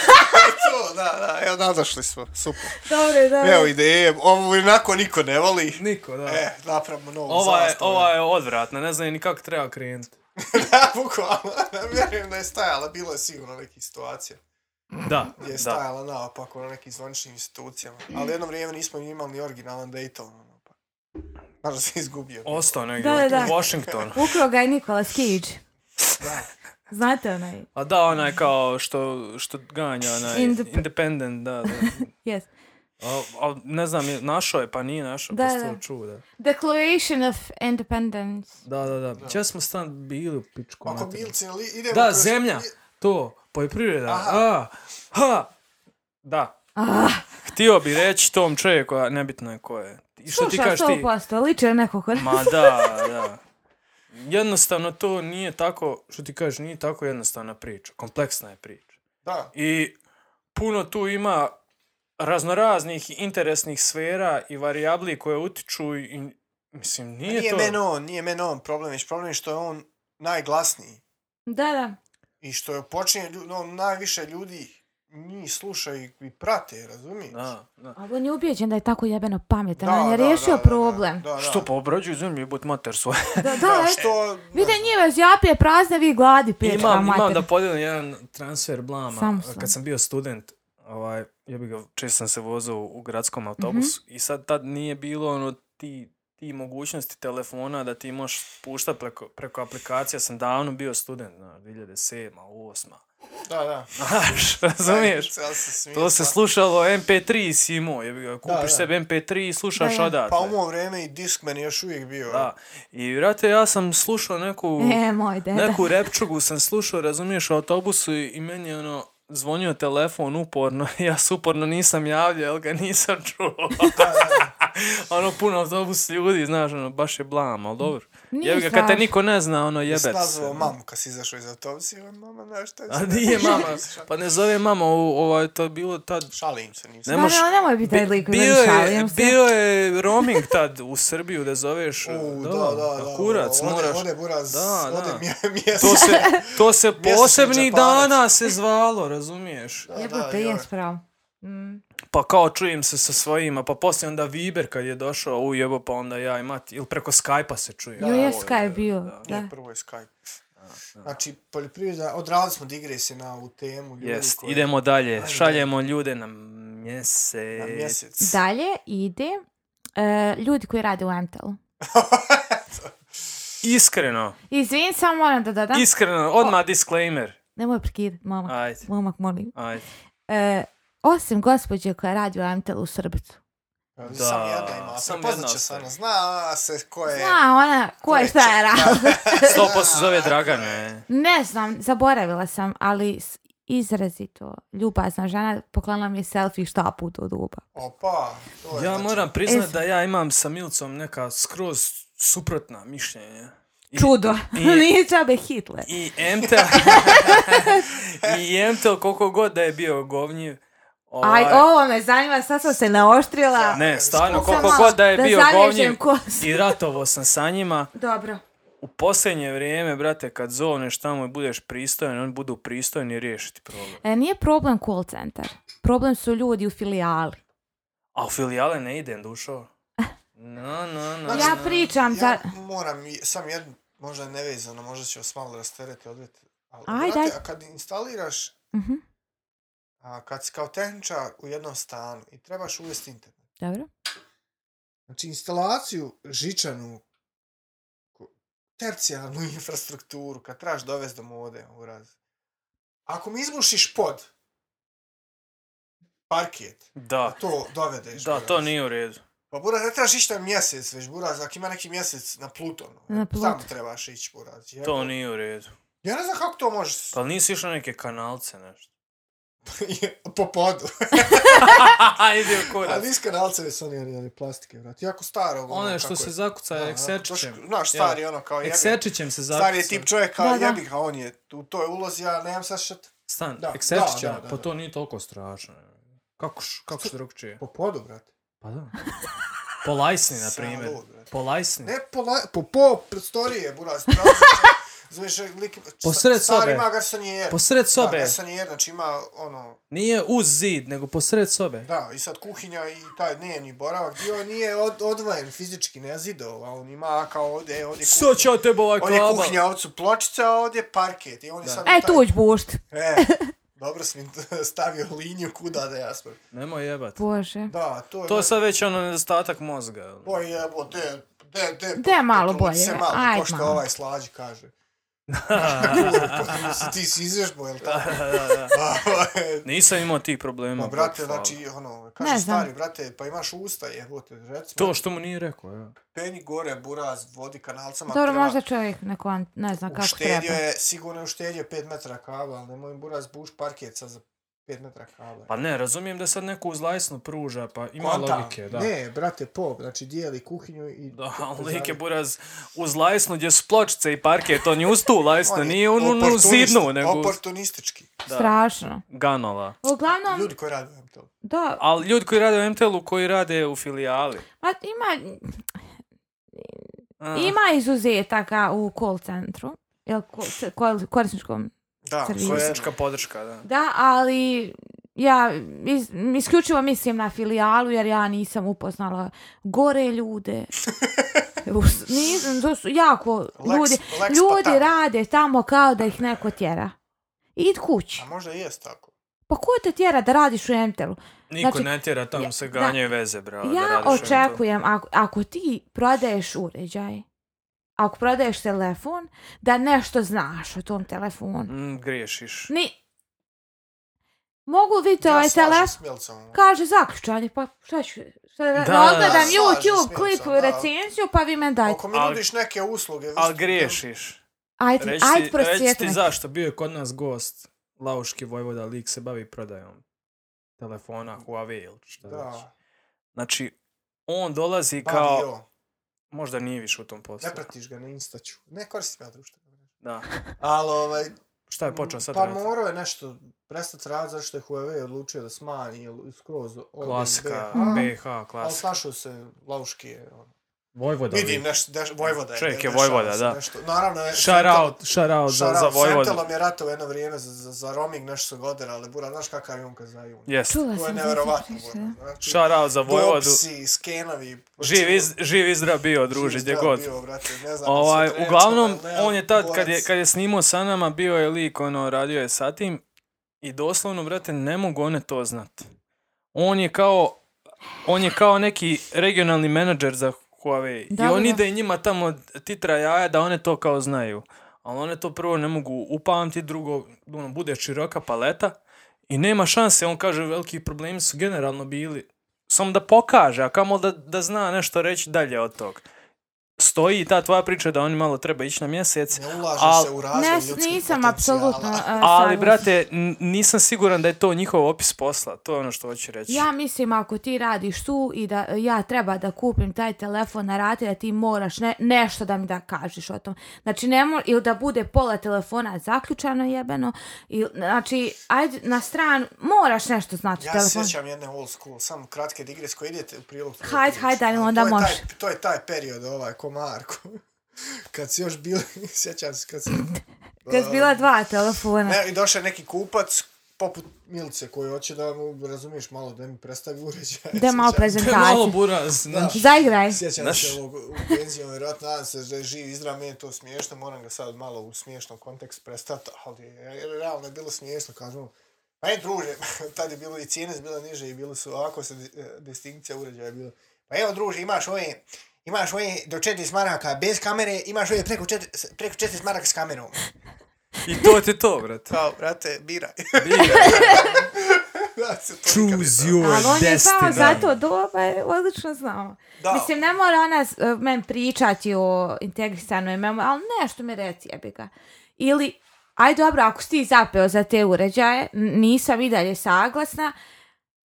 S3: E, to, da, da, evo nadošli smo, super.
S2: Dobro, dobro.
S3: Evo ideje, ovo onako niko ne voli.
S1: Niko, da.
S3: E, napravimo novu
S1: Ova je,
S3: zastavu.
S1: ova je odvratna, ne znam ni kako treba krenuti.
S3: da, bukvalno, vjerujem da je stajala, bilo je sigurno nekih situacija
S1: Da,
S3: gdje je
S1: da.
S3: stajala naopako na nekim zvaničnim institucijama, ali jedno vrijeme nismo ni imali ni originalan Dayton, ono, pa, možda se izgubio.
S1: Ostao negdje
S2: Da, da,
S1: u
S2: da.
S1: Washingtonu.
S2: Ukrao ga je Nikola Skiđ.
S3: Da.
S2: Znate onaj?
S1: A da, onaj kao što, što ganja, onaj,
S2: Indep-
S1: independent, da, da.
S2: Yes.
S1: A, a, ne znam, je- našao je, pa nije našao,
S2: Da,
S1: da, pa
S2: da.
S1: da. čuo, da.
S2: Declaration of Independence.
S1: Da, da, da. Če smo stan bili u pičku.
S3: Ako
S1: materinu.
S3: bilci, ali idemo...
S1: Da,
S3: kroz-
S1: zemlja, to, poljoprivreda,
S3: Aha.
S1: a, ha, da.
S2: Ah,
S1: Htio bi reći tom čovjeku, a nebitno je ko je. I što ti
S2: slušaš
S1: kažeš ti?
S2: 100%, liče na nekog kod...
S1: Ma da, da. Jednostavno to nije tako, što ti kažeš, nije tako jednostavna priča. Kompleksna je priča.
S3: Da,
S1: I puno tu ima raznoraznih interesnih sfera i varijabli koje utiču i, mislim, nije,
S3: nije, nije
S1: to...
S3: men on, nije men on problem, već problem je što je on najglasniji
S2: Da, da.
S3: i što je počinje, lju- no, najviše ljudi njih slušaju i prate, razumiješ?
S1: Da, da.
S2: Ali on je ubijeđen da je tako jebeno pametan.
S3: Da,
S2: on je
S3: da,
S2: riješio
S3: da, da, da,
S2: problem.
S3: Da, da,
S1: Što pa obrađuju zemlju i bud mater svoje.
S2: Da, da,
S3: Da,
S2: eto.
S3: što...
S2: Vide njime zjape prazne, vi gladi pječka
S1: imam, imam
S2: mater.
S1: da podijelim jedan transfer blama.
S2: Samo sam.
S1: Kad sam bio student, ovaj, ja bi ga, često sam se vozao u, u gradskom autobusu
S2: Mhm.
S1: i sad tad nije bilo ono ti, ti mogućnosti telefona da ti možeš puštat preko, preko aplikacija. Sam davno bio student, na 2007. 8.
S3: Da, da.
S1: Znaš, razumiješ?
S3: Ajde, sad se smije,
S1: To se
S3: pa-
S1: slušalo MP3 si imao, jebi ga, kupiš
S3: da.
S1: sebi MP3 i slušaš
S2: Da, da.
S1: odatle.
S3: Pa u moje vrijeme i Discman je još uvijek bio.
S1: Dakle. Da. I vrate, ja sam slušao neku...
S2: E, moj deda.
S1: Neku repčugu sam slušao, razumiješ, u autobusu i i meni je ono zvonio telefon uporno, ja se uporno nisam javljao, jel ga nisam čuo. ono, puno autobus ljudi, znaš, ono, baš je blam, ali dobro.
S2: Nije
S1: Jebi ga, kad te
S2: strašno.
S1: niko ne zna, ono,
S3: Jesi
S1: jebet
S3: nazvao
S1: se.
S3: mamu kad si izašao iz autobusa i on, mama, znaš šta je?
S1: A
S3: sad?"
S1: nije mama, pa ne zove mama, u, ovaj, to je bilo tad...
S3: Šalim se, nisam.
S1: Ne
S2: Da,
S1: moš-
S2: ne, nemoj biti taj lik,
S1: bio,
S2: ne
S1: je,
S2: šalim se.
S1: bio je roaming tad u Srbiju da zoveš,
S3: U, da,
S1: da, pa
S3: da, da.
S1: kurac,
S3: ode,
S1: moraš...
S3: Ode buraz,
S1: Da, da.
S3: ode mje- mjesto.
S1: To se, to se
S3: Mjesečni
S1: posebnih
S3: džeparac.
S1: dana se zvalo, razumiješ?
S3: Da, da,
S2: Jebote,
S3: joj.
S2: jes pravo. Mm.
S1: pa kao čujem se sa svojima, pa poslije onda Viber kad je došao, ujebo, pa onda ja i Mati, ili preko Skype-a se čujem.
S2: Jo,
S3: Da,
S2: je
S3: ovo je,
S2: Skype bio.
S1: da.
S2: Da.
S3: Nije prvo je Skype. Znači, poljoprivreda, odradili smo digrese na ovu temu. ljudi
S1: Jest,
S3: koji-
S1: idemo dalje,
S3: Ajde.
S1: šaljemo ljude na mjesec.
S3: Na mjesec.
S2: Dalje ide e, ljudi koji rade u Emtelu.
S1: Iskreno,
S2: Izvin, samo moram da dodam.
S1: iskreno, odmah disclaimer.
S2: Nemoj prekidat, momak.
S1: Ajde,
S2: Momak, molim.
S1: ajde.
S2: E, osim gospođe koja radi u Emtelu u Srbicu.
S3: Da,
S1: Da,
S3: sam jedna ima.
S1: samo
S3: Sam
S1: jedna
S3: Prepoznaće se
S1: ostaje.
S3: ona. Zna se ko je...
S2: Zna ona ko je
S3: je
S2: šta je radila.
S1: Sto posto zove Dragane.
S2: Ne znam, zaboravila sam, ali s- izrazito ljubazna žena poklonila mi je selfie šta put od uba.
S3: Opa. To je,
S1: Ja
S3: znači,
S1: moram priznat
S2: Es-
S1: da ja imam sa Milcom neka skroz suprotna mišljenja. I-
S2: Čudo,
S1: i-
S2: nije čabe Hitler.
S1: I Emtel, i Emtel koliko god da je bio govnjiv, ovaj,
S2: Aj, ovo me zanima, sad sam se naoštrila.
S1: ne, stvarno,
S2: Samo
S1: koliko god da je bio govnjiv
S2: zavježem kosu.
S1: i ratovo sam sa njima,
S2: Dobro.
S1: u posljednje vrijeme, brate, kad zovneš tamo i budeš pristojan, oni budu pristojni i riješiti problem.
S2: E, nije problem call center. Problem su ljudi u filijali.
S1: A u filijale ne idem, dušo. No, no, no.
S2: Ja pričam za...
S3: Ja moram, i- sam jednu, možda nevezano, možda će vas malo rastereti odvjet. Ali,
S2: Ajde,
S3: brate,
S2: ajde.
S3: a kad instaliraš,
S2: Mhm,
S3: a, kad si kao tehničar u jednom stanu i trebaš uvesti internet,
S2: Dobro.
S3: Znači, instalaciju žičanu, ko- tercijarnu infrastrukturu, kad trebaš dovesti do mode, uraz. Ako mi izbušiš pod, parket,
S1: Da,
S3: a to dovedeš.
S1: da,
S3: buraz.
S1: to nije u redu.
S3: Pa buraz, ne trebaš ići na mjesec, već buraz, ako ima neki mjesec na Plutonu.
S2: Na
S3: Sam
S2: Pluton.
S3: trebaš ići, buraz. Je.
S1: To nije u redu.
S3: Ja ne znam kako to možeš.
S1: Pa nisi išao na neke kanalce, nešto. Pa-
S3: po podu.
S1: Idi u kurac.
S3: Ali iz kanalce već su oni radili plastike, vrat. Jako staro. ono,
S1: Ono što
S3: kako
S1: se
S3: je.
S1: zakuca
S3: Da,
S1: ekserčićem.
S3: doš- Znaš, stari, ono, kao jebi.
S1: Ekserčićem se zakuca.
S3: Stari je tip čovjek kao
S2: Da, da.
S3: jebi ga, on je u toj ulozi, ja nemam sad šta t-
S1: Stan,
S3: Da, da, da,
S1: ekserčićem,
S3: da,
S1: pa
S3: da.
S1: to nije toliko strašno. Kako š, kako što drugčije?
S3: po podu, brate.
S1: Pa da. Po lajsni, na
S3: Sam
S1: primjer.
S3: lud, brate.
S1: Po lajsni.
S3: Ne po, la, po, po prostorije, buraz. Zoveš lik...
S1: Po
S3: sta-
S1: sred
S3: Stari
S1: sobe.
S3: ima garsonjer.
S1: Posred
S3: Da,
S1: sobe.
S3: garsonjer, znači ima ono...
S1: Nije uz zid, nego posred sobe.
S3: Da, i sad kuhinja i taj dnevni boravak, dio nije od, odvojen fizički, ne zidova, on ima kao ovdje, e, ovdje
S1: Sad ću ja tebe ovaj
S3: Ovdje je
S1: klaba.
S3: kuhinja, ovdje su pločica, a ovdje je parket. I on je sad u
S2: E,
S3: taj-
S2: tuđ bušt.
S3: E, dobro sam im stavio liniju kuda da ja smrem.
S1: Nemoj jebat.
S2: Bože.
S3: Da, to je...
S1: To je sad već ono nedostatak mozga. jel?
S3: Pa jebo, de, de, de,
S2: De, malo
S3: potrudit
S2: bolje,
S3: Se malo,
S2: ajde
S3: ko što
S2: malo.
S3: ovaj slađi kaže. Potrebno si ti si izvežbo, jel tako? Pa, e,
S1: Nisam imao tih problema.
S3: Ma, brate,
S1: Bogu hvala.
S3: znači, ono, kaže
S2: Ne znam.
S3: stari, brate, pa imaš usta, jebote, recimo,
S1: To što mu nije rekao, ja.
S3: peni gore, buraz, vodi kanalcama,
S2: Dobro,
S3: treba-
S2: možda čovjek ne, kon, ne zna kako treba.
S3: Uštedio je, sigurno je uštedio 5 metara kabla, ali nemoj im, buraz buš parket sad za 5 metara kabla.
S1: Pa ne, razumijem da sad neko uz lajsnu pruža, pa ima
S3: Kontam.
S1: logike, da.
S3: Ne, brate, pop, znači dijeli kuhinju i...
S1: Da, ali lik je buraz uz lajsnu gdje su pločice i parket, on je uz tu lajsnu,
S3: On je
S1: nije on u
S3: oportunist-
S1: zidnu, nego uz
S3: Oportunistički.
S2: Strašno.
S1: ganova.
S2: Uglavnom,
S3: Ljudi koji rade u MTL.
S2: da,
S1: Ali ljudi koji rade u MTL-u, koji rade u filijali.
S2: ma, ima,
S1: A,
S2: ima izuzetaka u call centru, jel, ko- s- ko- korisničkom.
S3: Da,
S2: Servisi.
S3: koje-
S1: Korisnička podrška, da.
S2: Da, ali ja iz, isključivo mislim na filijalu jer ja nisam upoznala gore ljude. Us- nisam, to su jako
S3: Lex-
S2: ljudi.
S1: pa
S3: Lex
S2: ljudi
S3: Patan.
S2: rade tamo kao da ih neko tjera. Id kući.
S3: A možda i jest tako.
S2: Pa ko te tjera da radiš u Entelu?
S1: Niko
S2: Znači,
S1: ne tjera, tamo
S2: ja-
S1: se
S2: da.
S1: ganjaju veze, bravo. da
S2: Ja
S1: radiš u MTL-u.
S2: očekujem, ako, ako ti prodaješ uređaj, ako prodaješ telefon, da nešto znaš o tom telefonu.
S1: Mm, griješiš.
S2: Ni... Mogu vidjeti ovaj
S3: slažem
S2: telefon,
S3: s ono. Milcom.
S2: kaže zaključanje, pa šta ću, šta da,
S1: da,
S2: da odgledam
S3: da, slažem
S2: YouTube
S3: se,
S2: klip
S3: da.
S2: recenziju, pa vi me dajte.
S3: Ako mi
S1: Al-
S3: nudiš neke usluge... vi
S1: Ali
S3: ste-
S1: griješiš.
S2: Ajde,
S1: Reći
S2: Znači, ajde
S1: ti, reći
S2: prosvjetli.
S1: ti zašto, bio je kod nas gost, Lauški Vojvoda, lik se bavi prodajom telefona Huawei ili šta već.
S3: Da,
S1: Znači, on dolazi kao,
S3: kao... Bio.
S1: možda nije više u tom poslu.
S3: Ne pratiš ga na Instaću. Ne koristim ja društvene. mreže.
S1: Da.
S3: Ali ovaj...
S1: Šta je počeo sad
S3: Pa
S1: raditi?
S3: morao je nešto prestati raditi zašto je Huawei odlučio da smanji jel, skroz... ovdje iz
S1: Klasika,
S3: BH.
S1: BH,
S3: Ali
S1: klasika.
S3: snašao se Lauški je. ono.
S1: Vojvoda.
S3: Vidim, nešto, neš, Vojvoda je.
S1: Čovjek je
S3: dešava
S1: Vojvoda,
S3: se
S1: da.
S3: Nešto. Naravno, je-
S1: Shout out, shout out za, za Vojvoda.
S3: Fentelom je ratao jedno vrijeme za, za, za roaming, nešto su godina, ali bura, znaš kakav je on kad za jun.
S1: Yes.
S2: Čula
S3: To je
S2: Pa sam da
S3: nevjerovatno,
S2: priča,
S3: bura.
S2: da.
S3: Znači,
S1: Shout out za Vojvodu.
S3: Bobsi, skenovi.
S1: Živ, iz, živ izdrav bio, druži,
S3: Živ
S1: gdje
S3: zdrav
S1: god.
S3: bio, brate, ne znam,
S1: Ovaj,
S3: se trenča,
S1: uglavnom,
S3: ne,
S1: on je tad, kad je,
S3: borac.
S1: kad je snimao sa nama, bio je lik, ono, radio je sa tim. I doslovno, brate, ne mogu one to znat. On je kao, on je kao neki regionalni menadžer za Huawei.
S2: Da,
S1: I on
S2: da.
S1: ide njima tamo titra jaja da one to kao znaju. Ali one to prvo ne mogu upamti, drugo, ono, bude široka paleta. I nema šanse, on kaže, veliki problemi su generalno bili. Samo da pokaže, a kamo da, da zna nešto reći dalje od tog. Stoji ta tvoja priča da oni malo treba ići na mjesec.
S3: Ne ulaže
S1: Al-
S3: se u razvoj
S2: Ne,
S3: ljudskih
S2: nisam
S3: potencijala.
S2: apsolutno. e,
S1: Ali,
S2: saglasna.
S1: brate, n- nisam siguran da je to njihov opis posla. To je ono što hoću reći.
S2: Ja mislim ako ti radiš tu i da ja treba da kupim taj telefon na rate da ti moraš ne, nešto da mi da kažeš o tom. Znači ne mo, ili da bude pola telefona zaključano jebeno ili, znači ajde na stranu moraš nešto znati o
S3: Ja se
S2: telefonu.
S3: sjećam jedne old school, samo kratke digres koje idete u prilog. toj
S2: Hajde,
S3: priči.
S2: hajde, ajde,
S3: A
S2: onda
S3: to je taj-
S2: može.
S3: To je taj period, ovaj, ko Marko. Kad si još bila, sjećam se kad si...
S2: Kad su bila dva telefona.
S3: uh, Ne, i došao je neki kupac, poput Milice, koji hoće da mu, razumiješ, malo da mi predstavi uređaj.
S2: Da je malo
S3: Sjećam-
S1: Malo
S2: prezentaciju.
S1: buraz. znaš.
S2: Zaigraj.
S3: Sjećam
S1: Znaš-
S3: se ovog u penziju, vjerojatno nadam se da je živ izdrav, meni je to smiješno, moram ga sad malo u smiješnom kontekstu prestati, ali je- realno je bilo smiješno, kažem, pa je druže, tad je bilo i cijene su bile niže i bilo su, ovako se di- eh, distinkcija uređaja je bila, pa evo druže, imaš ove, imaš ove do 40 maraka bez kamere, imaš ove preko 40, preko 40 maraka s kamerom.
S1: I to ti je to, brate.
S3: Kao, brate, biraj. da se to nikad ne
S1: Choose
S3: zna.
S1: your
S2: Ali on je
S1: destiny.
S2: pao za to doba, je odlično znao.
S3: Da.
S2: Mislim, ne mora ona s- e, meni pričati o integrisanoj memoriji, ali nešto mi reci, jebi ga. Ili, aj dobro, ako si ti zapeo za te uređaje, n- nisam i dalje saglasna,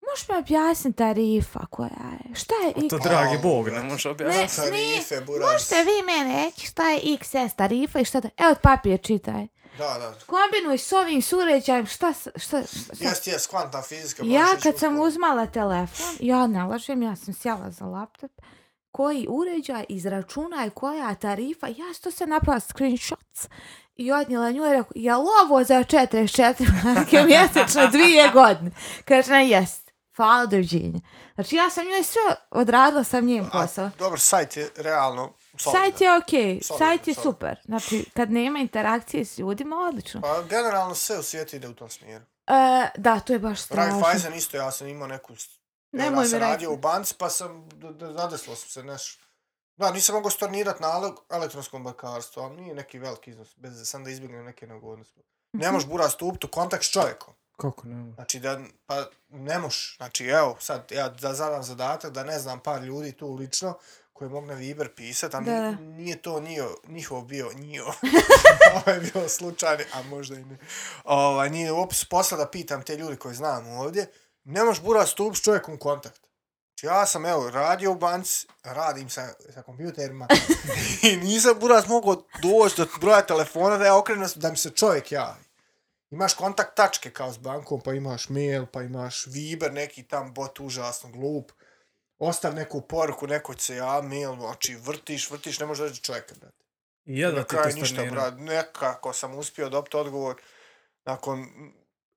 S2: možeš mi objasniti tarifa koja je? Šta je
S1: To
S2: XS?
S1: dragi bog, ne možeš
S2: Ne,
S1: objasniti.
S3: Tarife,
S2: smi,
S3: buraz.
S2: možete vi meni reći šta je XS tarifa i šta da... Evo papir čitaj.
S3: Da, da.
S2: Kombinuj s ovim s uređajem, šta, s- šta, šta, šta
S3: Jest, jest, kvantna fizika.
S2: Ja
S3: možeš ići
S2: kad
S3: u
S2: sam
S3: školu.
S2: uzmala telefon, ja ne lažem, ja sam sjela za laptop, koji uređaj, izračunaj koja tarifa, ja što se napravila screenshots i odnijela nju i rekao, je li ovo za 44 marke mjesečno dvije godine? Kaže, ne, jest. Hvala, doviđenja. Znači, ja sam njoj sve odradila sam njim
S3: A,
S2: posao.
S3: Dobar, sajt je realno solidan.
S2: Sajt je okej,
S3: Solidno,
S2: sajt je
S3: solidno.
S2: super. Znači, kad nema interakcije s ljudima, odlično.
S3: Pa generalno sve u svijetu ide u tom smjeru.
S2: E, da, to je baš strašno.
S3: Raiffeisen isto, ja sam imao neku...
S2: Nemoj
S3: ja
S2: mi
S3: sam
S2: reći.
S3: radio u banci, pa sam, d- d- zadesilo sam se nešto. Da, nisam mogao stornirati nalog elektronskom bankarstvu, ali nije neki veliki iznos, bez da sam da izbjegnem neke neugodnosti.
S2: Mhm.
S3: Ne možeš buraz stupiti u kontakt s čovjekom.
S1: Kako ne?
S3: Znači, da, pa ne moš. Znači, evo, sad ja da zadam zadatak da ne znam par ljudi tu lično koji mogu na Viber pisat, a
S2: Da,
S3: nije,
S2: da.
S3: nije to njio, njihov bio njio. Ovo je bio slučajni, a možda i ne. Ovaj, nije u opisu posla da pitam te ljudi koji znam ovdje. Ne moš bura stup s čovjekom u kontakt. Znači, Ja sam, evo, radio u banci, radim sa, sa kompjuterima i nisam buraz mogao doći do broja telefona da ja okrenem da mi se čovjek javi imaš kontakt tačke kao s bankom, pa imaš mail, pa imaš Viber, neki tam bot užasno glup. Ostav neku poruku, neko će se ja, mail, znači vrtiš, vrtiš, ne možeš doći do čovjeka, brate.
S1: I jedva
S3: Na
S1: ti to
S3: kraju ništa,
S1: stornira.
S3: brat, nekako sam uspio dobiti odgovor nakon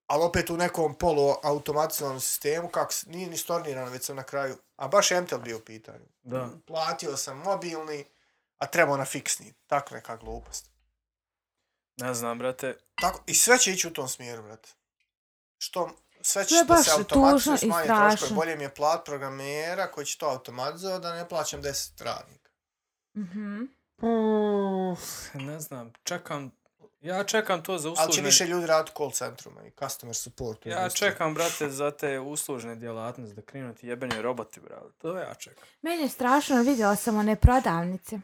S3: ali opet u nekom poluautomatizovanom sistemu, kako se- nije ni stornirano, već sam na kraju, a baš je MTL bio u pitanju.
S1: Da.
S3: Platio sam mobilni, a trebao na fiksni, tako neka glupost.
S1: Ne znam, brate.
S3: Tako, i sve će ići u tom smjeru, brate. Što, sve će
S2: To je
S3: da
S2: baš
S3: se
S2: tužno
S3: automatizuje,
S2: i
S3: smanji
S2: strašno.
S3: troškove. Bolje mi je plat programera koji će to automatizovati da ne plaćam 10 radnika.
S2: Mhm.
S1: Ne znam, čekam. Ja čekam to za
S3: Ali će
S1: uslužne...
S3: više ljudi raditi u call centruma i customer support.
S1: Ja čekam, brate, za te uslužne djelatnosti da krenu ti jebeni roboti, brate. To ja čekam.
S2: Meni je strašno, vidjela sam one prodavnice.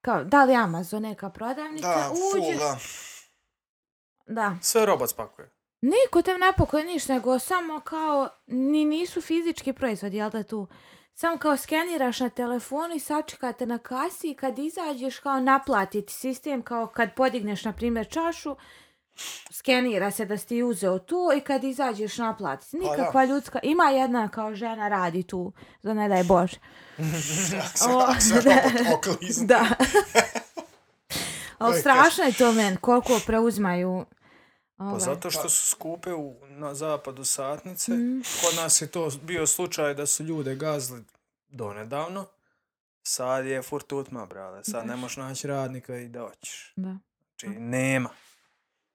S2: Kao, da li Amazon neka prodavnica?
S3: Da, full,
S2: uđeš-
S3: da.
S2: da.
S1: Sve robot spakuje.
S2: Niko te ne pakuje niš, nego samo kao, ni nisu fizički proizvodi, jel da tu? Samo kao skeniraš na telefonu i sačekate na kasi i kad izađeš kao naplatiti sistem, kao kad podigneš, na primjer, čašu, skenira se da si ti uzeo to i kad izađeš naplati. se.
S3: Pa da.
S2: Nikakva ljudska, ima jedna kao žena radi tu, za ne daj Bože. O,
S3: Sve
S2: da.
S3: poput oklizne.
S2: Da. Ali
S3: Oj,
S2: strašno je to men, koliko preuzmaju. Ovaj.
S1: Pa zato što su skupe u, na zapadu satnice.
S2: Mm. Mhm,
S1: Kod nas je to bio slučaj da su ljude gazli donedavno. Sad je furt utma, brale. Sad ne možeš naći radnika i da hoćeš.
S2: Da.
S1: Znači, nema.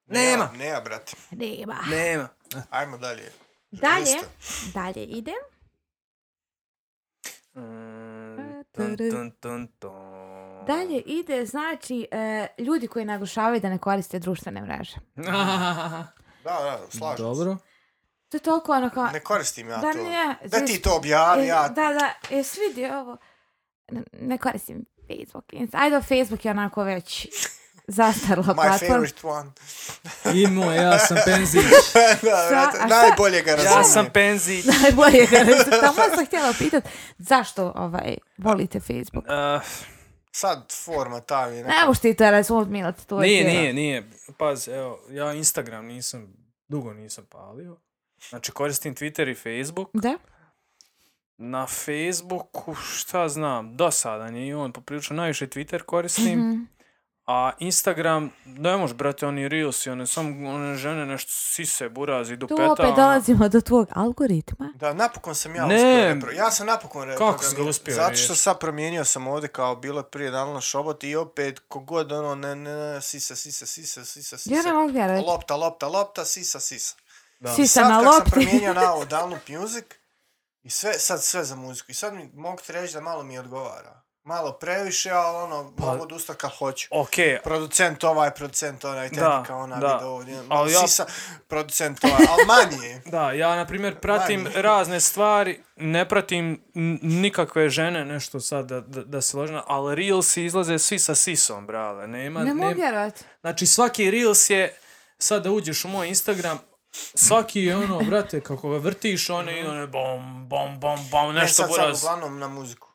S3: Nema.
S1: Nema.
S3: Nema, brate.
S2: Riba.
S1: Nema.
S3: Ajmo dalje.
S2: Dalje,
S3: Jeste.
S2: dalje idem.
S1: Mm,
S2: tun,
S1: tun,
S2: tun,
S1: tun, tun, tun.
S2: Dalje ide, znači, e, ljudi koji naglašavaju da ne koriste društvene mreže.
S3: Da, da, slažem
S1: Dobro.
S2: To je toliko ono kao...
S3: se. Ne koristim ja
S2: Da
S3: to.
S2: ne,
S3: Da ti to objavi,
S2: E,
S3: ja...
S2: Da, da, jesi vidio ovo? Ne, ne koristim Facebook. Insta- Ajde, Facebook je onako već zastarla
S3: My
S2: platforma.
S3: favorite one.
S1: Imao, ja sam penzić.
S3: da, brate,
S2: a šta-
S3: najbolje ga razumijem.
S1: ja sam penzić. Uh,
S2: Najbolje ga ne znam. Tamo sam htjela pitat zašto ovaj, volite Facebook.
S1: Uh,
S3: Sad forma ta mi je
S2: Ne
S3: neka...
S2: možeš ti to razumijeti. To je
S1: nije,
S2: tjera.
S1: nije, nije. Pazi, evo, ja Instagram nisam, dugo nisam palio. Znači, koristim Twitter i Facebook.
S2: Da?
S1: Na Facebooku, šta znam, dosadan je i on poprilično najviše Twitter koristim.
S2: Mhm.
S1: A Instagram, ne možeš, brate, oni Reels i one, samo one žene nešto sise, burazi,
S2: Tu
S1: dupeta.
S2: opet
S1: ono.
S2: dolazimo do tvog algoritma.
S3: Da, napokon sam ja
S1: Ne.
S3: uspio. repro- Ja sam napokon reprogramiran.
S1: si ga uspio
S3: Zato što
S1: riješiti?
S3: sad promijenio sam ovdje kao bilo je prije danilo šobot i opet kogod ono ne, ne, ne, sisa, sisa, sisa, sisa, sisa.
S2: Ja ne mogu vjerovati.
S3: Lopta, lopta, lopta, sisa, sisa.
S1: Da.
S2: Sisa
S3: sad
S2: na
S3: kad sam
S2: lopti.
S3: promijenio na ovo download music i sve, sad sve za muziku i sad mi, mogu ti reći da malo mi odgovara. Malo previše, ali ono,
S1: Pa-
S3: mogu odustat kad hoću.
S1: Okej,
S3: Producent ovaj, producent onaj, tehnika ona,
S1: da.
S3: video ovdje, malo
S1: Ali ja-
S3: sisa, producent ovaj, ali manje je.
S1: Da, ja na primjer pratim
S3: Manje.
S1: razne stvari, ne pratim n- nikakve žene, nešto sad da, da, da se ložena, ali Reelsi izlaze svi sa sisom, brale. Nema,
S2: Ne mogu
S1: nema-
S2: vjerovati.
S1: Znači svaki Reels je, sad da uđeš u moj Instagram, svaki je ono, brate, kako ga vrtiš, one i one bom, bom, bom, bom,
S3: Ne,
S1: nešto
S3: Mhm. E, sad, sad
S1: buraz.
S3: uglavnom na muziku.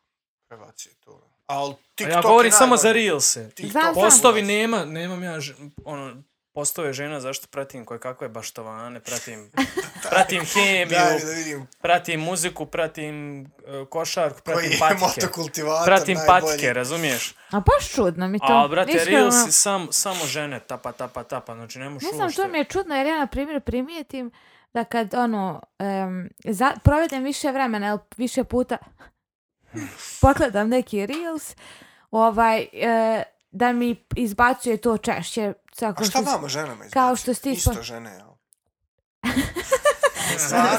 S3: Prebaci to. Ali
S1: A
S3: TikTok
S1: ja govorim
S3: je
S1: samo za
S3: najbolji.
S1: Reelse.
S3: TikTok
S2: Znam,
S3: je
S2: znam.
S1: Postovi
S3: najbolji.
S1: nema, nemam ja, ž- ono, postove žena, zašto pratim koje kakve baštovane, pratim, pratim hemiju,
S3: Daj mi da vidim
S1: pratim muziku, pratim e, košarku,
S3: koji
S1: pratim
S3: je
S1: patike.
S3: motokultivator
S1: Pratim
S3: najbolji.
S1: patike, razumiješ?
S2: A baš čudno mi to.
S1: A, brate,
S2: Iskreno.
S1: Reels je sam, samo žene tapa, tapa, tapa, znači ne možeš
S2: Ne znam,
S1: uopšte.
S2: to mi je čudno jer ja na primjer primijetim da kad ono, um, za, provedem više vremena ili više puta pogledam neki reels, ovaj, e, da mi izbacuje to češće. Tako
S3: A šta
S2: što-
S3: vama ženama izbaci?
S2: Kao što ste
S3: Isto
S2: ispod-
S3: žene, jel? Stvarno?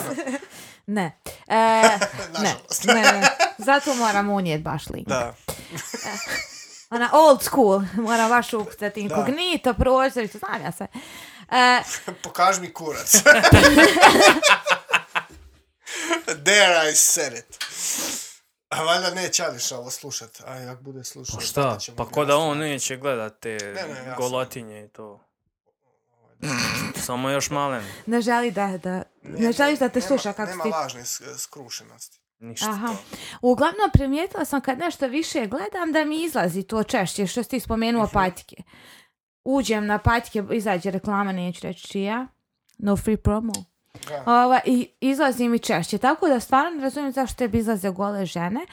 S2: Ne. E, ne,
S3: Nažalost.
S2: ne, ne. Zato moram unijet baš link.
S3: Da.
S2: Ona old school, moram baš ukucati inkognito, prozor, znam ja sve. E,
S3: Pokaži mi kurac. There I said it. A valjda neće Ališ ovo slušat. Aj, ako bude slušao.
S1: Pa šta,
S3: zato ćemo
S1: pa ko da on neće gledat te
S3: ne, jasno.
S1: golotinje i to. Samo još malen,
S2: ne želi da, da, ne
S3: Nema-
S2: želiš da te
S3: nema-
S2: sluša kako
S3: Nema
S2: ti
S3: lažne sk- skrušenosti.
S1: ništa.
S2: Aha. Uglavnom primijetila sam kad nešto više gledam da mi izlazi to češće što si ti spomenuo
S3: Mhm.
S2: patike. Uđem na patike, izađe reklama, neću reći čija. No free promo.
S3: Da.
S2: Ova, I izlazi mi češće. Tako da stvarno ne razumijem zašto tebi izlaze gole žene.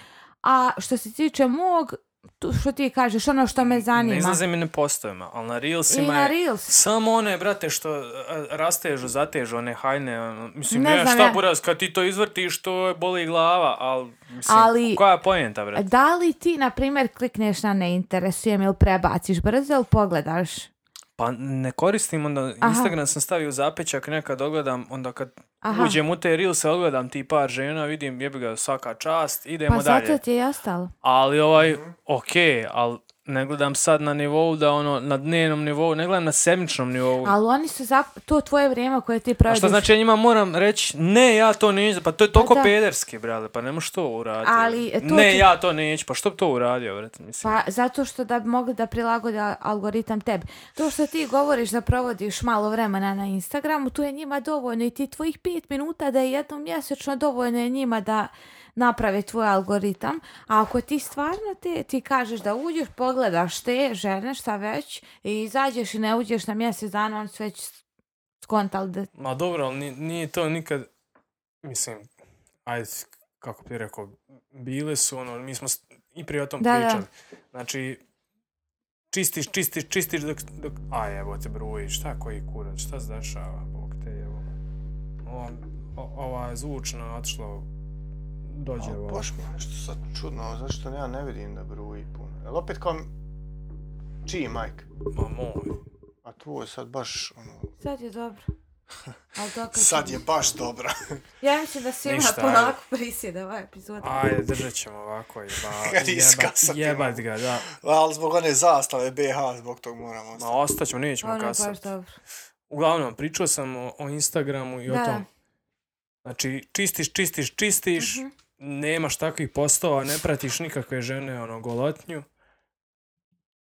S2: A što se tiče mog, tu, što ti kažeš, ono što me zanima.
S1: Ne izlaze mi ne postojima, ali na
S2: I
S1: Reelsima
S2: na
S1: je...
S2: Reels.
S1: Samo one, brate, što a, rastežu, zatežu, one hajne, ono, mislim,
S2: Ne
S1: ne, ne
S2: znam
S1: šta,
S2: ja.
S1: buraz, kad ti to izvrtiš, to je boli glava, ali, mislim,
S2: Ali-
S1: koja je pojenta, brate?
S2: Da li ti, na primjer, klikneš na ne interesujem ili prebaciš brzo ili pogledaš?
S1: Pa ne koristim, onda
S2: Aha.
S1: Instagram sam stavio u zapećak, nekad ogledam, onda kad
S2: Aha.
S1: uđem u te reelse, ogledam ti par žena, vidim jebi ga svaka čast, idemo
S2: Pa
S1: dalje.
S2: zato ti je i ostalo.
S1: Ali ovaj, okej, ali ne gledam sad na nivou da ono, na dnevnom nivou, ne gledam na sedmičnom nivou.
S2: Ali oni su zap... to tvoje vrijeme koje ti
S1: A
S2: provodiš.
S1: šta znači ja njima moram reći, ne ja to neću, pa to je toliko
S2: da.
S1: pederski, brale, pa ne možeš to uraditi.
S2: Ali, e, to
S1: ne,
S2: ti-
S1: ja to neću, pa što bi to uradio, brate, mislim.
S2: Pa zato što da bi mogli da prilagode al- algoritam tebi. To što ti govoriš da provodiš malo vremena na Instagramu, to je njima dovoljno i ti tvojih pet minuta da je jednom mjesečno dovoljno je njima da naprave tvoj algoritam, a ako ti stvarno te, ti kažeš da uđeš, pogledaš te žene, šta već, i izađeš i ne uđeš na mjesec dana, on su već skontali da...
S1: Ma dobro, ali ni- nije to nikad, mislim, ajde, kako bi rekao, bile su, ono, mi smo s- i prije o tom
S2: Da, da.
S1: pričali. Znači, čistiš, čistiš, čistiš dok, dok, aj, evo te bruji, šta koji kurac, šta se dešava, bog te, evo. Ova, o- ova zvučna je otišla, dođe
S3: Al,
S1: ovo.
S3: Baš mi je nešto sad čudno, zašto ja ne vidim da bruji puno. Jel opet kao... Čiji majk?
S1: Ma moj.
S3: A tvoj sad baš ono...
S2: Sad je dobro. Ali to kad...
S3: Sad je baš dobro.
S2: Ja mislim da svima
S1: Ništa,
S2: polako prisjeda ova epizoda.
S1: Ajde, držat ćemo ovako, jeba,
S3: Kad
S1: jebat,
S3: iskasati
S1: jebat
S3: mogu.
S1: ga, da.
S3: Ali zbog one zastave BH, zbog tog moramo
S1: Ma
S3: ostati.
S1: ostaćemo, nećemo
S2: Ono je baš
S1: kasati.
S2: dobro.
S1: Uglavnom, pričao sam o, o Instagramu i
S2: Da.
S1: o tom. Znači, čistiš, čistiš, čistiš,
S2: Mhm.
S1: nemaš takvih postova, ne pratiš nikakve žene, ono, golotnju.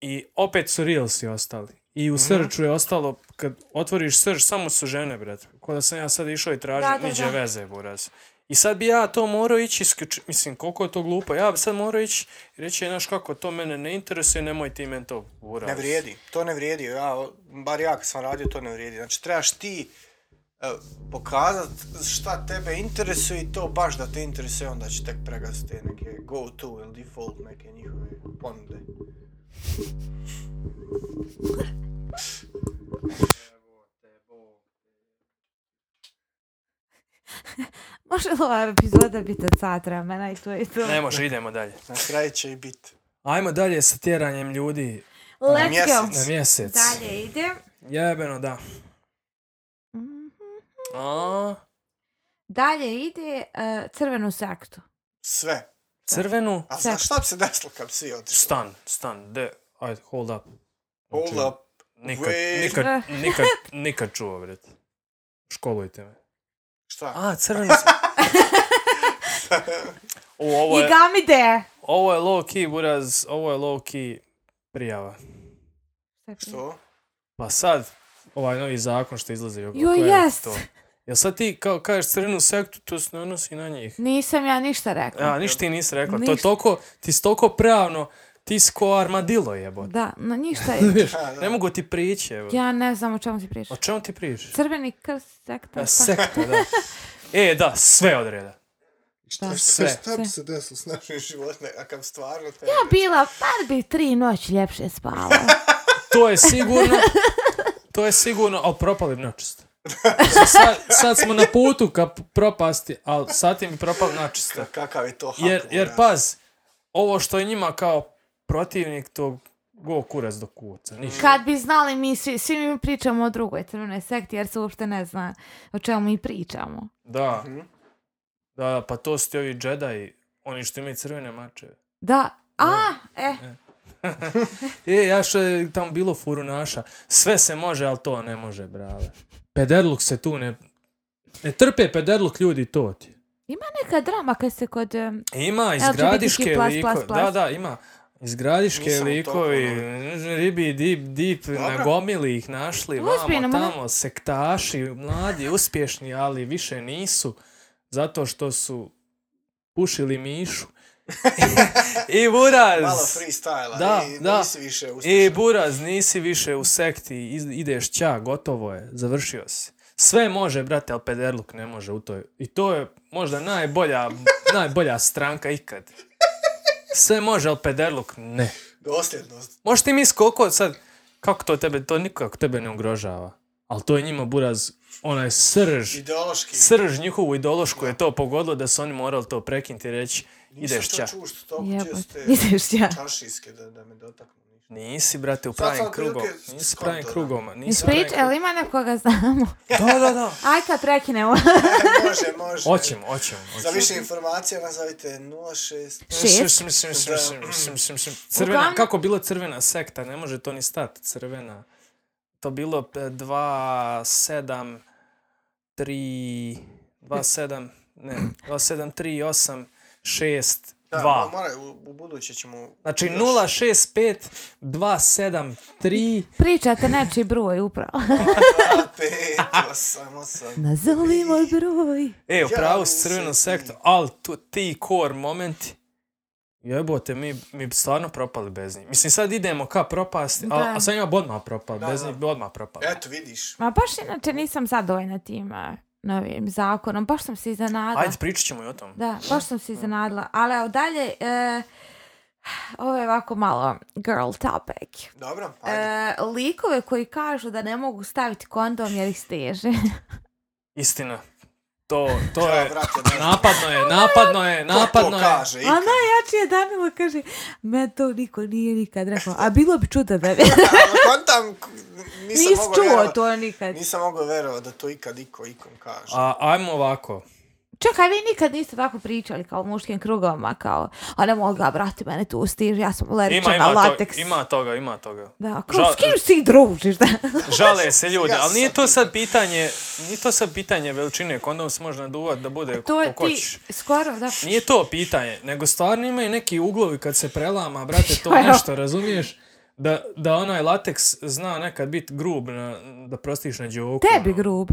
S1: I opet su Reelsi ostali. I
S2: Mhm.
S1: u searchu je ostalo, kad otvoriš search, samo su žene, brat. Ko da sam ja sad išao i
S2: Da,
S1: tražio
S2: da,
S1: niđe
S2: da.
S1: veze, buraz. I sad bi ja to morao ići, isključ... mislim, koliko je to glupo, ja bi sad morao ići i reći, "E, znaš kako, to mene ne interesuje, nemoj ti men to, buraz.
S3: Ne vrijedi, to ne vrijedi. Ja, bar ja kad sam radio, to ne vrijedi. Znači, trebaš ti e, pokazat šta tebe interesuje i to baš da te interesuje, onda će tek pregaziti te neke go to ili default neke njihove ponude.
S2: Može li ova epizoda biti od sat vremena i to je to?
S1: Ne može, idemo dalje.
S3: Na kraju će i biti.
S1: Ajmo dalje sa tjeranjem ljudi
S2: Let's go!
S3: mjesec.
S1: na mjesec.
S2: Dalje ide. Mhm.
S1: Jebeno, da. A,
S2: Dalje ide uh, crvenu sektu.
S3: Sve.
S1: crvenu,
S3: A znaš šta bi se desilo kad bi svi otišli?
S1: stan, stan, de, ajde, hold up.
S3: Hold
S1: Znači,
S3: up.
S1: Nikad,
S3: wait.
S1: nikad, nikad, nikad čuo, vred. Školujte me.
S3: Šta?
S1: A, crvenu se... O, ovo
S2: You
S1: je,
S2: got me there!
S1: ovo je low key, buraz, ovo je low key prijava.
S3: Što?
S1: Pa sad, ovaj novi zakon što izlazi oko
S2: Joj,
S1: kleveta,
S2: jest.
S1: to. Jel sad ti kao kažeš crvenu sektu, to se ne odnosi na njih.
S2: Nisam ja ništa rekla.
S1: Ja, ništa ti nisi rekla. To je
S2: Ništa.
S1: toliko, ti si toliko pravno, ti si ko armadilo jebote.
S2: Da, no ništa.
S1: Viš,
S3: Da, da.
S1: ne mogu ti prići jebote.
S2: ja ne znam o čemu ti
S1: O
S2: pričaš.
S1: čemu ti prijiš?
S2: Crveni krst, sekta. pa-
S1: Da,
S2: šta?
S1: sekta, da. E, da, sve odreda.
S3: Šta,
S1: Sve.
S3: šta bi se desilo s našim životima, a kad bi stvarno tebe...
S2: Ja bila, par bi tri noć ljepše spala.
S1: To je sigurno, to je sigurno, ali propali bi načisto. Mislim, Sad, sad smo na putu ka propasti, ali sad ti mi propali načisto.
S3: Kakav je to hakl,
S1: Jer, jer pa-
S3: ja.
S1: paz, ovo što je njima kao protivnik tog go kurac do kuca, ništa.
S2: Kad bi znali mi svi, svi mi pričamo o drugoj crvenoj sekti jer se uopšte ne zna o čemu mi pričamo.
S1: Da.
S3: Mhm.
S1: Da, pa to su ti ovi Jedi, oni što imaju crvene mačeve.
S2: Da, a, e,
S1: E, ja što je tamo bilo furu naša. Sve se može, ali to ne može, brale. Pederluk se tu ne... Ne trpe pederluk ljudi, to ti. je.
S2: ima neka drama kad se kod... em,
S1: Ima izgradiške
S2: plus,
S1: likove.
S2: plus, plus.
S1: Da, da, ima. Izgradiške
S3: Nisam u
S1: likovi, ribi, dip, dip,
S3: Dobro.
S1: nagomili ih našli,
S2: Ozbiljno,
S1: vamo,
S2: ma ne-
S1: tamo, sektaši, mladi, uspješni, ali više nisu, zato što su pušili mišu. I buraz!
S3: Malo freestyla,
S1: Da,
S3: i
S1: da.
S3: nisi više
S1: E,
S3: uspješan.
S1: Buraz, nisi više u sekti, iz- ideš ća, gotovo je, završio si. Sve može, brate, ali pederluk ne može u toj. I to je možda najbolja, najbolja stranka ikad. Sve može, ali pederluk ne.
S3: Dosljednost.
S1: Možeš ti misli koliko sad, kako to tebe, to nikako tebe ne ugrožava. Ali to je njima, Buraz, onaj srž,
S3: Ideološki.
S1: srž njihovu ideološku je to pogodilo da su oni morali to prekinuti i reći, ideš ća.
S3: Nisam to čuo što to
S2: Jebote,
S3: čiste
S2: ideš ja.
S3: čaršijske da, da me dotaknu.
S1: Nisi, brate, u
S3: Sad sam
S1: pravim krugom.
S3: otprilike
S1: Nisi u
S3: skonto,
S1: pravim
S3: da.
S1: krugom. Nisi u pravim
S2: Isprič, jel ima nekoga znamo?
S1: krugom. Da, da, da.
S2: Aj kad prekinemo.
S3: E, može, može.
S1: Oćemo, oćemo.
S3: Za više informacija nazovite 06...
S2: Šest.
S1: Crvena,
S2: Uglavnom-
S1: kako bilo crvena sekta, ne može to ni stati, crvena. To bilo e, 2, 7, 3, 2, 7, ne, 2, 7, 3, 8, 6,
S3: Da,
S1: Dva.
S3: Mora, u, u buduće ćemo...
S1: Znači
S3: još-
S1: 065 273
S2: Pričate nečiji broj upravo.
S3: Pet, osam, osam.
S2: Nazovi moj broj.
S1: E, u pravu
S3: Jao,
S1: s crvenom
S3: se-
S1: sektu, ali tu, ti core momenti, jebote, mi, mi bi stvarno propali bez njih. Mislim, sad idemo ka propasti, a,
S2: Da.
S1: a sad njima bi odmah propali,
S3: Da,
S1: bez
S3: da.
S1: njih bi odmah propali.
S3: Eto, vidiš.
S2: Ma baš inače nisam zadovoljna tim eh, novim zakonom. Baš sam se iznenadila.
S1: Ajde, pričat ćemo i o tom.
S2: Da, baš sam se iznenadila. Ali evo dalje, e, ovo je ovako malo girl topic.
S3: Dobro, ajde.
S2: E, likove koji kažu da ne mogu staviti kondom jer ih steže.
S1: Istina. To, to
S3: Ja,
S1: je,
S3: brate, ne znam.
S1: napadno je, napadno je,
S3: Ko
S1: napadno
S3: to
S1: je.
S3: kaže?
S2: A
S3: ikad?
S2: najjači je Danilo kaže, me to niko nije nikad rekao. A bilo bi čudo da ne.
S3: Ali kontam, k- nisam
S2: Nis
S3: mogao
S2: čuo
S3: vjerovat-
S2: to nikad.
S3: Nisam mogao verovat da to ikad iko ikom kaže.
S1: A, ajmo ovako.
S2: Čekaj, vi nikad niste tako pričali kao u muškim krugovima, kao, a ne mogu, a brate, mene tu stiže, ja sam
S1: Ima,
S2: alergičan na
S1: ima, to,
S2: lateks.
S1: ima toga, ima toga.
S2: Da, kao,
S1: Žal-
S2: s kim si družiš, da?
S1: Žale se ljudi,
S3: Ja
S1: ali nije
S3: sam-
S1: to sad pitanje, nije to sad pitanje veličine, kondom se može naduvati da bude
S2: to
S1: ko
S2: je
S1: hoćeš.
S2: ti, skoro, da.
S1: Nije to pitanje, nego stvarno imaju neki uglovi kad se prelama, brate, to
S2: Jao.
S1: nešto, razumiješ? Da, da onaj lateks zna nekad biti grub, na, da prostiš na džoku.
S2: Tebi
S1: ono.
S2: grub.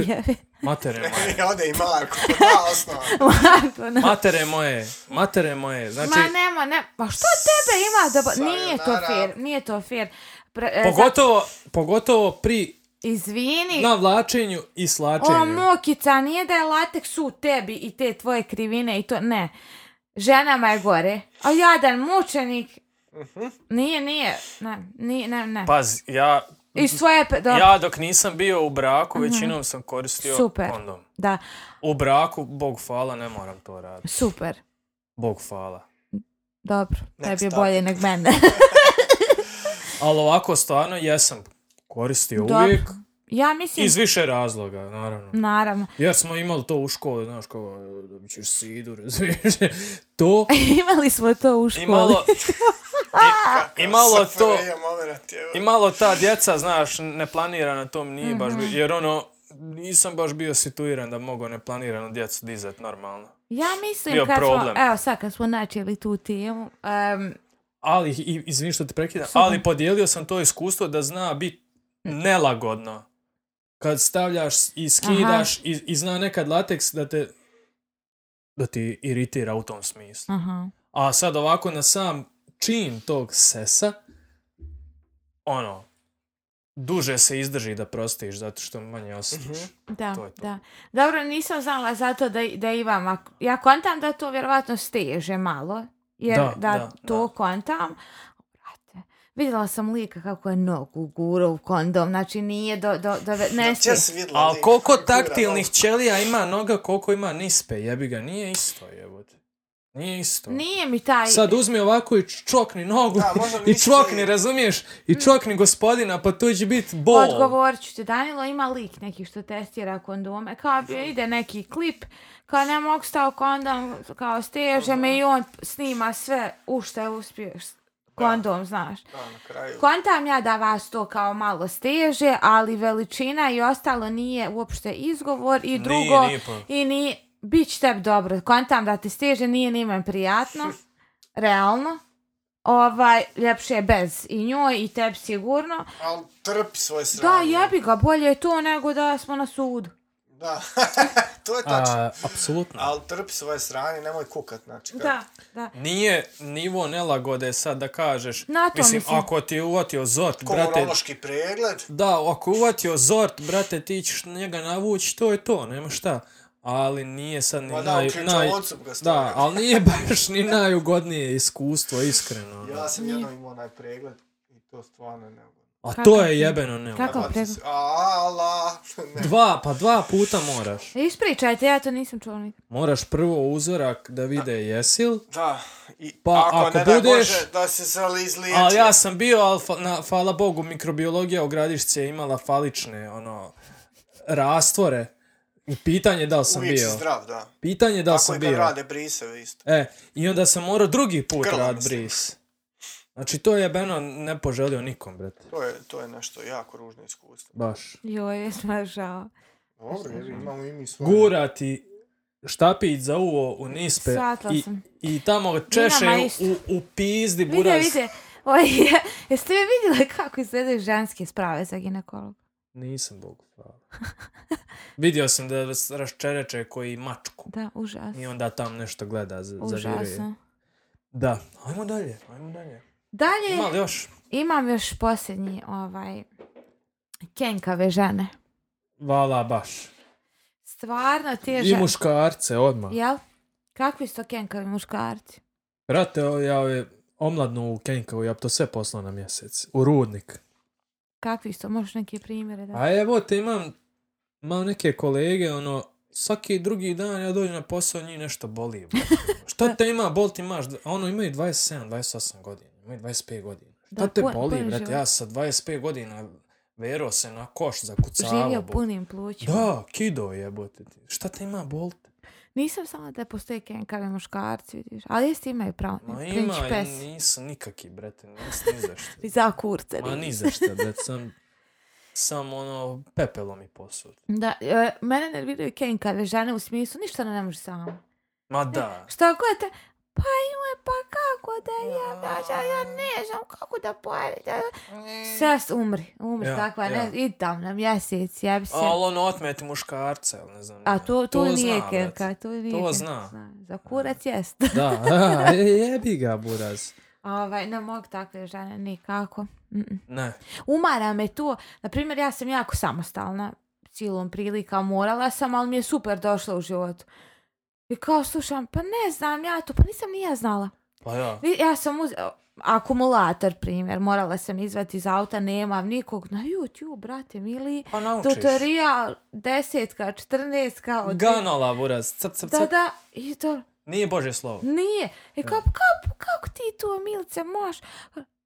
S2: Ojeve.
S1: Matere moje.
S3: I ode i Marko, na osnova.
S2: Marko, ne.
S1: Matere moje, matere moje. Znači,
S2: Ma nema, ne, ma što tebe ima da... bo-
S3: Sayonara.
S2: Nije to fair, nije to fair. Pre, e, za-
S1: pogotovo, pogotovo pri
S2: Izvini,
S1: navlačenju i slačenju.
S2: o mokica, nije da je lateks u tebi i te tvoje krivine i to, ne. Ženama je gore. A jadan mučenik,
S1: Mhm.
S2: nije, nije, ne, nije, ne, ne.
S1: Paz, ja,
S2: I svoje, pe- da,
S1: Pa, ja dok nisam bio u braku, većinom sam koristio
S2: Mhm. Super.
S1: kondom.
S2: da,
S1: U braku, bog hvala, ne moram to raditi.
S2: super,
S1: Bog hvala.
S2: dobro,
S3: Next
S2: tebi je
S3: topic.
S2: bolje nego mene.
S1: Ali ovako, stvarno, jesam koristio
S2: Dobro.
S1: uvijek.
S2: ja mislim,
S1: Iz više razloga, naravno.
S2: naravno,
S1: Jer smo imali to u školi, znaš, kao, e, dobit ćeš sidu, razumiješ? To,
S2: imali smo to u školi.
S1: imalo, i, imalo to,
S3: Safrija momenat, evo.
S1: imalo ta djeca, znaš, neplanirano, to mi nije baš bio, jer ono, nisam baš bio situiran da mogu neplanirano djecu dizat normalno.
S2: Ja mislim
S1: bio
S2: kad
S1: problem.
S2: smo, evo sad kad smo načeli tu temu, um,
S1: Ali, i- izvini što te prekidam, ali podijelio sam to iskustvo da zna biti nelagodno. Kad stavljaš i skidaš i, i zna nekad lateks da te da ti iritira u tom smislu.
S2: aha,
S1: A sad ovako na sam čin tog sesa, ono, duže se izdrži da prostiš zato što manje osjetiš.
S2: da,
S1: To je to.
S2: da. Dobro, nisam znala zato da, da imam, ak- ja kontam da to vjerovatno steže malo, jer da,
S1: Da,
S2: da,
S1: da,
S2: to
S1: da.
S2: kontam, brate, vidjela sam lika kako je nogu gurao u kondom, znači nije do, do, do ne
S3: Znači, ja
S2: ste-
S3: sam vidjela
S1: Ali
S3: lik
S1: koliko
S3: koji gura,
S1: taktilnih ćelija ima noga, koliko ima nispe, jebi ga, nije isto jebote. Nije isto.
S2: Nije mi taj...
S1: Sad uzmi ovako i čokni nogu
S3: Da, možda
S1: i
S3: nisi-
S1: čokni, razumiješ? I čokni gospodina, pa to će biti bol.
S2: Odgovorit ću ti, Danilo ima lik neki što testira kondome, kao bi ide neki klip, kao ne mogu stao kondom, kao steže me i on snima sve u što je uspio s- kondom, znaš.
S3: Da, na kraju.
S2: Kontam ja da vas to kao malo steže, ali veličina i ostalo nije uopšte izgovor i drugo,
S1: nije pa.
S2: i ni bit će tebi dobro. Kontam da ti steže, nije ni meni prijatno, realno. Ovaj, ljepše je bez i njoj i tebi sigurno.
S3: Ali trpi svoje
S2: Da,
S3: sranje.
S2: jebi ga, bolje je to nego da smo na sudu.
S3: Da, to je tačno.
S1: A, apsolutno.
S3: Ali trpi svoje sranje, nemoj kukat, znači. kako-
S2: Da, da.
S1: Nije nivo nelagode sad da kažeš.
S2: Na to
S1: mislim,
S2: mislim.
S1: ako ti je uvatio zort, brate...
S3: Komorološki pregled.
S1: Da, ako je uvatio zort, brate, ti ćeš njega navući, to je to, nema šta. Ali nije sad ni
S3: Ma da,
S1: naj...
S3: u
S1: naj...
S3: ključavodcu bi ga
S1: Da,
S3: stavio.
S1: ali nije baš ni najugodnije iskustvo, iskreno. ono.
S3: Ja sam jednom imao onaj pregled i to stvarno ne mogu.
S1: A
S2: Kako?
S1: to je jebeno neugodno.
S2: Kako? Kao
S3: Bacim
S2: pregled?
S3: se- Ala, ne.
S1: Dva, pa dva puta moraš.
S2: Ispričajte, ja to nisam čula nikad.
S1: Moraš prvo uzorak da vide jesil,
S3: Da, i
S1: Pa,
S3: ako,
S1: ako
S3: ne daj
S1: budeš-
S3: Bože, da se zali izliječi.
S1: ali ja sam bio, ali fa, na, hvala Bogu, mikrobiologija u Gradišci je imala falične, ono, rastvore. I pitanje da li sam
S3: Uvijek
S1: bio.
S3: si zdrav, da.
S1: Pitanje da li
S3: Tako
S1: sam
S3: je kad
S1: bio.
S3: rade briseve isto.
S1: E, i onda sam morao drugi put
S3: Grlo,
S1: rad
S3: mislim.
S1: bris. Znači, to je jebeno ne poželio nikom, brate.
S3: To je, to je nešto jako ružno iskustvo.
S1: Baš.
S2: Joj, jesmo žao.
S3: Dobro, jer imamo i mi svoje.
S1: Gurati štapić za uvo u nispe
S2: Shvatila
S1: i,
S2: sam.
S1: i tamo ga češe
S2: Vinama isto.
S1: u, u pizdi
S2: Vide,
S1: buraz.
S2: vide. Oj, je, jeste vi vidjeli kako izgledaju ženske sprave za ginekolog?
S1: Nisam, Bogu hvala. Vidio sam da vas raščereče koji mačku.
S2: Da, užasno.
S1: I onda tam nešto gleda, za, zažire.
S2: Užasno.
S1: Da. Ajmo dalje, ajmo dalje.
S2: Dalje
S1: Ima li još?
S2: imam još posljednji ovaj kenkave žene.
S1: Vala baš.
S2: Stvarno te
S1: I
S2: žene.
S1: muškarce odmah.
S2: Jel? Kakvi su to kenkavi muškarci?
S1: Brate, o, ja je omladnu u Kenkavu, ja bi to sve poslao na mjesec. U rudnik.
S2: Kakvi su to? Možeš neke primjere da...
S1: A evo te imam, imam neke kolege, ono, svaki drugi dan ja dođem na posao, njih nešto boli. brate. Šta te ima, bol ti imaš, a ono imaju 27, 28 godina, imaju 25 godina. Šta
S2: Da,
S1: te
S2: pun-
S1: boli,
S2: pun
S1: brate,
S2: život.
S1: ja sa 25 godina vero se na koš zakucavao.
S2: Živio
S1: bo-
S2: punim plućima.
S1: Da, kido jebote ti. Šta te ima bol?
S2: Nisam samo da postoje kenkavi muškarci, vidiš. Ali jeste imaju pravo.
S1: Ma
S2: Prinč
S1: ima,
S2: pes.
S1: nisu nikaki, brate, nisu ni za što.
S2: Za kurce.
S1: Ma ni za šta, brate, sam, sam ono, pepelom i posud.
S2: Da, e, mene nerviraju kenkave žene u smislu, ništa ne može sama.
S1: Ma da.
S2: Šta god te, pa joj, pa kako da ja, da, ja, ja ne znam kako da pojede. Da. Ses, umri, umri,
S1: Ja,
S2: ja, takva,
S1: ja.
S2: ne, i tam na mjesec, jebi se.
S1: Ali ono otmeti muškarca, ili ne znam.
S2: A
S1: ja.
S2: to, to, nije
S1: zna,
S2: kenka,
S1: brate.
S2: to nije
S1: To
S2: kenka,
S1: zna.
S2: Za kurac jest.
S1: Da, a, je- jebi ga, buraz.
S2: ovaj, ne mogu takve žene nikako. Mm-mm.
S1: Ne,
S2: Umara me to. Naprimjer, ja sam jako samostalna silom prilika, morala sam, ali mi je super došla u životu. I kao slušam, pa ne znam ja to, pa nisam ni ja znala.
S1: pa ja.
S2: Vi- Ja sam uz... akumulator, primjer, morala sam izvati iz auta, nemam nikog na YouTube, brate, mili.
S1: Pa naučiš.
S2: Tutorial desetka, četrnestka. Od...
S1: Ganala, buraz. Cap, cap,
S2: Da,
S1: cap.
S2: da, i to,
S1: Nije Bože slovo.
S2: nije. I kao, kako, kako ti to, Milice, moš?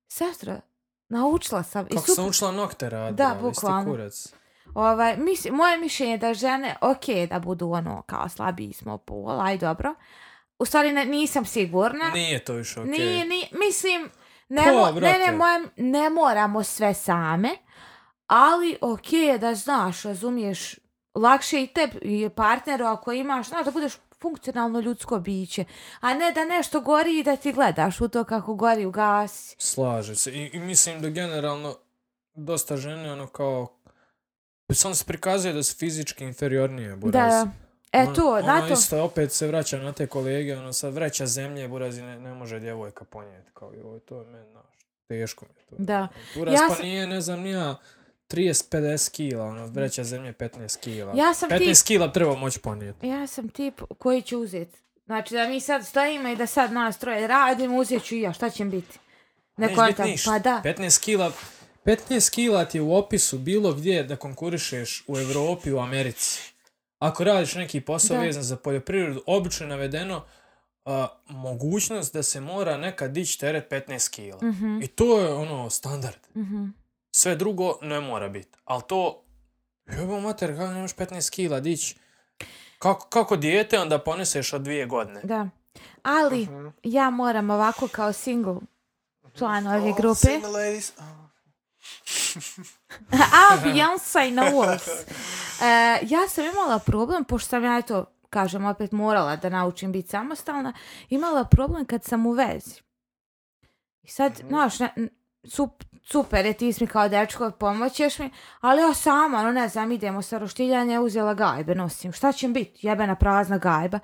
S2: Sestra, naučila sam. I
S1: Kako
S2: super,
S1: sam učila nokte rad,
S2: Da,
S1: brate, isti
S2: bukvalno.
S1: kurac.
S2: Ovaj, mislim, moje mišljenje je da žene, ok, da budu ono, kao slabiji smo pol, aj dobro. U stvari ne, nisam sigurna.
S1: Nije to više okej.
S2: Nije, nije, mislim, ne,
S1: Pa,
S2: mo, ne,
S1: brate.
S2: ne, moje, ne moramo sve same, ali ok je da znaš, razumiješ, lakše i tebi i partneru ako imaš, znaš, da budeš funkcionalno ljudsko biće, a ne da nešto gori i da ti gledaš u to kako gori u gas.
S1: Slažem se. I, I mislim da generalno dosta žene ono kao samo se prikazuje da su fizički inferiornije, buraz.
S2: Da, e
S1: Ono-
S2: to, na
S1: ono
S2: to.
S1: isto opet se vraća na te kolege, ono sad vreća zemlje, buraz i ne, ne može djevojka ponijeti, kao joj, to je meni, znaš, teško mi je to.
S2: Da.
S1: Buraz
S2: Ja
S1: pa
S2: sam-
S1: nije, ne znam, nija 30-50 kila, ono, vreća zemlje 15 kila.
S2: Ja sam
S1: 15
S2: tip-
S1: kila treba moći ponijeti.
S2: Ja sam tip koji će uzeti. Znači da mi sad stojimo i da sad nas troje radimo, uzet ću i ja, šta će mi biti? Ne
S1: Neće bit
S2: kontam,
S1: ništa.
S2: pa da.
S1: 15 kila, 15 kila ti je u opisu bilo gdje da konkurišeš u Evropi, u Americi. Ako radiš neki posao
S2: Da.
S1: vezan za poljoprivredu, obično je navedeno a, mogućnost da se mora nekad dići teret 15 kila.
S2: Mhm,
S1: I to je ono standard.
S2: mhm.
S1: Sve drugo ne mora biti. Ali to, jebo mater, kako nemaš 15 kila dići? Kako, kako dijete onda poneseš od dvije godine?
S2: Da. Ali
S3: Mhm.
S2: ja moram ovako kao single član ove
S3: Oh,
S2: grupe.
S3: single ladies. Oh.
S2: A, Beyoncé i No Wolves. E, ja sam imala problem, pošto sam ja eto, kažem, opet morala da naučim biti samostalna, imala problem kad sam u vezi. I sad, znaš, ne, n- sup, super je, ti si mi kao dečko, pomoćeš mi, ali ja sama, ono, ne znam, idemo sa roštiljanje, uzela gajbe, nosim, šta će mi biti, jebena prazna gajba.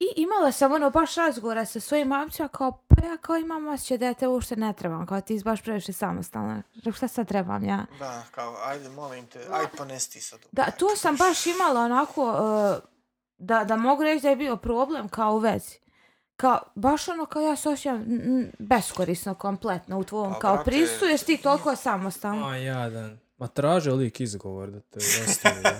S2: I imala sam ono baš razgovora sa svojim mamcima kao, pa ja kao imam osjećaj da ja te uopšte ne trebam, kao ti si baš previše samostalna. Rekao, Šta sad trebam ja?
S3: Da, kao, ajde, molim te, ajde ponesti sad. ovo.
S2: Da, to sam baš imala onako, e, da, da mogu reći da je bio problem kao u vezi. Kao, baš ono kao ja se osjećam n- n- beskorisno kompletno u tvom
S3: Pa,
S2: kao
S3: brate,
S2: prisu, jer si ti toliko samostalno.
S1: A jadan. Ma traže lik izgovor da te ostavi.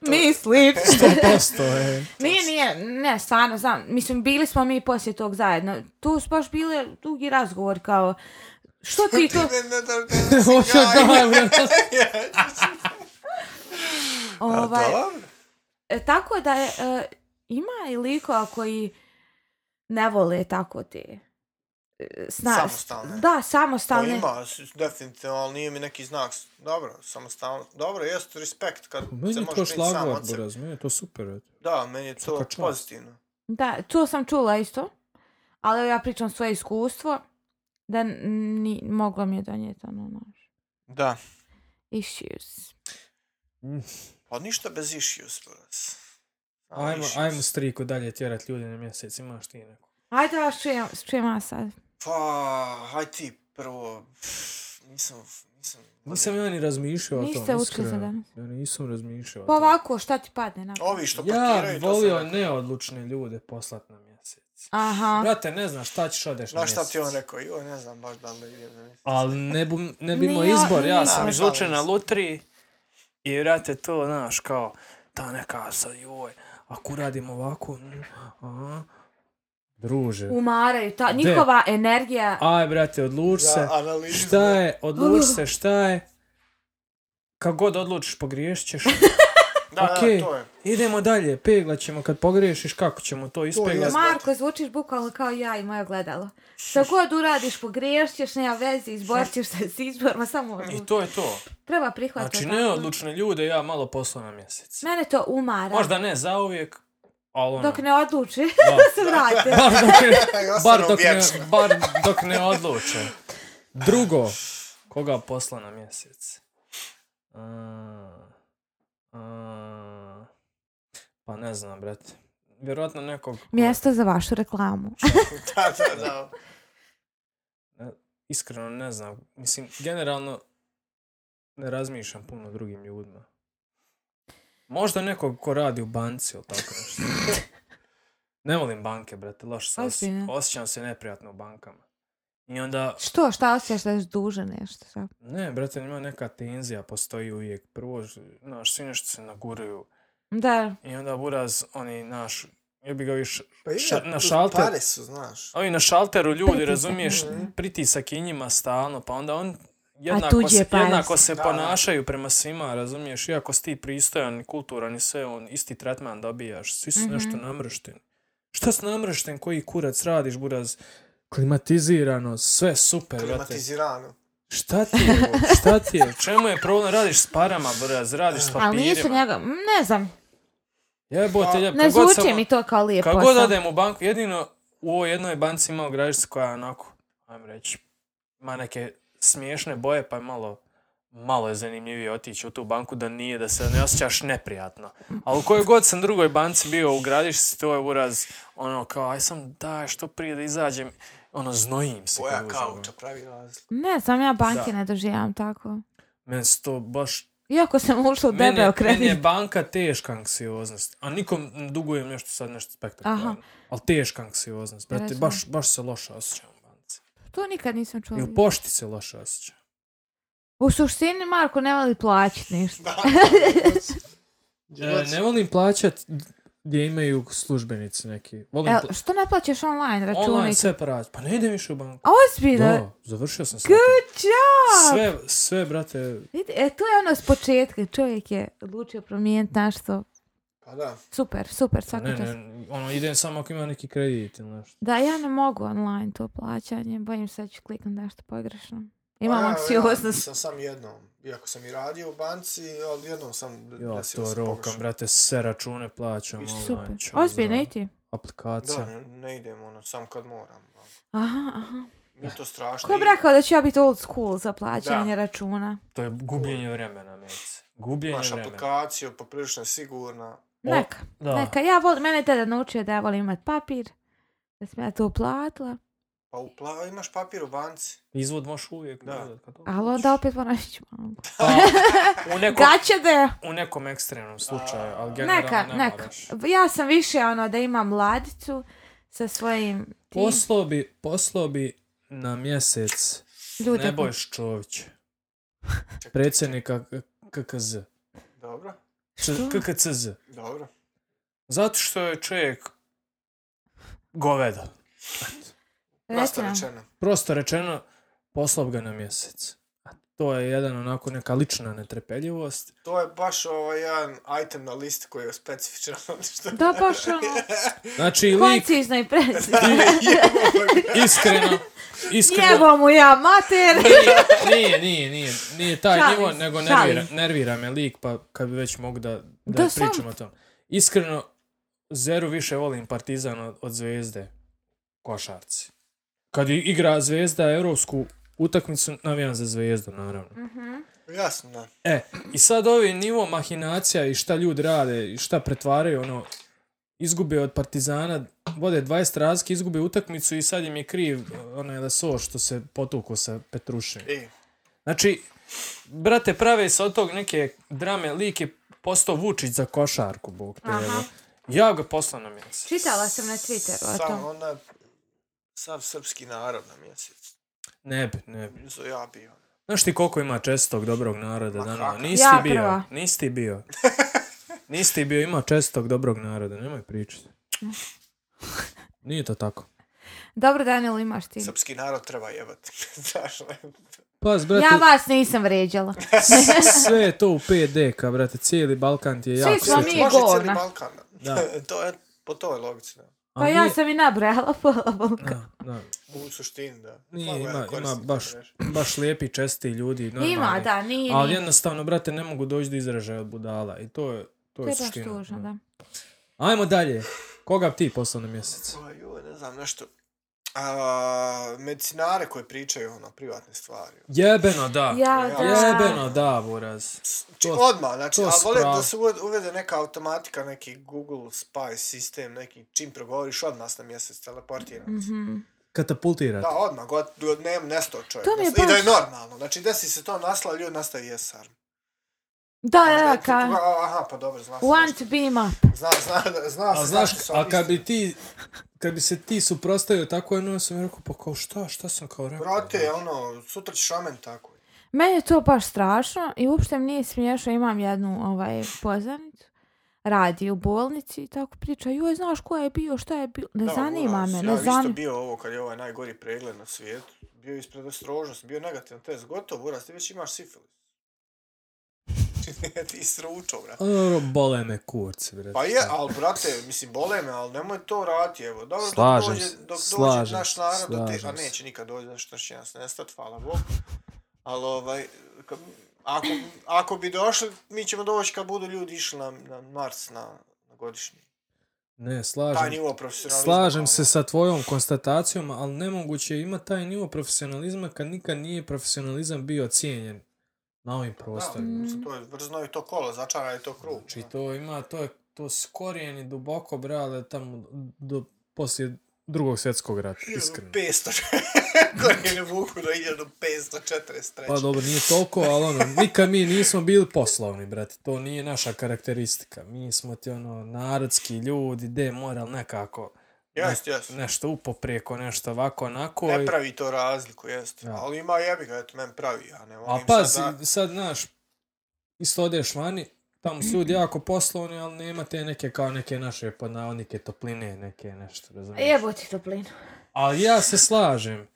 S2: Mislim.
S1: Posto je.
S2: nije, nije, ne, stvarno, znam, mislim, bili smo mi poslije tog zajedno. Tu su baš bili dugi razgovor kao, što ti
S3: Ti
S2: to...
S3: ne, ne, ne,
S1: Hoće
S3: ne, ne,
S1: da, brate.
S2: Ovaj, E, tako da je, e, ima i likova koji ne vole tako te sna...
S3: Samostalne.
S2: Da,
S3: Pa
S2: samostalne.
S3: ima, s- definitivno, ali nije mi neki znak. s- Dobro, samostalno. Dobro, jest respekt kad
S1: Meni
S3: se
S1: je
S3: može
S1: to
S3: biti sam od
S1: šlagvard,
S3: sebe.
S1: buraz, meni je to super. eto.
S3: Da, meni je to
S1: Svaka čast.
S3: pozitivno.
S2: Da, to sam čula isto. Ali ja pričam svoje iskustvo. Da ni, moglo mi je donijeti ono naš.
S3: Da.
S2: Issues.
S3: Pa ništa bez issues, buras. Samo
S1: Ajmo,
S3: issues.
S1: ajmo striku dalje tjerat ljudi na mjesec, imaš ti neko.
S2: Ajde da vas čujem, čujem vas sad.
S3: Pa, haj ti prvo. Nisam, nisam...
S1: Nisam ja ni razmišljao o tom,
S2: Niste
S1: iskreno.
S2: učili za danas.
S1: Ja nisam razmišljao o
S2: Pa
S1: tom.
S2: ovako, šta ti padne na pamet?
S3: Ovi što parkiraju,
S1: Ja
S3: Pa to sam
S1: volio
S3: rekao.
S1: neodlučne ljude poslat na mjesec.
S2: Aha.
S1: Brate, ne znaš šta ćeš odeš na
S3: Znaš
S1: mjesec.
S3: šta ti on rekao? Jo, ne znam baš da li idem na mjesec.
S1: Ali ne, bu, ne bi
S2: Ni
S1: imao
S2: ja-
S1: izbor, ja
S2: ni
S1: sam
S5: sam
S3: ja.
S1: iz-
S5: izvučen na lutri i vrate to, znaš, kao, ta neka sad, joj, ako radimo ovako, mm, aha. Druže,
S2: Umaraju, ta,
S1: De.
S2: njihova energija.
S1: aj brate, odluči se.
S3: Za analizu.
S1: Šta je, odluči se, šta je. Kako god odlučiš, pogriješit ćeš.
S3: Da, da,
S1: Okej.
S3: to je.
S1: Idemo dalje, peglat ćemo kad pogriješiš, kako ćemo to ispeglat.
S3: jasno.
S2: Marko, zvučiš bukvalno kao ja i moje gledalo. Šta god uradiš, pogrešćeš, nema veze, izborit ćeš se s izborima, samo
S1: I
S2: odluči.
S1: to je to.
S2: Treba prihvatiti.
S1: Znači,
S2: Pa tako.
S1: neodlučne ljude ja malo poslao na mjesec.
S2: Mene to umara.
S1: Možda ne zauvijek, ali ono...
S2: Dok ne odluči,
S1: Da.
S2: se vrate.
S1: Bar dok ne,
S3: Ja sam
S1: bar dok
S3: objekšan.
S1: ne, bar dok ne odluče. Drugo, koga posla na mjesec? A, a, pa ne znam, brate. Vjerojatno nekog... ono, ko-
S2: Mjesto za vašu reklamu.
S3: Da, da, da.
S1: Iskreno ne znam. Mislim, generalno ne razmišljam puno o drugim ljudima. Možda nekog ko radi u banci ili tako nešto. Ne volim banke, brate, loš se os-
S2: Ozbiljno?
S1: osjećam se neprijatno u bankama. I onda
S2: Što, šta osjećaš da ješ duže nešto? Šta?
S1: Ne, brate, ima neka tenzija, postoji uvijek. Prvo, ž- znaš, svi nešto se naguraju.
S2: Da,
S1: I onda buraz, oni, naš, ja bi ga viš...
S3: Pa ima,
S1: ša- na
S3: tu
S1: šalter.
S3: Pare su, znaš.
S5: ovi na šalteru ljudi,
S2: Pritisak.
S5: razumiješ,
S3: Mhm.
S5: pritisak i njima stalno, pa onda on jednako
S2: tuđe
S5: se,
S2: pare.
S5: jednako se
S3: Da, da.
S5: ponašaju prema svima, razumiješ, iako si ti pristojan, i kulturan i sve, on isti tretman dobijaš, svi su
S2: Mhm.
S5: nešto namršteni.
S1: Šta s namrešten, koji kurac radiš, buraz? Klimatizirano, sve super, brate.
S3: Klimatizirano.
S1: Šta ti je ovo? Šta ti je? U Čemu je problem? Radiš s parama, buraz, radiš s
S2: ali nisu
S1: papirima.
S2: njega, mm, ne znam,
S1: Jebote, ljep,
S2: ne zvuče mi to kao lijep
S1: Kako
S2: posao.
S1: god odem u banku, jedino u ovoj jednoj banci imao građicu koja je onako, ajmo reći, ima neke smiješne boje, pa je malo, malo je zanimljivije otići u tu banku da nije, da se ne osjećaš neprijatno. A u kojoj god sam drugoj banci bio u gradišci, to je uraz, ono kao, aj sam daj što prije da izađem, ono, znojim se. kad
S3: Boja
S1: uđem u banku.
S3: kauča pravi razliku.
S2: Ne znam, ja banke
S1: Da.
S2: ne doživljam tako.
S1: Meni se to baš
S2: Iako sam ušla u
S1: meni
S2: debel
S1: je, meni je
S2: kredit.
S1: banka teška anksioznost. A nikom ne dugujem nešto sad nešto spektakularno.
S2: Aha.
S1: Ali teška anksioznost. Brate,
S2: Razumijem.
S1: baš, baš se loše osjećam u banci.
S2: To nikad nisam čula.
S1: I u pošti se loše osjećam.
S2: U suštini, Marko ne voli plaćati ništa.
S3: Da.
S1: E, ne volim plaćat gdje imaju službenici neki. Volim
S2: El,
S1: pla-
S2: E, što ne plaćaš online račune?
S1: online sve parać. Pa ne idem više u banku.
S2: A ozbiljno?
S1: Da, završio sam sve.
S2: Good job!
S1: Sve, sve, brate,
S2: Vidi, E, to je ono s početka. Čovjek je odlučio promijeniti našto.
S3: Pa da.
S2: Super, super, svaka
S1: Pa ne,
S2: čast.
S1: ne, ono, idem samo ako ima neki kredit ili nešto.
S2: Da, ja ne mogu online to plaćanje. Bojim se da ću kliknut nešto pogrešno. Imam
S3: Pa, evo,
S2: anksioznost.
S3: Ja sam sam jednom, iako sam i radio u banci, ali jednom sam
S1: Jo,
S3: desio
S1: to
S3: sam
S1: rokam,
S3: pogrešno.
S1: brate, sve račune plaćam. online,
S2: Super.
S1: ću,
S2: Ozbiljno,
S1: Ovaj, za
S2: i ti?
S1: Aplikacija.
S3: Da, ne, ne idem, ono, sam kad moram. ono.
S2: Aha, aha.
S3: Mi je to strašno.
S2: Ko bi rekao da ću ja biti old school za plaćanje
S3: Da.
S2: računa?
S1: To je gubljenje vremena, mjece. Gubljenje
S3: Imaš
S1: vremena.
S3: aplikaciju, poprilično je sigurna.
S1: O,
S2: Neka,
S1: da.
S2: neka. Ja volim, mene je tada naučio da ja volim imat papir. Da sam ja to uplatila.
S3: Pa upla, imaš papir u banci.
S1: Izvod možeš uvijek.
S3: Da.
S1: gledat kad
S2: Ali
S1: odlučiš.
S2: onda opet moram ići banku.
S1: Pa, u, nekom,
S2: Gaće da je.
S1: u nekom ekstremnom slučaju, ali generalno
S2: Neka,
S1: ne
S2: neka.
S1: moraš.
S2: Ja sam više ono da imam ladicu sa svojim tim
S1: Poslao bi, poslao bi na mjesec
S2: ljudima.
S1: Nebojš Čović,
S3: Čekaj,
S1: predsjednika K- KKZ.
S3: Dobro,
S1: Č- KKCZ.
S3: dobro.
S1: Zato što je čovjek goveda.
S2: Reci
S3: Prosto
S2: nam.
S3: rečeno.
S1: Prosto rečeno, poslao bi ga na mjesec. to je jedan onako neka lična netrepeljivost.
S3: To je baš ovaj jedan item na listi koji je specifičan. Što...
S2: Da, baš ono,
S1: Znači, lik
S2: koncizno i precizno.
S3: ovaj,
S1: iskreno, iskreno,
S2: Jebo mu ja, mater!
S1: nije, nije, nije, nije taj
S2: Šalim
S1: nivo,
S2: se,
S1: nego
S2: šalim
S1: nervira,
S2: se.
S1: nervira me lik, pa kad bi već mogu da, da,
S2: Da, sam-
S1: pričam o tom. Iskreno, Zeru više volim Partizan od, od Zvezde u košarci. Kad i- igra Zvezda evropsku utakmicu, navijam za Zvezdu, naravno.
S2: Mhm.
S3: Jasno, da.
S1: E, i sad ovi nivo mahinacija i šta ljudi rade i šta pretvaraju, ono, izgube od Partizana, vode 20 razlike, izgube utakmicu i sad im je kriv onaj Leso što se potukao sa Petrušem.
S3: I,
S1: Znači, brate, prave se od tog neke drame, lik je postao Vučić za košarku, bog te
S2: Aha.
S1: evo. Ja ga poslao na mjesec.
S2: Čitala sam na Twitteru o
S3: sam
S2: tom.
S3: onda sav srpski narod na mjesec.
S1: Ne bi, ne bi.
S3: Zo ja bio.
S1: Znaš ti koliko ima čestog dobrog naroda
S3: Ma
S1: danas?
S3: kako?
S1: Nisi
S2: Ja
S1: ti bio,
S2: prva.
S1: nisi ti bio. Nisi ti bio, ima čestog dobrog naroda, nemoj pričati. Nije to tako.
S2: Dobro, Daniel, imaš ti.
S3: Srpski narod treba jebati. Znaš, ne?
S1: Pas, brate,
S2: Ja vas nisam Pa vređala.
S1: sve je to u PDK, brate, cijeli Balkan ti je
S2: Svi
S1: jako
S2: smo mi-
S1: sličan.
S3: Može cijeli
S2: govna.
S3: Balkan.
S1: Da.
S3: to je po toj logici, da.
S1: A
S2: Pa ja
S1: nije-
S2: sam i nabrala pola Balkana.
S1: Da, da.
S3: U suštini, da.
S1: Nije,
S3: Malo ja
S1: ima, ima
S3: koristim
S1: baš,
S3: te mreže.
S1: baš lijepi, česti ljudi. Normalni.
S2: Ima, da, nije.
S1: Ali
S2: nije.
S1: jednostavno, brate, ne mogu doći do izražaja od budala. I to je, to
S2: To
S1: je
S2: je baš
S1: suština.
S2: tužno, da.
S1: Ajmo dalje. Koga bi ti poslao na mjesec?
S3: Pa joj, ne znam, nešto. A, medicinare koji pričaju ono, privatne stvari.
S1: Jebeno da.
S2: Ja, da.
S1: Jebeno da, Buraz.
S3: Či,
S1: To-
S3: odmah, znači,
S1: to
S3: a volim
S1: spravo.
S3: da se uvede, uvede neka automatika, neki Google Spy sistem, neki čim progovoriš od nas na mjesec teleportiran.
S2: Mhm.
S1: Katapultirati.
S3: Da, odmah, god, god ne, nesto čovjek.
S2: To mi je
S3: I da je
S2: baš-
S3: normalno. Znači, desi se to nasla, ljudi nastavi jesar.
S2: Da, da, da, Pa ka...
S3: Aha, pa dobro, zna se.
S2: Want
S3: zašto.
S2: to be my...
S3: Zna, zna, zna se.
S1: A znaš,
S3: zašto su
S1: a
S3: oni
S1: kad
S3: isti.
S1: bi ti, kad bi se ti suprostavio tako jedno, ja sam mi rekao, pa kao šta, šta sam kao rekao?
S3: Brate, ono, sutra ćeš ramen tako.
S2: Meni je to baš strašno i uopšte mi nije smiješno. Imam jednu ovaj, poznanicu, radi u bolnici i tako priča, joj, znaš ko je bio, šta je bilo, ne
S3: Da,
S2: zanima
S3: Buras,
S2: me,
S3: ja
S2: ne
S3: bi isto
S2: zanima.
S3: bio ovo kad je ovaj najgori pregled na svijetu. Bio je ispred ostrožnosti, bio negativan test. Gotovo, Buras, ti već imaš sifilis. ti si sručao, brate.
S1: A Pa Dobro, bole me kurci, brate.
S3: Pa je, ali brate, mislim, bole me, ali nemoj to raditi, evo. Dobro,
S1: Slažem
S3: dok dođe,
S1: se,
S3: dok dođe
S1: slažem
S3: naš
S1: se,
S3: narod, do te, a
S1: slažem se.
S3: neće nikad doći, znaš što će nas nestat, hvala Bog. Ali ovaj, ka- ako, ako bi došli, mi ćemo doći kad budu ljudi išli na, na Mars, na, na godišnji.
S1: Ne,
S3: Taj
S1: slažem
S3: nivo profesionalizma.
S1: Slažem se
S3: ono.
S1: sa tvojom konstatacijom, ali nemoguće je imati taj nivo profesionalizma kad nikad nije profesionalizam bio cijenjen na ovim
S3: Da,
S1: prostorima.
S3: mislim, to je vrzno i to kolo, začara je to krug.
S1: Znači to ima, to je to skorijeni duboko, brale, tamo do, poslije drugog svjetskog rata, iskreno.
S3: 500, korijene vuku do 1543.
S1: Pa dobro, nije toliko, ali ono, nikad mi nismo bili poslovni, brate, to nije naša karakteristika. Mi smo ti, ono, narodski ljudi, de moral nekako,
S3: Jest, jest.
S1: nešto upoprijeko, nešto ovako, onako.
S3: Ne
S1: i-
S3: pravi to razliku, jeste.
S1: Da.
S3: Ali ima jebi ga, eto, men pravi, ja ne
S1: A
S3: volim
S1: pa,
S3: sad
S1: sad, sad, znaš, isto odeš vani, tamo su ljudi jako poslovni, ali nema te neke kao neke naše podnavodnike topline, neke nešto, razumiješ?
S2: Jebo ti toplinu.
S1: Ali ja se slažem.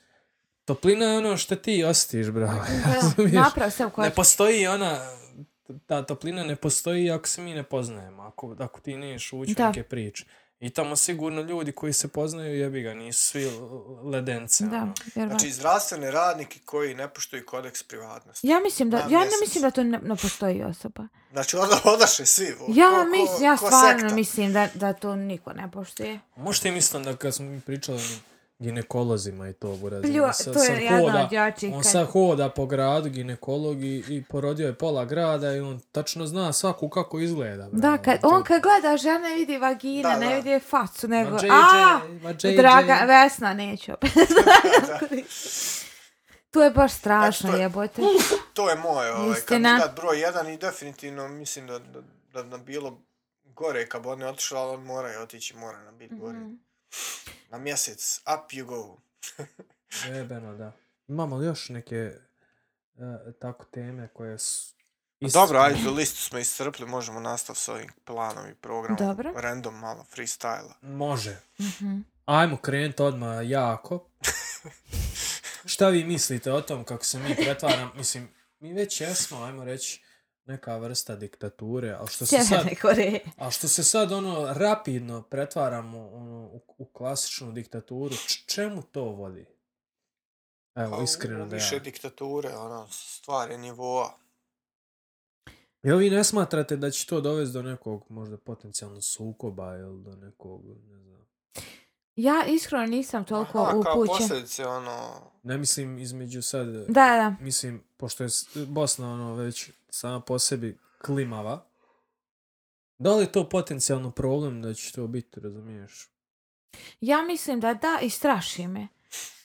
S1: Toplina je ono što ti osjetiš, bravo. Razumiješ?
S2: Naprav se u
S1: Ne
S2: kočku.
S1: postoji ona, ta toplina ne postoji ako se mi ne poznajemo, ako, ako ti neš ući
S2: Da.
S1: u neke priče. I tamo sigurno ljudi koji se poznaju, jebi ga, nisu svi l- ledence.
S2: Da,
S1: ono.
S2: vjerovatno.
S3: Znači, zdravstvene radnike koji ne poštuju kodeks privatnosti.
S2: Ja mislim da,
S3: Na
S2: ja ne
S3: mjesec.
S2: mislim da to ne, ne postoji osoba.
S3: Znači, onda odaše svi. o,
S2: Ja,
S3: ko- ko-
S2: mislim, ja
S3: ko
S2: stvarno
S3: sekta.
S2: mislim da, da to niko ne poštuje.
S1: Možete i mislim da kad smo mi pričali o ginekolozima i to, buraz. ono,
S2: Plju- to je jedna od jačih
S1: On
S2: kad-
S1: sad hoda po gradu, ginekolog i, i porodio je pola grada i on tačno zna svaku kako izgleda. bravo.
S2: Da, kad,
S1: To-
S2: on kad gleda žene vidi vagine,
S3: Da,
S2: ne
S3: da.
S2: vidi je facu, nego...
S1: Ma JJ,
S2: a,
S1: ma JJ.
S2: Draga, Vesna, neću opet.
S3: Da.
S2: to je baš strašno,
S3: to je-
S2: jebote.
S3: To je moj ovaj,
S2: Istina.
S3: kandidat broj jedan i definitivno mislim da, da, da bi nam bilo gore kad bi on otišao, ali on mora je otići, mora nam
S2: Mhm.
S3: biti gore. Na mjesec, up you go.
S1: Jebeno, da. Imamo li još neke e, tako teme koje su...
S3: Isto. Pa Dobro, ajde, listu smo iscrpli, možemo nastav s ovim planom i programom.
S2: Dobro.
S3: Random malo freestyla.
S1: Može.
S2: Mhm.
S1: Ajmo krenut odmah jako. Šta vi mislite o tom kako se mi pretvaramo, mislim, Mi već jesmo, ajmo reći, neka vrsta diktature, ali što se sad,
S2: Sjeverne Koreje.
S1: a što se sad ono rapidno pretvaramo ono, u, u klasičnu diktaturu, č- čemu to vodi? Evo, iskreno da ja.
S3: Pa Više diktature, ono, stvari nivoa.
S1: Jel vi ne smatrate da će to dovesti do nekog možda potencijalno sukoba ili do nekog, ne znam,
S2: Ja iskreno nisam toliko
S3: Aha, Kao
S2: upućen.
S3: posljedice, ono,
S1: ne mislim između sad,
S2: Da, da.
S1: mislim, pošto je s- Bosna ono već sama po sebi klimava, da li je to potencijalno problem da će to biti, razumiješ?
S2: Ja mislim da da i straši me.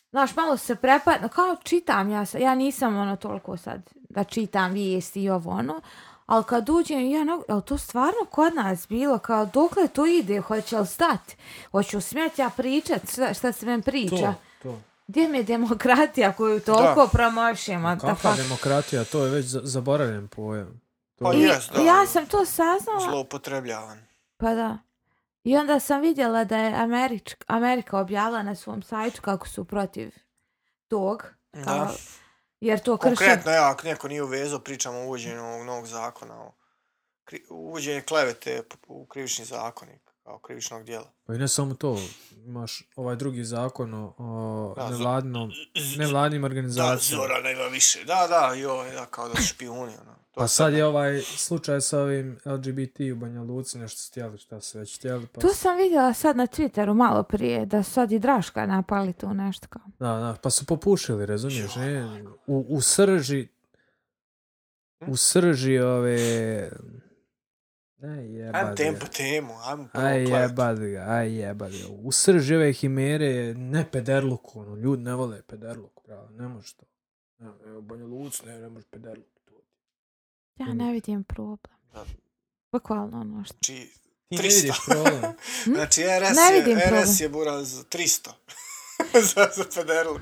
S2: Znaš, malo se prepadno, kao čitam ja, sa- ja nisam ono toliko sad da čitam vijesti i ovo ono, ali kad uđem, ja, no, jel to stvarno kod nas bilo, kao dokle to ide, hoće li stati, hoću smjeti ja pričat, šta, šta se meni priča,
S1: To,
S2: to.
S1: to.
S2: gdje mi je demokratija koju toliko promošimo, da
S1: Kakva
S2: pa...
S1: demokratija, to je već za- zaboravljen pojam. To
S3: Pa
S1: je-
S2: I,
S3: Jest, da, ono.
S2: ja sam to saznala,
S3: zloupotrebljavan.
S2: Pa da. I onda sam vidjela da je Američk, Amerika objavila na svom sajtu kako su protiv tog. Kao,
S3: Da.
S2: Jer to krši...
S3: Konkretno, ja, ako neko nije uvezao, pričamo o uvođenju ovog novog zakona, o kri, uvođenje klevete p- u krivični zakonik, kao krivičnog dijela.
S1: Pa i ne samo to, imaš ovaj drugi zakon o, o
S3: Da, zo-
S1: nevladnom, nevladnim
S3: Da,
S1: organizacijama.
S3: Zorana ima više. Da, da, joj, da, kao da su špijuni, ono. To
S1: Pa sad je ovaj slučaj sa ovim LGBT u Banja Luci, nešto su htjeli, šta su već htjeli. Pa,
S2: To sam vidjela sad na Twitteru malo prije, da su sad i Draška napali tu nešto kao.
S1: da, da, pa su popušili, razumiješ, ne? U, u srži,
S3: Hm?
S1: u srži ove... Aj
S3: Ajmo
S1: jebadi
S3: temu
S1: ga.
S3: po temu, ajmo prvo
S1: Aj
S3: klevetu.
S1: jebadi ga, aj jebadi ga. U srži ove himere je ne pederluk, ono, ljudi ne vole pederluk, pravo, ne može to. Ne, evo, Banja Luci, ne, ne može pederluk. to ti.
S2: Ja
S1: Mhm.
S3: Mm.
S2: ne vidim problem.
S3: Da.
S2: Bukvalno ono što.
S3: Znači,
S1: Ti ne
S3: 300.
S1: vidiš problem.
S3: znači RS,
S2: Hm? Ne vidim
S3: je,
S2: problem.
S3: RS je bura za 300. za, za pederlu.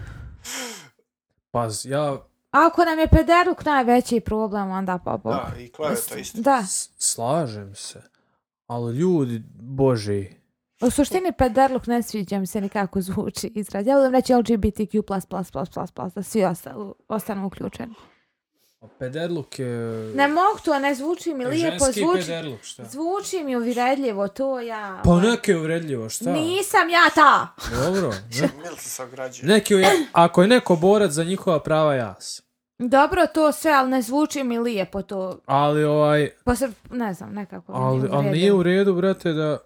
S1: Paz, Pa ja
S2: Ako nam je pederluk najveći problem, onda pa bog.
S3: Da, i kleveta isto.
S2: Da,
S1: S- slažem se. Ali ljudi, bože,
S2: u suštini pederluk ne sviđa mi se nikako zvuči izraz. Ja volim reći LGBTQ+++++, da svi osta- ostanu uključeni.
S1: a pederluk je...
S2: Ne mogu to, ne zvuči mi
S1: je
S2: lijepo,
S1: ženski
S2: zvuči,
S1: pederluk, šta?
S2: zvuči mi uvredljivo, to ja...
S1: Pa
S2: ovaj,
S1: neke je uvredljivo, šta?
S2: Nisam ja ta!
S1: Dobro. Ne,
S3: Milica se ograđuje.
S1: neki je, ako je neko borac za njihova prava, ja sam.
S2: Dobro to sve, ali ne zvuči mi lijepo to.
S1: Ali ovaj,
S2: Posr... Ne znam, nekako mi
S1: ali,
S2: Pa nije
S1: ali nije
S2: uvredljivo.
S1: u redu, brate, da...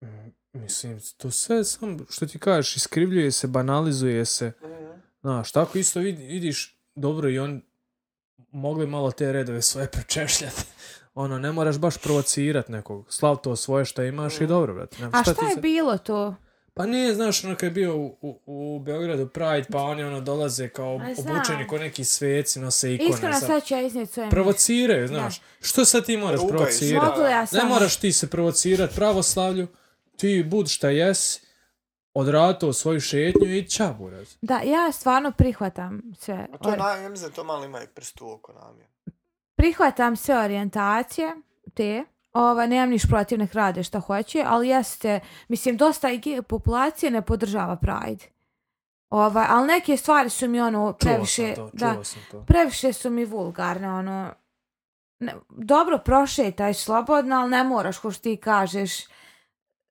S1: Mm, Mislim, to sve sam, što ti kažeš, iskrivljuje se, banalizuje se.
S3: Mhm.
S1: Znaš, tako isto vidi, vidiš, dobro i on mogli malo te redove svoje prečešljati. Ono, ne moraš baš provocirat nekog. Slav to svoje što imaš i dobro, brate. Nego
S2: Mm. A šta
S1: ti
S2: je
S1: sad-
S2: bilo to?
S1: Pa nije, znaš, ono kad je bio u, u, u Beogradu Pride, pa oni ono dolaze kao
S2: A, znam.
S1: obučeni ko neki sveci, nose ikone.
S2: Iskreno
S1: sad.
S2: sad ću ja iznijet svoje...
S1: Provociraju, znaš. Što sad ti moraš
S3: Rugaj se.
S1: provocirat?
S2: Mogu li ja sam...
S1: Ne moraš ti se provocirat pravoslavlju, ti bud šta jesi, odrato svoju šetnju i ća, buraz.
S2: Da, ja stvarno prihvatam sve.
S3: A to,
S2: ori-
S3: na, ja mislim da to malo ima i prst u oko namjer.
S2: Prihvatam sve orijentacije, te. Ova, nemam niš protiv, nek rade šta hoće, ali jeste, mislim, dosta i gej populacije ne podržava Pride. Ovaj, ali neke stvari su mi ono
S1: Čuo
S2: previše...
S1: sam to,
S2: da,
S1: čuo sam to.
S2: previše su mi vulgarne, ono, ne, dobro prošetaj slobodno, ali ne moraš, ko što ti kažeš,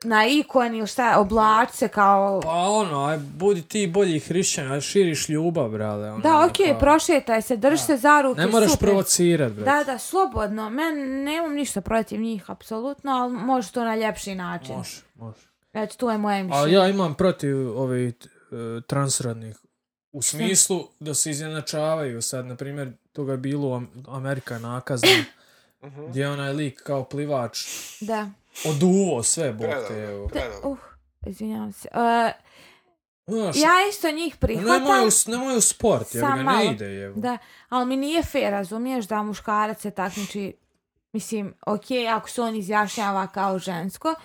S2: na ikon ili šta, oblač se kao...
S1: Pa ono, aj, budi ti bolji hrišćan, aj širiš ljubav, brale. Ono,
S2: da, okej,
S1: kao-
S2: prošetaj se, drž se za ruke,
S1: Ne moraš
S2: super.
S1: provocirat, brate.
S2: Da, da, slobodno, men nemam ništa protiv njih, apsolutno, ali može to na ljepši način.
S1: Može, može.
S2: Eto, to je moje
S1: Ali
S2: mišljenje.
S1: ja imam protiv ovih uh, transrodnih. U smislu da se izjednačavaju sad, na primjer, toga je bilo u Am- Amerika nakazna,
S3: Mhm.
S1: gdje je onaj lik kao plivač
S2: Da,
S1: oduvo sve, bog te,
S3: Predobro,
S1: evo.
S3: predobro.
S2: uh, izvinjavam se. E,
S1: Znaš,
S2: ja isto njih prihvatam.
S1: nemoj, u, s- nemoj u sport, jer
S2: Sam
S1: ga
S2: malo.
S1: ne ide, evo.
S2: Da, ali mi nije fair, razumiješ, da muškarac se takmiči, mislim, ok, ako se on izjašnjava kao žensko,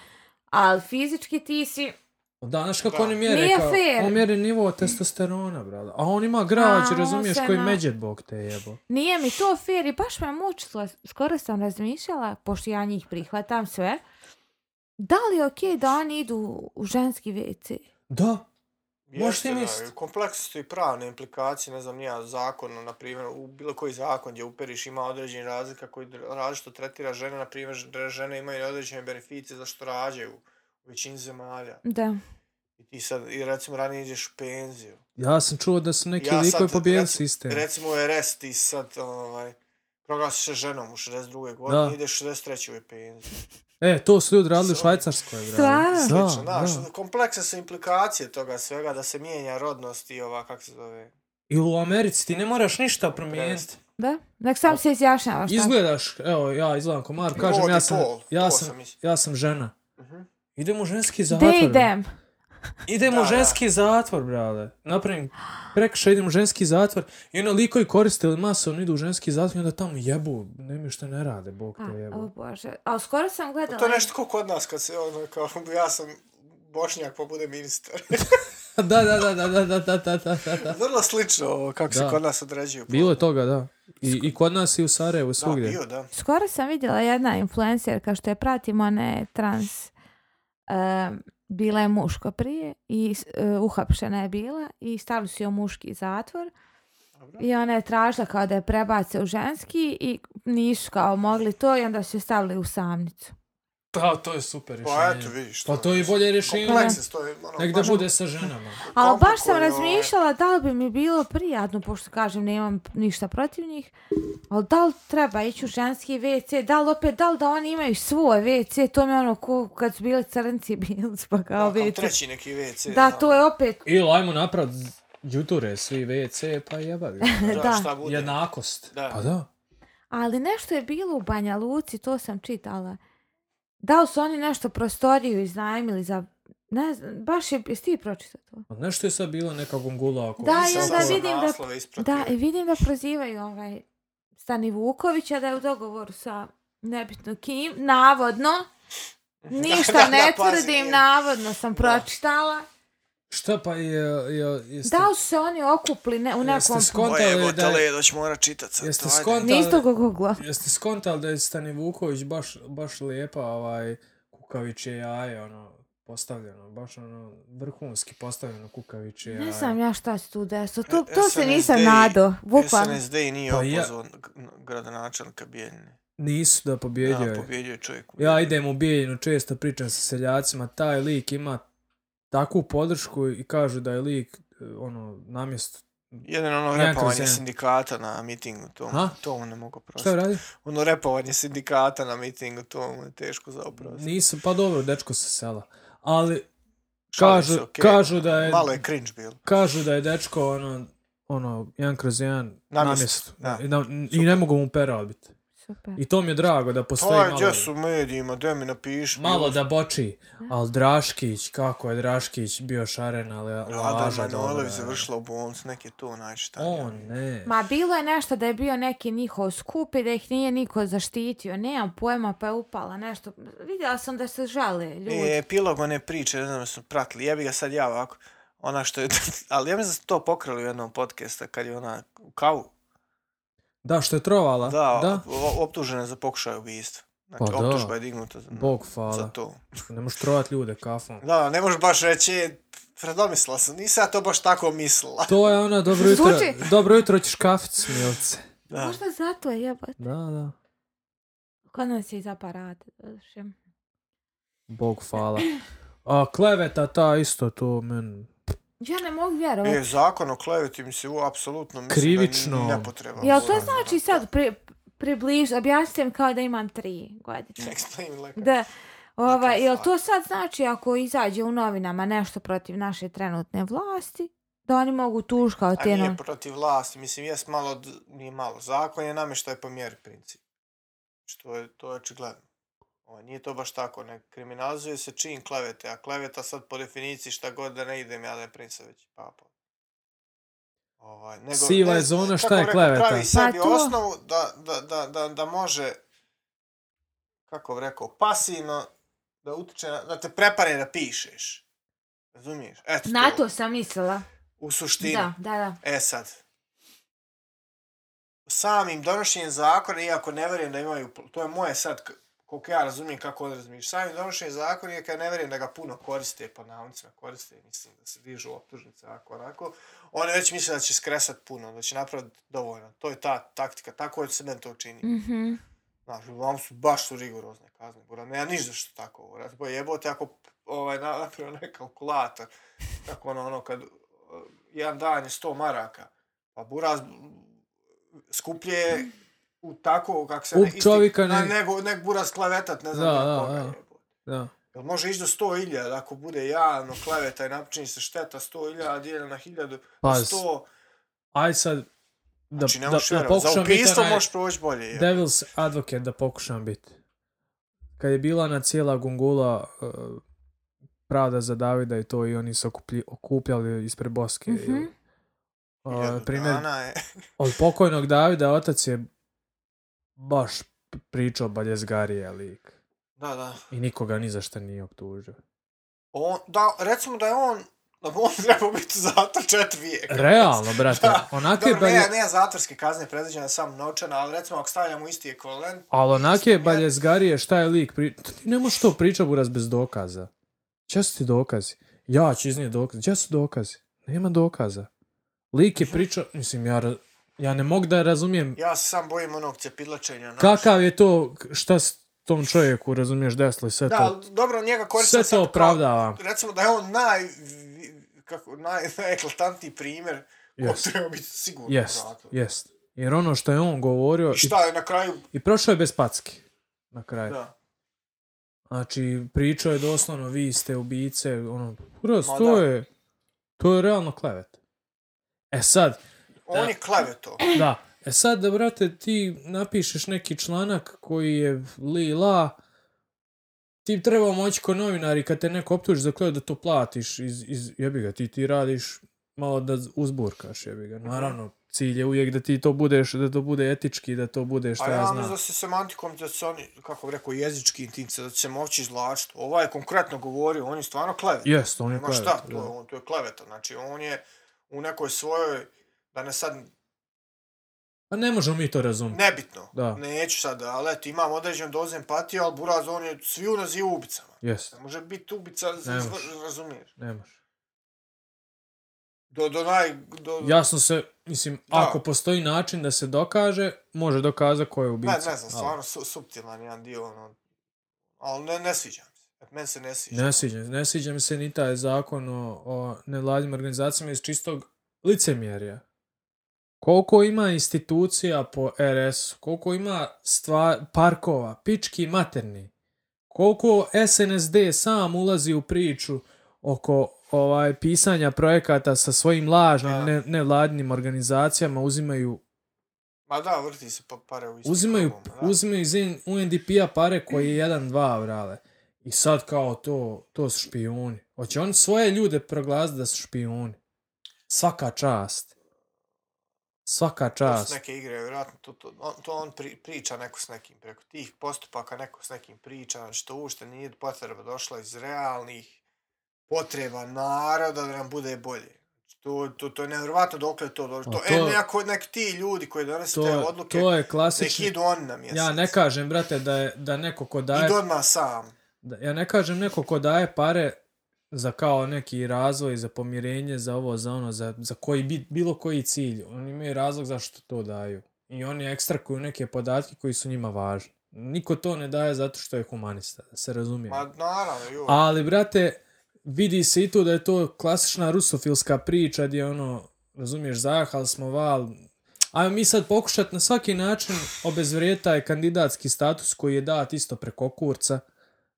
S2: ali fizički ti si,
S1: Danas kako
S3: Da.
S1: oni mjere,
S2: Nije
S1: kao,
S2: fair.
S1: on mjere nivo testosterona, brale. A on ima
S2: A,
S1: građ,
S2: on
S1: razumiješ,
S2: se
S1: koji
S2: na-
S1: međet, bog te jebo.
S2: nije mi to fair i baš me mučilo, skoro sam razmišljala, pošto ja njih prihvatam sve, da li je ok da oni idu u ženski WC?
S1: Da, Možeš ti
S3: Jeste, da,
S1: mislit.
S3: i Kompleksne su i pravne implikacije, ne znam, nija zakon, na primjer, u bilo koji zakon gdje uperiš ima određen razlika koji dr- različito tretira žene, na primjer, dre- žene imaju određene beneficije za što rađaju u većini zemalja.
S2: Da.
S3: I ti sad, i recimo, ranije ideš u penziju.
S1: Ja sam čuo da su neki
S3: Ja
S1: ja likovi
S3: sad,
S1: pobijeli
S3: rec-
S1: sistem.
S3: Recimo u RS ti sad, ovaj, proglasiš se ženom u 62. godini,
S1: Da.
S3: ideš u 63. u penziju.
S1: E, to su ljudi radili u
S3: Sorry.
S1: Švajcarskoj, brate.
S2: Stvarno?
S1: Da,
S3: Slično, znaš,
S1: da.
S3: kompleksne su implikacije toga svega, da se mijenja rodnost i ova, kako se zove,
S1: I u Americi ti ne moraš ništa promijeniti.
S2: Da? Nek sam se izjašnjava šta.
S1: Izgledaš, evo, ja izgledam ko Marko, kažem,
S3: Rod
S1: ja
S3: i
S1: sam,
S3: pol,
S1: ja
S3: to
S1: sam,
S3: sam mislio.
S1: ja sam žena.
S3: Mhm.
S1: Idem u ženski zatvor.
S2: Gde
S1: bro.
S2: idem?
S1: Idem u
S3: Da, da.
S1: ženski zatvor, brale. Napravim prekršaj, idem u ženski zatvor. I ono likovi koriste ili masovno idu u ženski zatvor i onda tamo jebu. Nemaju što ne rade, bog
S2: A,
S1: te
S2: Pa, o
S1: jebu.
S2: bože. A skoro sam gledala.
S3: Pa To je nešto kao kod nas kad se ono kao ja sam bošnjak pa bude ministar.
S1: Da, da, da, da, da, da, da, da, da, da.
S3: Vrlo slično ovo kako
S1: Da.
S3: se kod nas određuju.
S1: Bilo je toga, da. I, i kod nas i u Sarajevu,
S3: Da,
S1: svugdje.
S3: bio, da.
S2: Skoro sam vidjela jedna influencerka što je pratim, ona je trans, em, bila je muško prije i e, uhapšena je bila i stavili su joj muški zatvor
S3: Dobro.
S2: i ona je tražila kao da je prebace u ženski i nisu kao mogli to i onda su je stavili u samnicu.
S1: Pa, to je super rješenje.
S3: Pa eto, vidiš.
S1: Pa to je i bolje rješenje.
S3: Komplekse, to je ono...
S1: Nek da
S3: baš
S1: bude sa ženama.
S2: Ali baš sam
S3: komplikovano,
S2: razmišljala da li bi mi bilo prijatno, pošto kažem nemam ništa protiv njih, ali da li treba ići u ženski WC, da li opet, da li da oni imaju svoj WC, to mi je ono ko kad su bili crnci bili, pa kao
S3: ono, Kao
S2: WC.
S3: treći neki ono, WC.
S2: Da,
S3: znam.
S2: to je opet,
S1: Ili ajmo napraviti juture svi WC, pa jebavi.
S2: da.
S3: Šta bude.
S1: Jednakost.
S3: Da.
S1: Pa da.
S2: ali nešto je bilo u Banja Luci, to sam čitala. Da li su oni nešto prostoriju iznajmili za, ne znam, baš je, jesi ti pročitao to?
S1: A Nešto je sad bilo neka gungula oko...
S2: Da, i
S3: Nisam
S2: onda
S3: samo
S2: vidim da-
S3: naslove ispratio.
S2: Da, i vidim da prozivaju ovaj Stani Vukovića da je u dogovoru sa nebitno kim, navodno. Ništa
S3: Mhm. Da, da,
S2: ne
S3: pazi,
S2: tvrdim,
S3: nije.
S2: navodno sam pročitala.
S1: Šta pa je... je jeste,
S2: Da li su se oni okupli ne, u
S1: Jeste
S2: nekom...
S1: skon-
S3: Moje
S1: Kontale
S3: evo
S1: da
S3: da
S1: je-
S3: je... da ću morat čitat sad.
S1: Jeste
S3: to, ajde.
S1: skontali-
S2: Niste go googla.
S1: jeste skontali da je Stani Vuković baš, baš lijepa, ovaj, kukaviće jaje, ono, postavljeno, baš ono, vrhunski postavljeno kukaviće jaje.
S2: Ne znam ja šta se tu desilo. To,
S3: E,
S2: to se nisam
S3: SNSD
S2: nadao. Bukvalno.
S3: SNSD nije
S1: Pa ja-
S3: opozvan gradonačelnika Bijeljine.
S1: Nisu da pobjedio
S3: Da,
S1: je.
S3: pobjedio je čovjek. u
S1: Ja idem u Bijeljinu, često pričam sa seljacima, taj lik ima takvu podršku i kažu da je lik, eh, ono, namjesto...
S3: Jedan ono
S1: Nekako
S3: repovanje
S1: se-
S3: sindikata na mitingu, to,
S1: Ha?
S3: to mu ne mogu prostiti.
S1: Šta je radi?
S3: ono repovanje sindikata na mitingu, to mu je teško za oprost.
S1: Nisu, pa dobro, dečko sa sela. Ali,
S3: Šalim
S1: kažu,
S3: se, okej.
S1: kažu da je...
S3: Malo je cringe bilo.
S1: kažu da je dečko ono, ono, jedan kroz jedan
S3: Na
S1: na
S3: mjestu,
S1: mjestu.
S3: da.
S1: I, da, I ne mogu mu pera odbiti.
S2: Super.
S1: I to mi je drago da postoji
S3: Pa,
S1: malo,
S3: gdje su medijima, gdje mi napiši.
S1: malo da boči. Ali Draškić, kako je Draškić bio šaren, ali
S3: Rada
S1: laža
S3: Manojlović
S1: je.
S3: završila u bolnicu, neki je E, to najštanje.
S1: On, ne.
S2: Ma bilo je nešto da je bio neki njihov skup i da ih nije niko zaštitio. Nemam pojma pa je upala nešto. Vidjela sam da se žale ljudi.
S3: E, epilog one priče, ne znam da su pratili, jebi ga sad ja ovako. Ona što je, ali ja mislim da su to pokrali u jednom podcasta kad je ona u kavu,
S1: Da, što je trovala.
S3: da,
S1: da?
S3: o- optužena za pokušaj ubijstva. Znači,
S1: Pa da.
S3: optužba je dignuta za,
S1: Bog
S3: za
S1: hvala.
S3: to.
S1: Ne možeš trovat ljude kafom.
S3: Da, ne možeš baš reći, e, predomislila sam, nisam ja to baš tako mislila.
S1: To je ona, dobro jutro,
S2: Zvuči-
S1: dobro jutro ćeš kafić smilce.
S3: Da.
S2: Možda zato je jebat.
S1: Da, da.
S2: Kod nas je iz aparata. doduše.
S1: Bog hvala. A kleveta ta isto, to men...
S2: Ja ne mogu vjerovati.
S3: E, zakon o kleveti mi se u, apsolutno mislim
S1: Krivično.
S3: da je nepotreban.
S2: Jel to znači sad pri, približ, objasnim kao da imam tri godine.
S3: Explain like
S2: Da, ovaj, jel
S3: stvar.
S2: to sad znači ako izađe u novinama nešto protiv naše trenutne vlasti, da oni mogu tuž kao
S3: A
S2: te
S3: nije
S2: no...
S3: protiv vlasti, mislim, jes malo, d- nije malo. Zakon je namještaj po mjeri princip. Što je, to je očigledno. Ovo, nije to baš tako, ne kriminalizuje se čin klevete, a kleveta sad po definiciji šta god da ne idem ja da je princović papa. Ovaj, nego,
S1: Siva
S3: ne-
S1: je zona, šta
S3: kako
S1: je
S3: rekao,
S1: kleveta?
S3: Pravi sebi
S2: Pa to.
S3: osnovu da, da, da, da, da može, kako bi rekao, pasivno da utiče, na, da te prepare da pišeš. Razumiješ? Eto
S2: Na to sam mislila.
S3: U suštini.
S2: Da, da, da.
S3: E sad, samim donošenjem zakona, iako ne vjerujem da imaju, to je moje sad k- koliko ja razumijem kako on razmišlja. Sami donošenje zakon je kad ne vjerujem da ga puno koriste, po navnicima koriste, mislim da se dižu optužnice, ako onako. Oni već misle da će skresat puno, da će napraviti dovoljno. To je ta taktika, tako se meni to čini.
S2: Mhm.
S3: Znaš, uglavnom su baš su rigorozne kazne, bura, nema ništa što tako ovo, raz, bo jebote ako ovaj, na- napravio onaj kalkulator, tako ono, ono, kad uh, jedan dan je 100 maraka, pa buraz skuplje je u tako, kako se...
S1: Up
S3: ne- isti-
S1: čovjeka
S3: na,
S1: ne-
S3: nego, nek buraz klevetat, ne znam
S1: Da,
S3: ja
S1: da,
S3: koga,
S1: da.
S3: jebote.
S1: Da.
S3: Jel može ići do 100 iljada ako bude javno kleveta i napčini se šteta 100 iljada dijeljeno na 1000,
S1: Paz,
S3: 100...
S1: aj sad Pa da,
S3: znači, ne
S1: da,
S3: možeš
S1: da
S3: vjerovat, za
S1: pokušam biti
S3: upistvo
S1: onaj
S3: možeš proći bolje. jebote.
S1: devil's advocate da pokušam biti. Kad je bila na cijela gungula uh, pravda za Davida i to i oni su okuplji, okupljali ispred Boske. Mm
S2: Mhm.
S1: -hmm.
S3: Hiljadu
S1: Uh, primjer,
S3: dana je-
S1: od pokojnog Davida otac je baš p- pričao baljezgarije lik.
S3: Da, da.
S1: I nikoga ni za šta nije optužio.
S3: On, da, recimo da je on, da bi on trebao biti zato četiri vijeka.
S1: Realno, brate.
S3: Da.
S1: Onake
S3: Dobro,
S1: balje,
S3: ne, ne zatvorske kazne predviđene sam novčana, ali recimo ako stavljamo isti ekvivalent,
S1: ali onake baljezgarije šta je lik pri... Ti ne možeš to pričati buraz bez dokaza. Ća su ti dokazi? Ja ću iznijeti dokaze. Ća su dokazi? Nema dokaza. Lik je pričao... Mislim, ja, ra- ja ne mogu da razumijem
S3: ja se sam bojim onog cepidlačenja. znaš.
S1: kakav je to... Šta s tom čovjeku, razumiješ, desilo i sve
S3: Da,
S1: to.
S3: ali dobro, njega koriste
S1: Sve to
S3: sad kao-
S1: opravdavam.
S3: Recimo da je on naj, kako, naj, najeklatantniji primjer yes.
S1: Jest.
S3: ko treba biti sigurno
S1: Jest,
S3: u zatvoru.
S1: jest. Jer ono što je on govorio...
S3: I šta je na kraju,
S1: I, i prošao je bez packe. Na kraju.
S3: da.
S1: Znači, pričao je doslovno, vi ste ubice, ono, kuras,
S3: Ma
S1: to
S3: da.
S1: je, to je realno klevet. E sad,
S3: On je kleveto.
S1: da, e sad da, brate, ti napišeš neki članak koji je li la, ti bi trebao moći ko novinar i kad te neko optuži za klevet da to platiš iz, iz jebi ga, ti, ti radiš malo da z- uzburkaš, jebi ga. Naravno, cilj je uvijek da ti to budeš, da to bude etički, da to bude šta
S3: A
S1: ja,
S3: ja mislim
S1: znam.
S3: da se semantikom, da se oni, kako bi rekao, jezički intimce, da će se moći izlačiti. Ovaj je konkretno govorio, on je stvarno klevet.
S1: Jest, on je
S3: Nema
S1: klevet.
S3: šta, to,
S1: da.
S3: je- on, to je kleveta. Znači, on je u nekoj svojoj, da ne sad,
S1: A ne možemo mi to razumjeti.
S3: nebitno.
S1: Da.
S3: Neću sad, ali eto, imam određen dozu empatije, ali Buraz, on je svi u nazivu ubicama.
S1: Jest,
S3: Ne može biti ubica, z-
S1: Ne
S3: z-
S1: može.
S3: razumiješ?
S1: ne može.
S3: Do, do naj... Do,
S1: Jasno se, mislim,
S3: Da.
S1: da. ako postoji način da se dokaže, može dokaza ko je
S3: ne,
S1: ubica.
S3: ne znam, stvarno su, suptilan jedan dio, ono, ali ne, ne sviđa mi se. Meni se ne sviđa.
S1: Ne sviđa, ne sviđa mi se ni taj zakon o, o nevladnim organizacijama iz čistog licemjerja. Koliko ima institucija po RS, koliko ima stva, parkova, pički i materni, koliko SNSD sam ulazi u priču oko ovaj pisanja projekata sa svojim
S3: Da.
S1: lažnim ne, nevladnim organizacijama uzimaju
S3: Ma da, vrti se pa pare u istim
S1: Uzimaju,
S3: krugom, da.
S1: uzimaju iz N- UNDP-a pare koji je 1-2, vrale. I sad kao to, to su špijuni. Hoće oni svoje ljude proglasiti da su špijuni. Svaka čast. Svaka
S3: To su
S1: čast.
S3: neke igre, vjerojatno, to, to, on, to on pri, priča neko s nekim, preko tih postupaka neko s nekim priča, znači to ušte nije potreba došla iz realnih potreba naroda da nam bude bolje. Znači To, to, to je nevjerovatno dokle je to došlo.
S1: A
S3: To,
S1: to-
S3: to, e, ako neki ti ljudi koji donose
S1: To,
S3: te
S1: je-
S3: odluke,
S1: to je
S3: nek
S1: klasični...
S3: idu oni na mjesec.
S1: Ja ne kažem, brate, da, je, da neko ko daje...
S3: Idu odmah sam.
S1: Da, ja ne kažem neko ko daje pare za kao neki razvoj, za pomirenje, za ovo, za ono, za, za koji bi, bilo koji cilj. Oni imaju razlog zašto to daju. I oni ekstrakuju neke podatke koji su njima važni. Niko to ne daje zato što je humanista, da se razumije.
S3: Ma naravno, ju.
S1: Ali, brate, vidi se i to da je to klasična rusofilska priča gdje ono, razumiješ, zahal smo val, ajmo mi sad pokušat na svaki način obezvrijeti taj kandidatski status koji je dat isto preko kurca,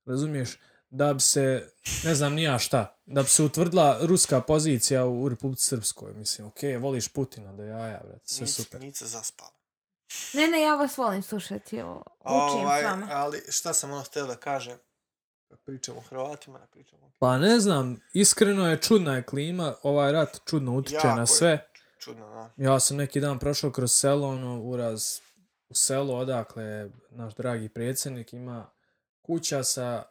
S1: razumiješ, da bi se, ne znam nija šta, da bi se utvrdila ruska pozicija u, u Republici Srpskoj, mislim, okej, voliš Putina, do jaja, brate, sve super.
S3: Nic se zaspala.
S2: Ne, ne, ja vas volim slušati. o- Učim
S3: Ovaj,
S2: s vama.
S3: ali šta sam ono htio da kažem? Kad pričamo o Hrvatima, ne pričamo o
S1: Pa ne znam, iskreno je čudna je klima, ovaj rat čudno utiče
S3: Jako je.
S1: na sve.
S3: čudno, da.
S1: Ja sam neki dan prošao kroz selo, ono, uraz, u selu odakle je naš dragi predsjednik ima kuća sa,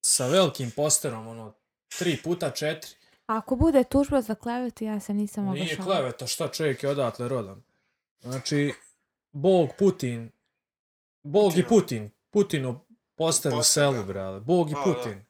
S1: sa velikim posterom, ono, tri puta četiri.
S2: Ako bude tužba za klevetu, ja se nisam oglašala.
S1: Nije kleveta, šta čovjek je odatle rodan. Znači, Bog Putin, Bog i Putin, Putinu poster u
S3: Poster,
S1: selu,
S3: da.
S1: brale. Bog i
S3: ono. Pa, Da,
S1: Putin.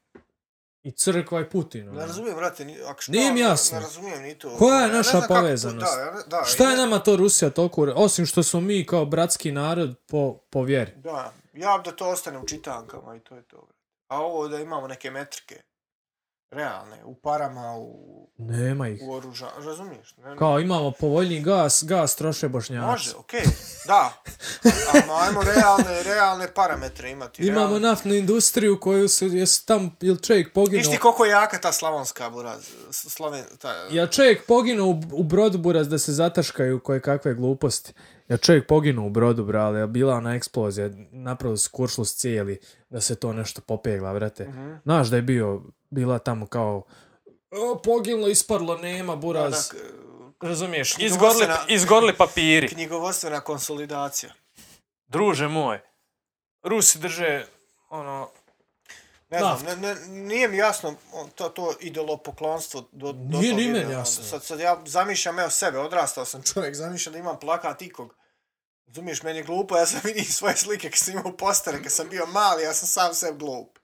S1: I crkva i Putin. ono.
S3: Ne razumijem, brate, ni, ako šta,
S1: Nije mi jasno.
S3: Ne razumijem ni to.
S1: Koja je
S3: Ja ne
S1: naša
S3: znam kako-
S1: povezanost?
S3: Da, ja ne- da,
S1: Šta
S3: ja-
S1: je nama to Rusija toliko... ure- Osim što smo mi kao bratski narod po, po vjeri.
S3: Da, ja bi da to ostane u čitankama i to je to. brate. A ovo da imamo neke metrike, realne, u parama, u,
S1: Nema ih.
S3: u oružanju, razumiješ? Ne, ne.
S1: Kao imamo povoljni gas, gas troše bošnjaci.
S3: Može, okej, da. Ali ajmo realne, realne parametre imati.
S1: Imamo
S3: realne.
S1: naftnu industriju koju su, jesu tam, jel čovjek
S3: Viš
S1: poginuo?
S3: ti koliko je jaka ta slavonska buraz, s- sloven, ta,
S1: Ja čovjek poginuo u, u brodu buraz da se zataškaju koje kakve gluposti. Ja čovjek poginuo u brodu, brale, ja bila ona eksplozija, napravili su kuršlus cijeli da se to nešto popegla, brate.
S3: Mhm.
S1: Znaš da je bio, bila tamo kao o, poginulo, isparlo, nema buraz.
S3: ta k-
S6: Razumiješ, izgorli,
S3: Knjigovodstvena-
S6: izgorli papiri.
S3: knjigovodstvena konsolidacija.
S6: Druže moj, Rusi drže ono,
S3: Ne
S1: Da.
S3: znam, ne, ne, nije mi jasno o, to, to idolopoklonstvo. Do, do
S1: Nije
S3: tog
S1: ni meni
S3: ide, ono,
S1: jasno.
S3: Sad, sad ja zamišljam, evo sebe, odrastao sam čovjek, zamišljam da imam plakat ikog. Razumiješ, meni je glupo, ja sam vidio svoje slike kad sam imao postere, kad sam bio mali, ja sam sam sebi glup.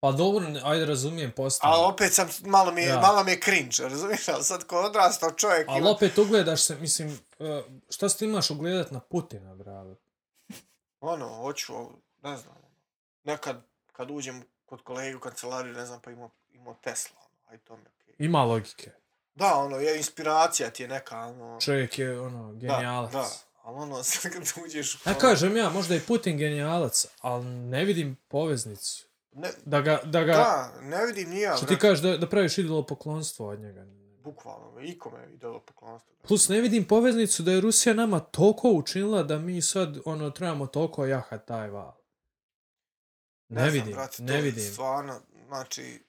S1: Pa dobro, ne- ajde razumijem postavno.
S3: Ali opet sam, malo mi, je,
S1: Da.
S3: malo mi je cringe, razumiješ, ali sad ko odrastao čovjek...
S1: Ali
S3: ima-
S1: opet ugledaš se, mislim, e, šta se ti imaš ugledat na Putina, brale?
S3: ono, hoću, ovo, ne znam, nekad kad uđem kod kolege u kancelariju, ne znam, pa imao, imao Tesla, ono, aj to mi je okej.
S1: Ima logike.
S3: Da, ono, je inspiracija ti je neka, ono,
S1: Čovjek je, ono, genijalac.
S3: Da, da, ali ono, sad kad uđeš ono, u...
S1: Ja kažem ja, možda je Putin genijalac, ali ne vidim poveznicu.
S3: Ne,
S1: Da ga, da ga,
S3: da, ne vidim ni ja,
S1: što ti
S3: brate,
S1: kažeš da, da praviš idolo poklonstvo od njega.
S3: bukvalno, ikome je idolo poklonstvo.
S1: Plus ne vidim poveznicu da je Rusija nama toliko učinila da mi sad, ono, trebamo toliko jahat taj val. Ne,
S3: znam,
S1: vidim,
S3: brate, to
S1: ne
S3: je
S1: vidim.
S3: Stvarno, znači,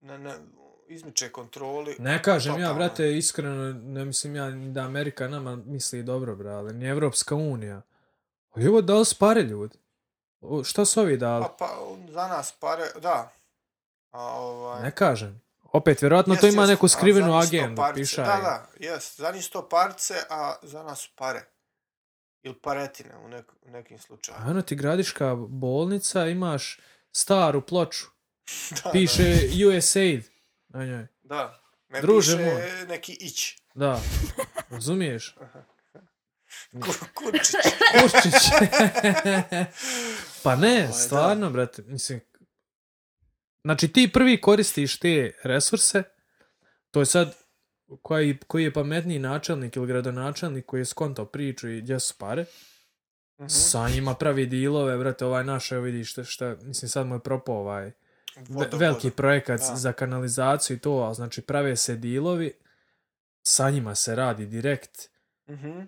S3: ne, ne, izmiče kontroli.
S1: Ne kažem ja,
S3: Totalno.
S1: brate, iskreno, ne mislim ja ni da Amerika nama misli dobro, brale, ni Evropska unija. Ali ovo dali su pare ljudi. O, Šta su ovi dali?
S3: Pa, pa, za nas pare, da. A, ovaj...
S1: Ne kažem. Opet, vjerojatno to
S3: Jest,
S1: ima
S3: jest,
S1: neku
S3: a
S1: skrivenu
S3: za njih sto
S1: agendu,
S3: parce.
S1: piša
S3: Da,
S1: je.
S3: da, jest. Za njih sto parce, a za nas su pare. Ili paretine u nek, u nekim
S1: A
S3: slučajima.
S1: Ono ti gradiška bolnica, imaš staru ploču,
S3: Da,
S1: piše USAID na njoj.
S3: Da, da. Ne
S1: Druže
S3: piše
S1: moj.
S3: neki ić.
S1: Da, razumiješ?
S3: Kur- Kurčić.
S1: Kurčić. pa ne,
S3: Ovaj, da.
S1: stvarno, brate, mislim... Znači, ti prvi koristiš te resurse, to je sad koji, koji je pametniji načelnik ili gradonačelnik koji je skontao priču i gdje su pare,
S3: Mhm.
S1: sa njima pravi dilove, brate, ovaj naš, evo vidiš šta, šta, mislim, sad mu je propao ovaj ve-
S3: Vodovod.
S1: veliki projekat
S3: Da.
S1: za kanalizaciju i to, ali znači prave se dilovi, sa njima se radi direkt,
S3: Mhm,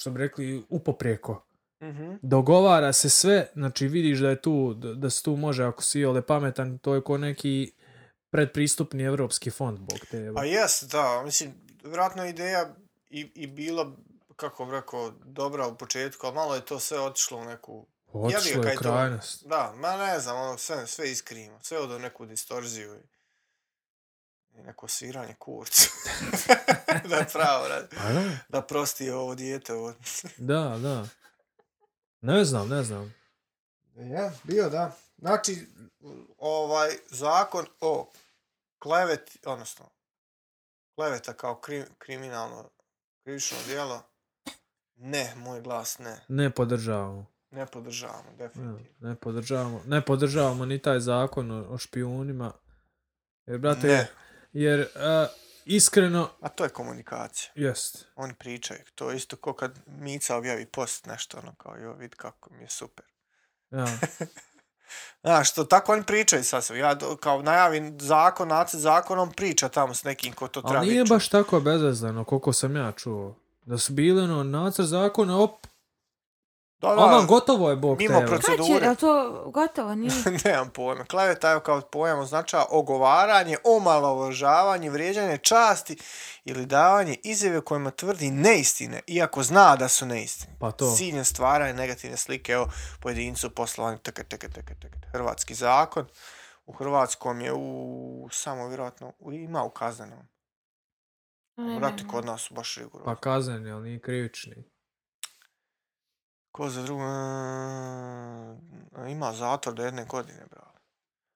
S1: što bi rekli, upoprijeko.
S3: mhm.
S1: Dogovara se sve, znači vidiš da je tu, da da se tu može, ako si ole pametan, to je ko neki predpristupni evropski fond, bog te jeba.
S3: Pa jes, da, mislim, vjerojatno je ideja i, i bila, kako bih rekao, dobra u početku, ali malo je to sve otišlo u neku jebi
S1: Otišlo
S3: ga,
S1: je
S3: kaj to-
S1: krajnost.
S3: Da, ma ne znam, ono, sve, sve iskrimo, sve odo neku distorziju i, i neko sviranje kurca. da je pravo, da,
S1: Pa da,
S3: da prosti ovo dijete od...
S1: da, da. Ne znam, ne znam.
S3: Ja, E, bio, da. Znači, ovaj zakon o klevet, odnosno, kleveta kao kri, kriminalno krivično djelo, ne, moj glas ne,
S1: Ne podržavamo.
S3: ne podržavamo,
S1: Ja,
S3: definitivno.
S1: ne podržavamo, ne podržavamo ni taj zakon o, o špijunima. Jer, brate,
S3: Ne,
S1: jer uh, iskreno,
S3: a to je komunikacija.
S1: jest.
S3: oni pričaju. To je isto ko kad Mica objavi post nešto, ono kao, jo, vidi kako mi je super.
S1: Ja.
S3: Znaš, to tako oni pričaju sasvim. Ja do- kao najavim zakon, nacet zakon, on priča tamo s nekim ko to treba
S1: Ali nije
S3: vidjeti.
S1: baš tako bezazleno, koliko sam ja čuo. Da su bili ono nacr zakona, op,
S3: Da, da,
S1: ono gotovo je Bog
S3: mimo
S1: teva.
S3: proce-
S2: Kad će,
S3: Procedure.
S2: je to gotovo? Nije.
S3: Nemam pojma. Kleveta je kao pojam označava ogovaranje, omalovažavanje, vrijeđanje časti ili davanje izjave kojima tvrdi neistine, iako zna da su neistine.
S1: Pa to.
S3: S ciljem stvaranja negativne slike o pojedincu, poslovanju, tk, tk, tk, tk. Hrvatski zakon u hrvatskom je u, samo vjerojatno, u, ima u kaznenom.
S2: Ne, ne,
S3: Vrati
S2: ne.
S3: kod nas su baš rigoro.
S1: Pa
S3: Pa.
S1: kazan, ali nije krivični.
S3: Ko za drugo? ono, ima zatvor do jedne godine, bravo.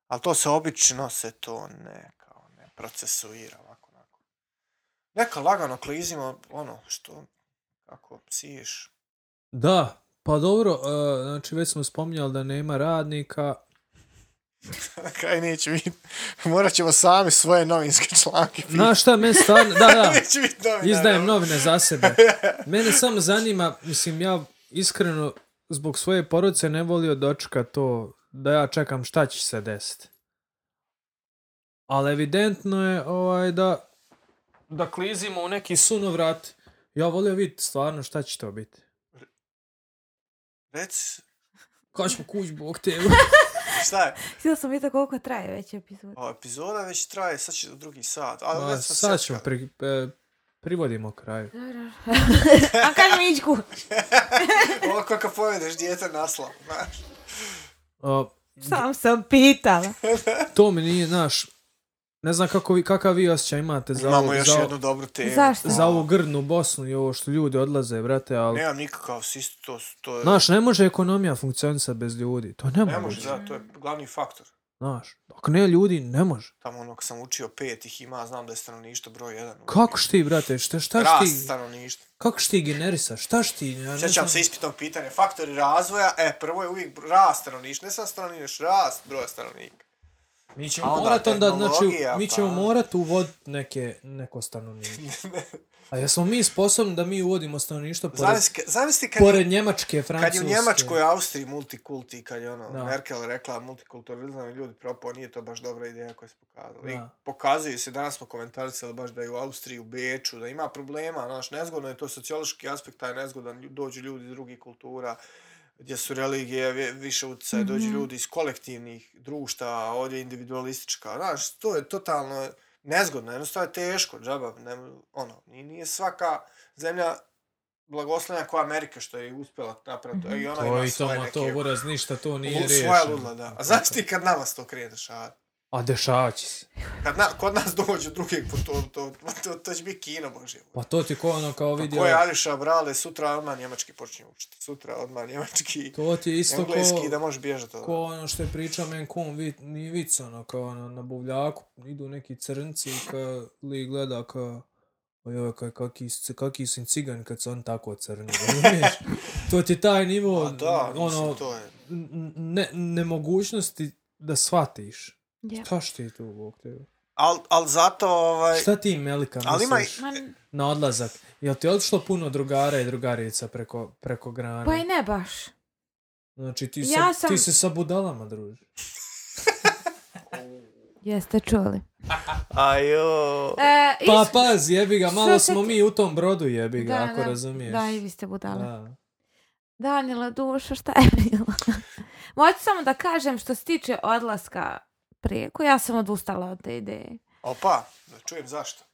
S3: Ali to se obično se to ne, kao ne, procesuira, ovako, onako. Neka lagano klizimo, ono, što, kako siješ.
S1: Da, pa dobro, e, znači već smo spominjali da nema radnika.
S3: Kaj neće biti, morat ćemo sami svoje novinske članke
S1: Znaš šta, meni stvarno, da, da,
S3: Neće biti novina.
S1: izdajem novine za sebe. Mene samo zanima, mislim, ja iskreno zbog svoje porodice ne volio dočekat to da ja čekam šta će se desiti. Ali evidentno je ovaj da da klizimo u neki sunovrat. Ja volio vidjeti stvarno šta će to biti.
S3: Reci,
S1: Kao ćemo kuć bog te.
S3: šta je?
S2: Htjela sam vidjeti koliko traje već epizod.
S3: Ova epizoda već traje, sad će do drugi sat. Ali
S1: Ma,
S3: već sam
S1: Pa, sad
S3: sećka.
S1: ćemo pri, e, privodimo kraju.
S2: A kad mi ići kuć?
S3: Ovo kako povedeš djete naslov, znaš.
S1: O,
S2: Sam sam pitala.
S1: to mi nije, znaš, ne znam kako vi, kakav vi osjećaj imate za,
S3: Imamo
S1: ovu,
S3: još
S1: za,
S3: jednu dobru temu.
S2: Zašto?
S1: za ovu grdnu Bosnu i ovo što ljudi odlaze, brate, ali...
S3: Nemam nikakav sist, to, to je...
S1: Znaš, ne može ekonomija funkcionisati bez ljudi. To ne,
S3: ne može,
S1: može,
S3: da, to je glavni faktor.
S1: znaš. Ako ne ljudi, ne može.
S3: Tamo ono kad sam učio pet ih ima, znam da je stanovništvo broj jedan.
S1: Kako šti, brate, šta, šta
S3: Rast
S1: šti,
S3: stanovništva.
S1: kako šti generisa, šta šti, ja ne znam.
S3: Sjećam se ispitno pitanje, faktori razvoja, e, prvo je uvijek br- rast stanovništva, ne sam stanovništvo, rast broja stanovnika.
S1: Mi ćemo
S3: A onda
S1: morat onda, znači,
S3: tehnologija,
S1: mi
S3: pa.
S1: ćemo morat uvodit neke, neko stanovništvo. A jesmo mi sposobni da mi uvodimo stanovništvo pored,
S3: Zamisli, zamisli kad, je,
S1: pored Njemačke,
S3: kad je
S1: Francuske?
S3: u Njemačkoj i Austriji multikulti, kad je ono,
S1: Da.
S3: Merkel rekla multikulturalizam i ljudi propao, nije to baš dobra ideja koja se pokazala. I
S1: Da.
S3: pokazuju se, danas smo komentarisali baš da je u Austriji, u Beču, da ima problema, znaš, nezgodno je to sociološki aspekt, taj nezgodan, lju- dođu ljudi iz drugih kultura, gdje su religije vi- više utjecaje, dođu
S2: Mhm.
S3: ljudi iz kolektivnih društva, a ovdje je individualistička, znaš, to je totalno nezgodno, jednostavno je teško, džaba, ne, ono, i nije svaka zemlja blagoslovljena kao Amerika što je uspjela napraviti,
S2: Mhm.
S3: i ona
S1: To
S3: ima
S1: i to,
S3: svoje
S1: ma
S3: neke...
S1: to voraz ništa, to nije
S3: Nije
S1: riješeno.
S3: svoja ludla, da. A znaš ti kad nama se to krije dešavati?
S1: A dešavat će se.
S3: Kad na, kod nas dođu drugi put, to, to, to, to će biti kino, bože.
S1: Pa to ti ko ono kao
S3: Pa
S1: vidio...
S3: ko je Ališa Brale, sutra odmah njemački počinje učiti. Sutra odmah njemački,
S1: To ti je isto ko,
S3: engleski, da možeš bježati.
S1: ko
S3: Ko...
S1: ono što je pričao men kun, vi, nije vic ono, kao ono, na buvljaku idu neki crnci i kao li gleda kao Ojoj, kaj, kaki, s- kaki sam cigan kad se on tako crni, razumiješ? to ti je taj nivo,
S3: Pa da, ono...
S1: ono,
S3: mislim, to je.
S1: n- n- ne, nemogućnosti da shvatiš.
S2: Ja.
S1: Šta što je tu, Bog te?
S3: Al, al zato, ovaj...
S1: Šta ti, Melika,
S3: Ali ima-
S1: misliš?
S2: Ma,
S1: na odlazak. Jel ti je otišlo puno drugara i drugarica preko, preko grane?
S2: pa i ne baš.
S1: Znači ti,
S2: Ja
S1: ja sa,
S2: sam-
S1: ti se sa budalama druži.
S2: Jeste čuli.
S3: Ajo...
S2: E,
S1: Pa
S2: is-
S1: pazi, jebi ga,
S2: što
S1: malo
S2: se
S1: smo
S2: ti-
S1: mi u tom brodu jebi ga,
S2: Da,
S1: ako
S2: da.
S1: razumiješ.
S2: Da, i vi ste budale.
S1: Da.
S2: Danila, dušo, šta je bilo? Moću samo da kažem što se tiče odlaska preko, ja sam odustala od te ideje.
S3: Opa, da čujem zašto.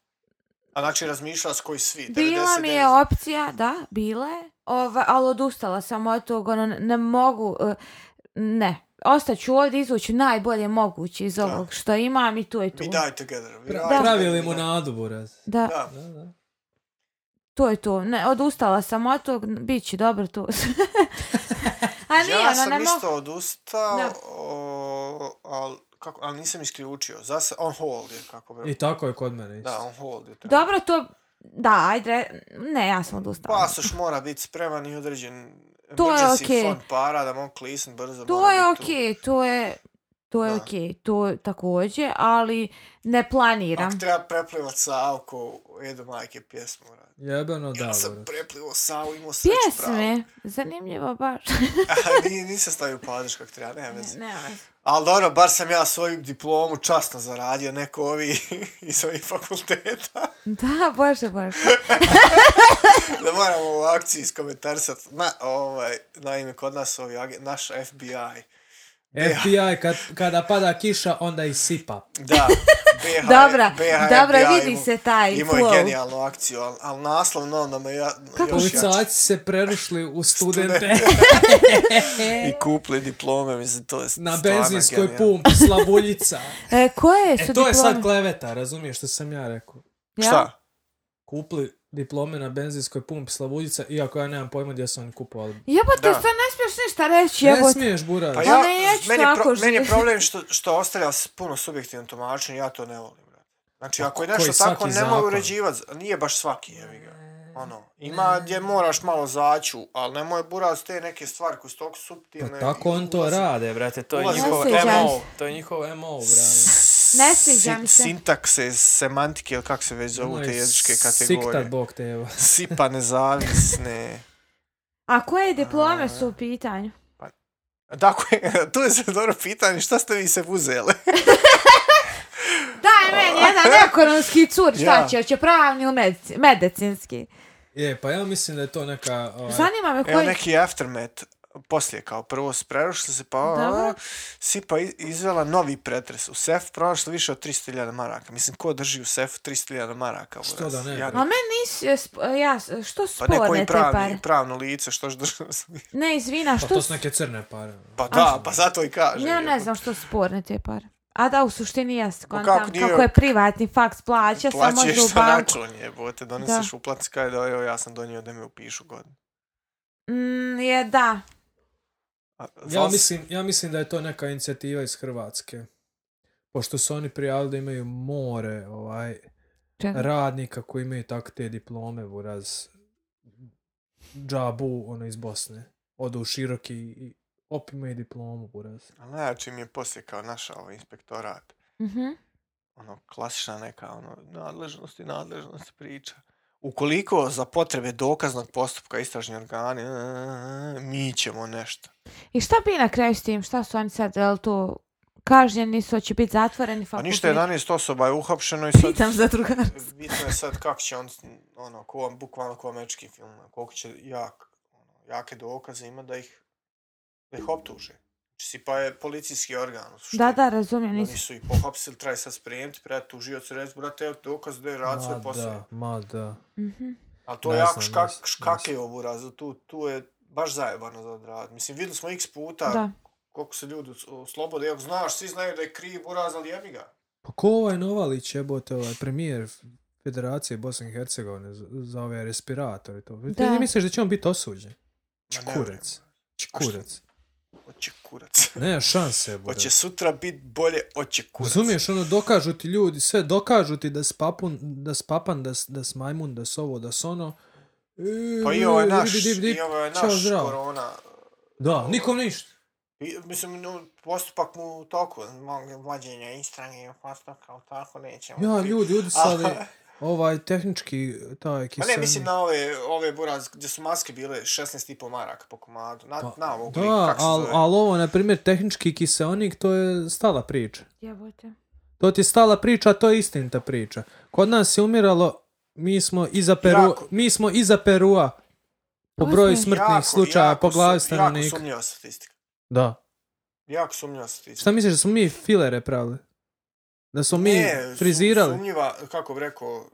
S3: A znači razmišljala s koji svi, 99.
S2: Bila mi je opcija, da, bila je, ova, ali odustala sam od toga, ono, ne mogu, eh, ne, ostaću ovdje, izvuću najbolje moguće iz
S3: Da.
S2: ovog što imam i tu je tu.
S3: We die together. We
S2: Pra-
S3: die
S1: Pravili
S3: together.
S1: mu nadu, buraz.
S2: Da,
S3: Da,
S1: Da, da.
S2: to je to. Ne, odustala sam od tog, bit će dobro to. A nije,
S3: ja
S2: ono,
S3: sam
S2: ne mogu.
S3: isto odustao,
S2: Da.
S3: o, al, kako, ali nisam isključio. Zase, on hold je, kako bi...
S1: I tako je kod mene isto.
S3: Da, on hold je. trenutno.
S2: Dobro, to, da, ajde, re- ne, ja sam odustala.
S3: Pasoš mora biti spreman i određen
S2: To je
S3: emergency
S2: okej.
S3: fond para da mogu klisn brzo.
S2: To
S3: mora
S2: je
S3: biti tu.
S2: okej, to je to je
S3: Da.
S2: okej, to također, ali ne planiram.
S3: Ako treba preplivat Savu ko Edo Majke pjesmu radi.
S1: Jebeno da,
S3: Ja sam
S1: buraz.
S3: preplivao Savu, imao sreću pravu.
S2: Pjesme, zanimljivo baš.
S3: A, nije- nisam stavio padež kako treba, nema veze.
S2: ne, ne.
S3: Ali dobro, bar sam ja svoju diplomu časno zaradio, neko ovi iz ovih fakulteta.
S2: Da, bože, bože.
S3: da moramo u akciji iskomentarisat. Na, ovaj, naime, kod nas ovi, agen- naš FBI.
S1: FBI, kad, kada pada kiša, onda i sipa.
S3: Da, E, BH,
S2: Dobra,
S3: BH,
S2: dobra,
S3: FBI
S2: vidi
S3: imao-
S2: se taj
S3: Imao
S2: flow.
S3: je genijalnu akciju, ali al naslovno onda me ja,
S2: Kako
S3: još jače.
S1: Policajci se prerušli u studente
S3: I kupli diplome, mislim, to je
S1: na
S3: stvarno
S1: benzinskoj
S3: genijalno.
S1: pumpi, slavuljica.
S2: E, koje su
S1: E, to je sad
S2: diplome?
S1: kleveta, razumiješ što sam ja rekao.
S2: Ja?
S3: Šta?
S1: Kupli diplome na benzinskoj pumpi Slavuljica, iako ja nemam pojma gdje su oni kupovali.
S2: Jebote,
S3: Da.
S2: sve ne smiješ ništa reći,
S1: Ne
S2: jebote.
S1: smiješ, buraš.
S3: Pa
S2: Pa
S3: ja,
S2: ne, ja ću
S3: meni, je
S2: tako
S3: pro,
S2: ži-
S3: meni je problem što, što ostavlja s- puno subjektivno tumačenje, ja to ne volim. brate. Znači, ako je
S1: Pa koji
S3: nešto tako,
S1: svaki
S3: ne mogu
S1: zakon.
S3: uređivati, nije baš svaki, jevi ga.
S2: E.
S3: Ono, ima gdje moraš malo zaću, ali nemoj burac te neke stvari koje su toliko
S1: Pa
S3: suptilne.
S1: tako
S3: i
S1: on to
S3: ulaze-
S1: rade, brate, to je
S3: Ulazi-
S1: njihov
S2: Ne sviđa mi
S1: MO,
S2: se.
S1: to je njihov MO, brate.
S2: Ne sviđa mi se.
S3: Sintakse, semantike, ili kako se već zovu te jezičke
S1: Ono Siktar
S3: kategorije.
S1: bog te evo.
S3: Sipa nezavisne.
S2: A koje diplome su u pitanju?
S3: Dakle, tu je se dobro pitanje, šta ste vi se uzeli?
S2: Daj meni jedan ekonomski cur, šta
S3: Ja.
S2: će, hoće pravni ili medici- medicinski?
S1: Je, pa ja mislim da je to neka... Ovaj,
S2: Zanima me
S3: Evo
S2: koji...
S3: neki aftermath poslije kao prvo s- prerušili se pa
S2: Dobro.
S3: a, Sipa i- izvela novi pretres u sef pronašli više od 300.000 maraka mislim ko drži u sefu 300.000 maraka
S1: Što
S3: buraz?
S1: da ne,
S2: Ma meni nisi, e, sp- e, ja, s- što su
S3: pa neko
S2: sporne
S3: i
S2: te pare?
S3: pravni, pravno lice što što drži
S2: Ne, izvina,
S1: pa
S2: što
S1: to
S2: su...
S1: su neke crne pare. ono.
S3: pa da pa zato i kaže
S2: Ja ne znam što su sporne te pare. A da, u suštini jeste, kontam,
S3: kako nije-
S2: kako je privatni faks plaća, samo
S3: plaćeš
S2: može u
S3: sa
S2: banku.
S3: račun jebote doneseš uplatnicu kaj da evo ja sam donio da me upišu godinu
S2: Mm, je, da.
S3: A,
S1: Ja
S3: zvali se-
S1: mislim, ja mislim da je to neka inicijativa iz Hrvatske. Pošto su oni prijavili da imaju more ovaj
S2: Čekaj.
S1: radnika koji imaju tako te diplome buraz džabu ono iz Bosne. Odu u široki i op imaju diplomu buraz.
S3: ali najjači mi je poslije kao naša ovaj inspektorat
S2: Mhm.
S3: ono, klasična neka, ono, nadležnost i nadležnost priča. Ukoliko za potrebe dokaznog postupka istražni organi, e, mi ćemo nešto.
S2: I šta bi na kraju s tim? Šta su oni sad, je li to kažnjeni su, će biti zatvoreni
S3: Pa
S2: fakultet?
S3: ništa, 11 osoba je uhapšeno i
S2: Pitam
S3: sad...
S2: za drugara.
S3: Bitno je sad kako će on, ono, ko vam, bukvalno ko američki film, ono, koliko će jak, ono, jake dokaze ima da ih, da ih optuže. Znači, si pa je policijski organ. u suštini.
S2: Da, da, razumijem,
S3: Oni
S2: nisam.
S3: su ih pohapsili, traje sad spremiti, pred tužiocu reći, brate, evo dokaz da je rad svoj
S1: Ma
S3: posao.
S1: da, ma da.
S2: Mhm.
S3: Ali to je
S1: Ne
S3: jako
S1: znam,
S3: škak,
S1: nisam-
S3: škake ovu razu, tu, tu je baš zajebano za odrad. Mislim, vidjeli smo x puta
S2: Da.
S3: koliko se ljudi os- oslobode, iako znaš, svi znaju da je kriv uraz, ali jebi ga.
S1: Pa ko ovaj Novalić jebote, ovaj premijer Federacije Bosne i Hercegovine za, za ove respiratore i to. Ti
S2: Da.
S1: ne misliš da će on biti osuđen?
S3: Ma ne vjerujem.
S1: Čkurac. Čkurac.
S3: Oće kurac.
S1: Ne, šanse, bude.
S3: Oće sutra bit bolje, oće kurac.
S1: Razumiješ, ono, dokažu ti ljudi, sve dokažu ti da s papun, da s papan, da s, da s majmun, da s ovo, da s ono. E,
S3: Pa i ovaj
S1: e,
S3: naš,
S1: dip, dip, dip,
S3: i ovaj
S1: čao,
S3: naš
S1: zdravo.
S3: korona.
S1: Da, nikom ništa.
S3: I, mislim, no, postupak mu u toku, mog vađenja istrage, postupak kao tako, nećemo.
S1: Ja,
S3: ti-
S1: ljudi udisali
S3: Aha.
S1: ovaj tehnički taj
S3: Ma
S1: kisani.
S3: Pa ne, mislim na ove, ove buraz, gdje su maske bile 16,5 maraka po komadu. Na,
S1: Pa,
S3: na ovo,
S1: Da,
S3: kako se
S1: ali
S3: zove.
S1: al ovo, na primjer, tehnički kiseonik, to je stala priča.
S2: Jebote.
S1: To ti je stala priča, a to je istinita priča. Kod nas je umiralo, mi smo iza, Peru,
S3: Jako.
S1: mi smo iza Perua po
S2: To
S1: broju
S2: smo-
S1: smrtnih slučaja po glavi
S3: sum- Jako
S1: stanovnika.
S3: sumnjiva statistika.
S1: Da.
S3: Jako sumnjiva statistika.
S1: Šta misliš da smo mi filere pravili? Da smo mi
S3: Ne, su-
S1: frizirali?
S3: Sumnjiva, kako bi rekao,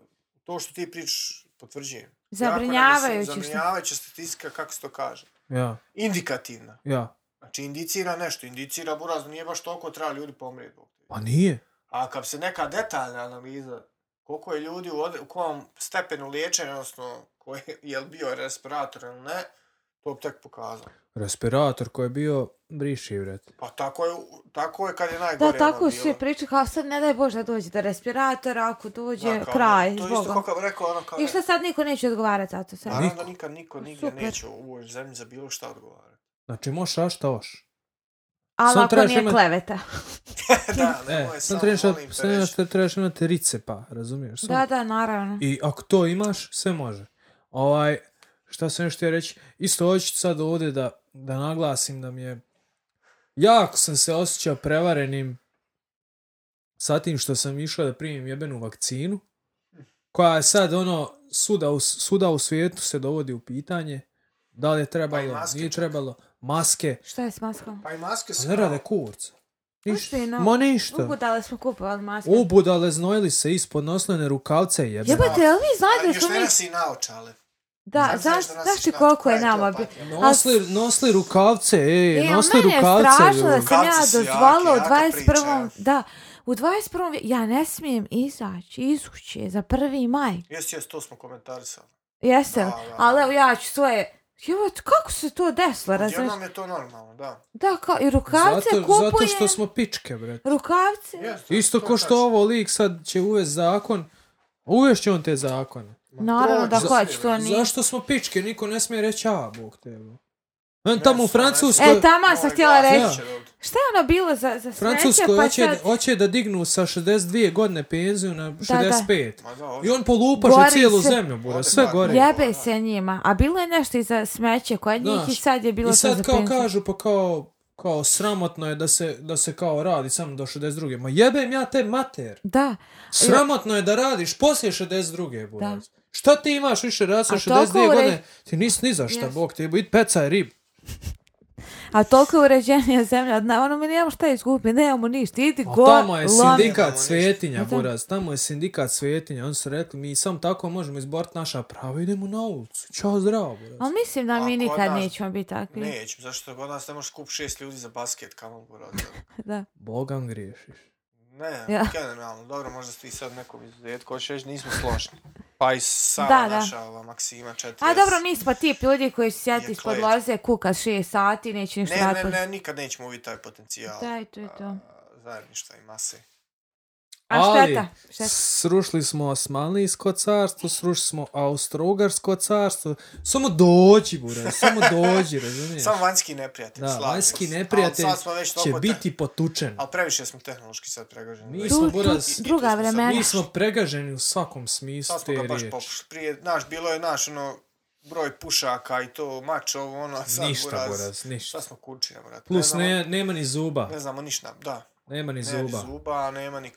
S3: to što ti pričaš potvrđuje.
S2: Zabrinjavajuće što-
S3: Zabrinjavajuća statistika, kako se to kaže.
S1: Ja,
S3: Indikativna.
S1: ja.
S3: Znači, indicira nešto. Indicira buraz, nije baš toliko treba ljudi pomrijeti. zbog toga.
S1: Pa nije.
S3: A kad se neka detaljna analiza, koliko je ljudi u, od, u kom stepenu liječenja, odnosno, koji, je li bio respirator ili ne, to bi tek pokazalo.
S1: Respirator koji je bio briši, vrat.
S3: Pa tako je, u- tako je kad je najgore.
S2: Da,
S3: ono
S2: tako
S3: bilo.
S2: svi pričaju, kao sad ne daj Bože da dođe do respiratora, ako dođe,
S3: Da, kao
S2: kraj,
S3: ono, To je isto
S2: zbogom.
S3: kako bi rekao, ono kao...
S2: I šta sad niko neće odgovarati za to
S1: Ali-
S2: sad?
S3: Naravno
S1: Niko.
S3: da nikad niko nigdje
S2: Super.
S3: neće u ovoj zemlji za bilo šta odgovarati.
S1: Znači, moš a šta oš.
S2: Ali
S1: Samo
S2: ako
S1: trebaš
S2: nije
S1: imat-
S2: kleveta.
S3: da,
S1: E,
S3: nemoj,
S1: sam
S3: samo
S1: trebaš,
S3: molim te
S1: sam trebaš,
S3: reći.
S1: te trebaš imati ricepa, razumiješ? Samo-
S2: Da, da, naravno.
S1: I ako to imaš, sve može. Ovaj, šta sam još htio reći, isto hoću sad ovdje da, da naglasim da mi je jako sam se osjećao prevarenim sa tim što sam išao da primim jebenu vakcinu, koja je sad ono, suda u, suda u svijetu se dovodi u pitanje, da li je trebalo,
S3: Pa, maske
S1: nije
S3: čak.
S1: trebalo, maske,
S2: Šta je s maskom?
S3: Pa i maske
S1: a
S3: su...
S1: ne rade kurca. Ništa,
S2: Ozbiljno?
S1: ma ništa.
S2: Ugudali smo kupovali maske.
S1: Ubudale znojili se ispod nosljene rukavce jebene.
S2: Jebote, jel vi
S3: A,
S2: znate da
S3: Pa još
S2: smo
S3: ne
S2: mi...
S3: nasi naočale.
S2: Da,
S3: Znam,
S2: znaš,
S3: znaš da nas
S2: znaš ti
S3: na-
S2: koliko je
S3: koja je to
S2: nama...
S3: pa-
S2: bi-
S1: Nosli, nosli rukavce, ej,
S2: E,
S1: e,
S2: a
S1: nosli
S2: meni je
S1: rukavce.
S2: strašno da
S1: ljudi.
S2: sam ja
S3: Rukavci su jake,
S2: dozvala u
S3: jaka priča,
S2: 21.
S3: ja.
S2: Da, u 21. vije- ja ne smijem izaći iz kuće za 1. maj.
S3: Jes, jes, to smo komentarisali.
S2: Jeste,
S3: Da, da.
S2: ali evo ja ću svoje... Jevot, kako se to desilo, razumiješ?
S3: Jednom je to normalno, da.
S2: Da, kao, i rukavce
S1: Zato,
S2: kupuje,
S1: zato što smo pičke, bre.
S2: rukavce...
S3: Jes,
S1: Isto
S3: to
S1: ko što
S3: tačno.
S1: ovo lik sad će uvest zakon, uvešće on te zakone.
S2: Naravno da
S3: Za-
S2: hoće, to nije.
S1: Zašto smo pičke? Niko ne smije reći, a, bog te, bro. Ven tamo u Francuskoj...
S2: E, tama sam
S3: Ovaj
S2: htjela
S3: glas
S2: reći.
S3: neće dobiti.
S2: Šta je ono bilo za, za sreće,
S1: Francuskoj
S2: pa
S1: hoće,
S2: sad...
S1: hoće da dignu sa 62 godine penziju na 65.
S3: Ma da,
S1: I
S3: ovdje.
S1: on polupaše
S2: Gori
S1: cijelu
S2: se.
S1: zemlju, bura,
S3: Ode
S1: sve
S3: gore.
S1: gore.
S2: Jebe se njima. A bilo je nešto i za smeće kod njih i
S1: Znaš,
S2: sad je bilo
S1: I
S2: to za
S1: sad kao
S2: penziju.
S1: kažu, pa kao, kao sramotno je da se, da se kao radi samo do 62. Ma jebem ja te mater.
S2: Da,
S1: Sramotno je da radiš poslije 62.
S2: Da.
S1: Buraz. Šta ti imaš više rad sa
S2: A toliko
S1: 62
S2: ure-
S1: godine? Ti nisi ni za šta,
S2: Jes.
S1: bog ti bit pecaj rib.
S2: a toliko je uređenija zemlja, od na, ono mi nemamo šta izgubiti, nemamo ništa, idi
S1: A
S2: go,
S1: tamo je
S2: lomi.
S1: sindikat
S3: ništa.
S1: svetinja,
S2: Ma da.
S1: Buraz. Tamo je sindikat svetinja. Oni su rekli, mi samo tako možemo izboriti naša prava. Idemo na ulicu. Ćao, zdravo, Buraz.
S2: Ali mislim da
S3: A
S2: mi
S3: kod
S2: nikad
S3: nas-
S2: nećemo biti takvi.
S3: Neću, zašto god nas ne možeš kup šest ljudi za basket, kamo mogu raditi.
S2: Da.
S1: Bogam griješiš.
S3: Ne,
S2: Ja.
S3: generalno, dobro, možda ste i sad nekom izuzetku, hoćeš reći, nismo složni. Pa i sama
S2: Da, da.
S3: naša ova Maksima 40.
S2: A dobro, mi smo tip ljudi koji se
S3: Je
S2: sjeti ispod
S3: kled.
S2: loze, kuka 6 sati, neće ništa
S3: Ne, ne,
S2: raditi.
S3: ne, nikad nećemo vidjeti taj potencijal.
S2: Daj, to je to.
S3: a, Zajedništva i mase.
S2: A
S1: Ali-
S2: šteta, šteta.
S1: Srušili smo Osmanlijsko carstvo, srušili smo Austro-Ugarsko carstvo. Samo dođi, Buraz, samo dođi, razumiješ?
S3: Samo vanjski neprijatelj.
S1: Da,
S3: slavimo
S1: vanjski
S3: se.
S1: neprijatelj
S3: Ali sad smo već
S1: će
S3: toliko te-
S1: biti potučen.
S3: Ali previše smo tehnološki sad pregaženi.
S1: Mi
S3: Već
S1: smo,
S2: Tu-
S3: i-
S1: Buraz,
S3: i- i tu
S2: druga
S3: smo sad-
S2: vremena.
S1: Mi smo pregaženi u svakom smislu
S3: Sad smo
S1: te
S3: ga baš
S1: riječi.
S3: popušili. Prije, znaš, bilo je naš, ono, broj pušaka i to, mač, ovo, ono, a sad
S1: Ništa,
S3: buraz.
S1: Buraz, ništa.
S3: Šta smo kurčine, brate?
S1: Plus,
S3: ne, znamo,
S1: ne, nema ni zuba.
S3: ne znamo ništa, da.
S1: Nema ni
S3: Ne, ni
S1: zuba.
S3: zuba, nema ni,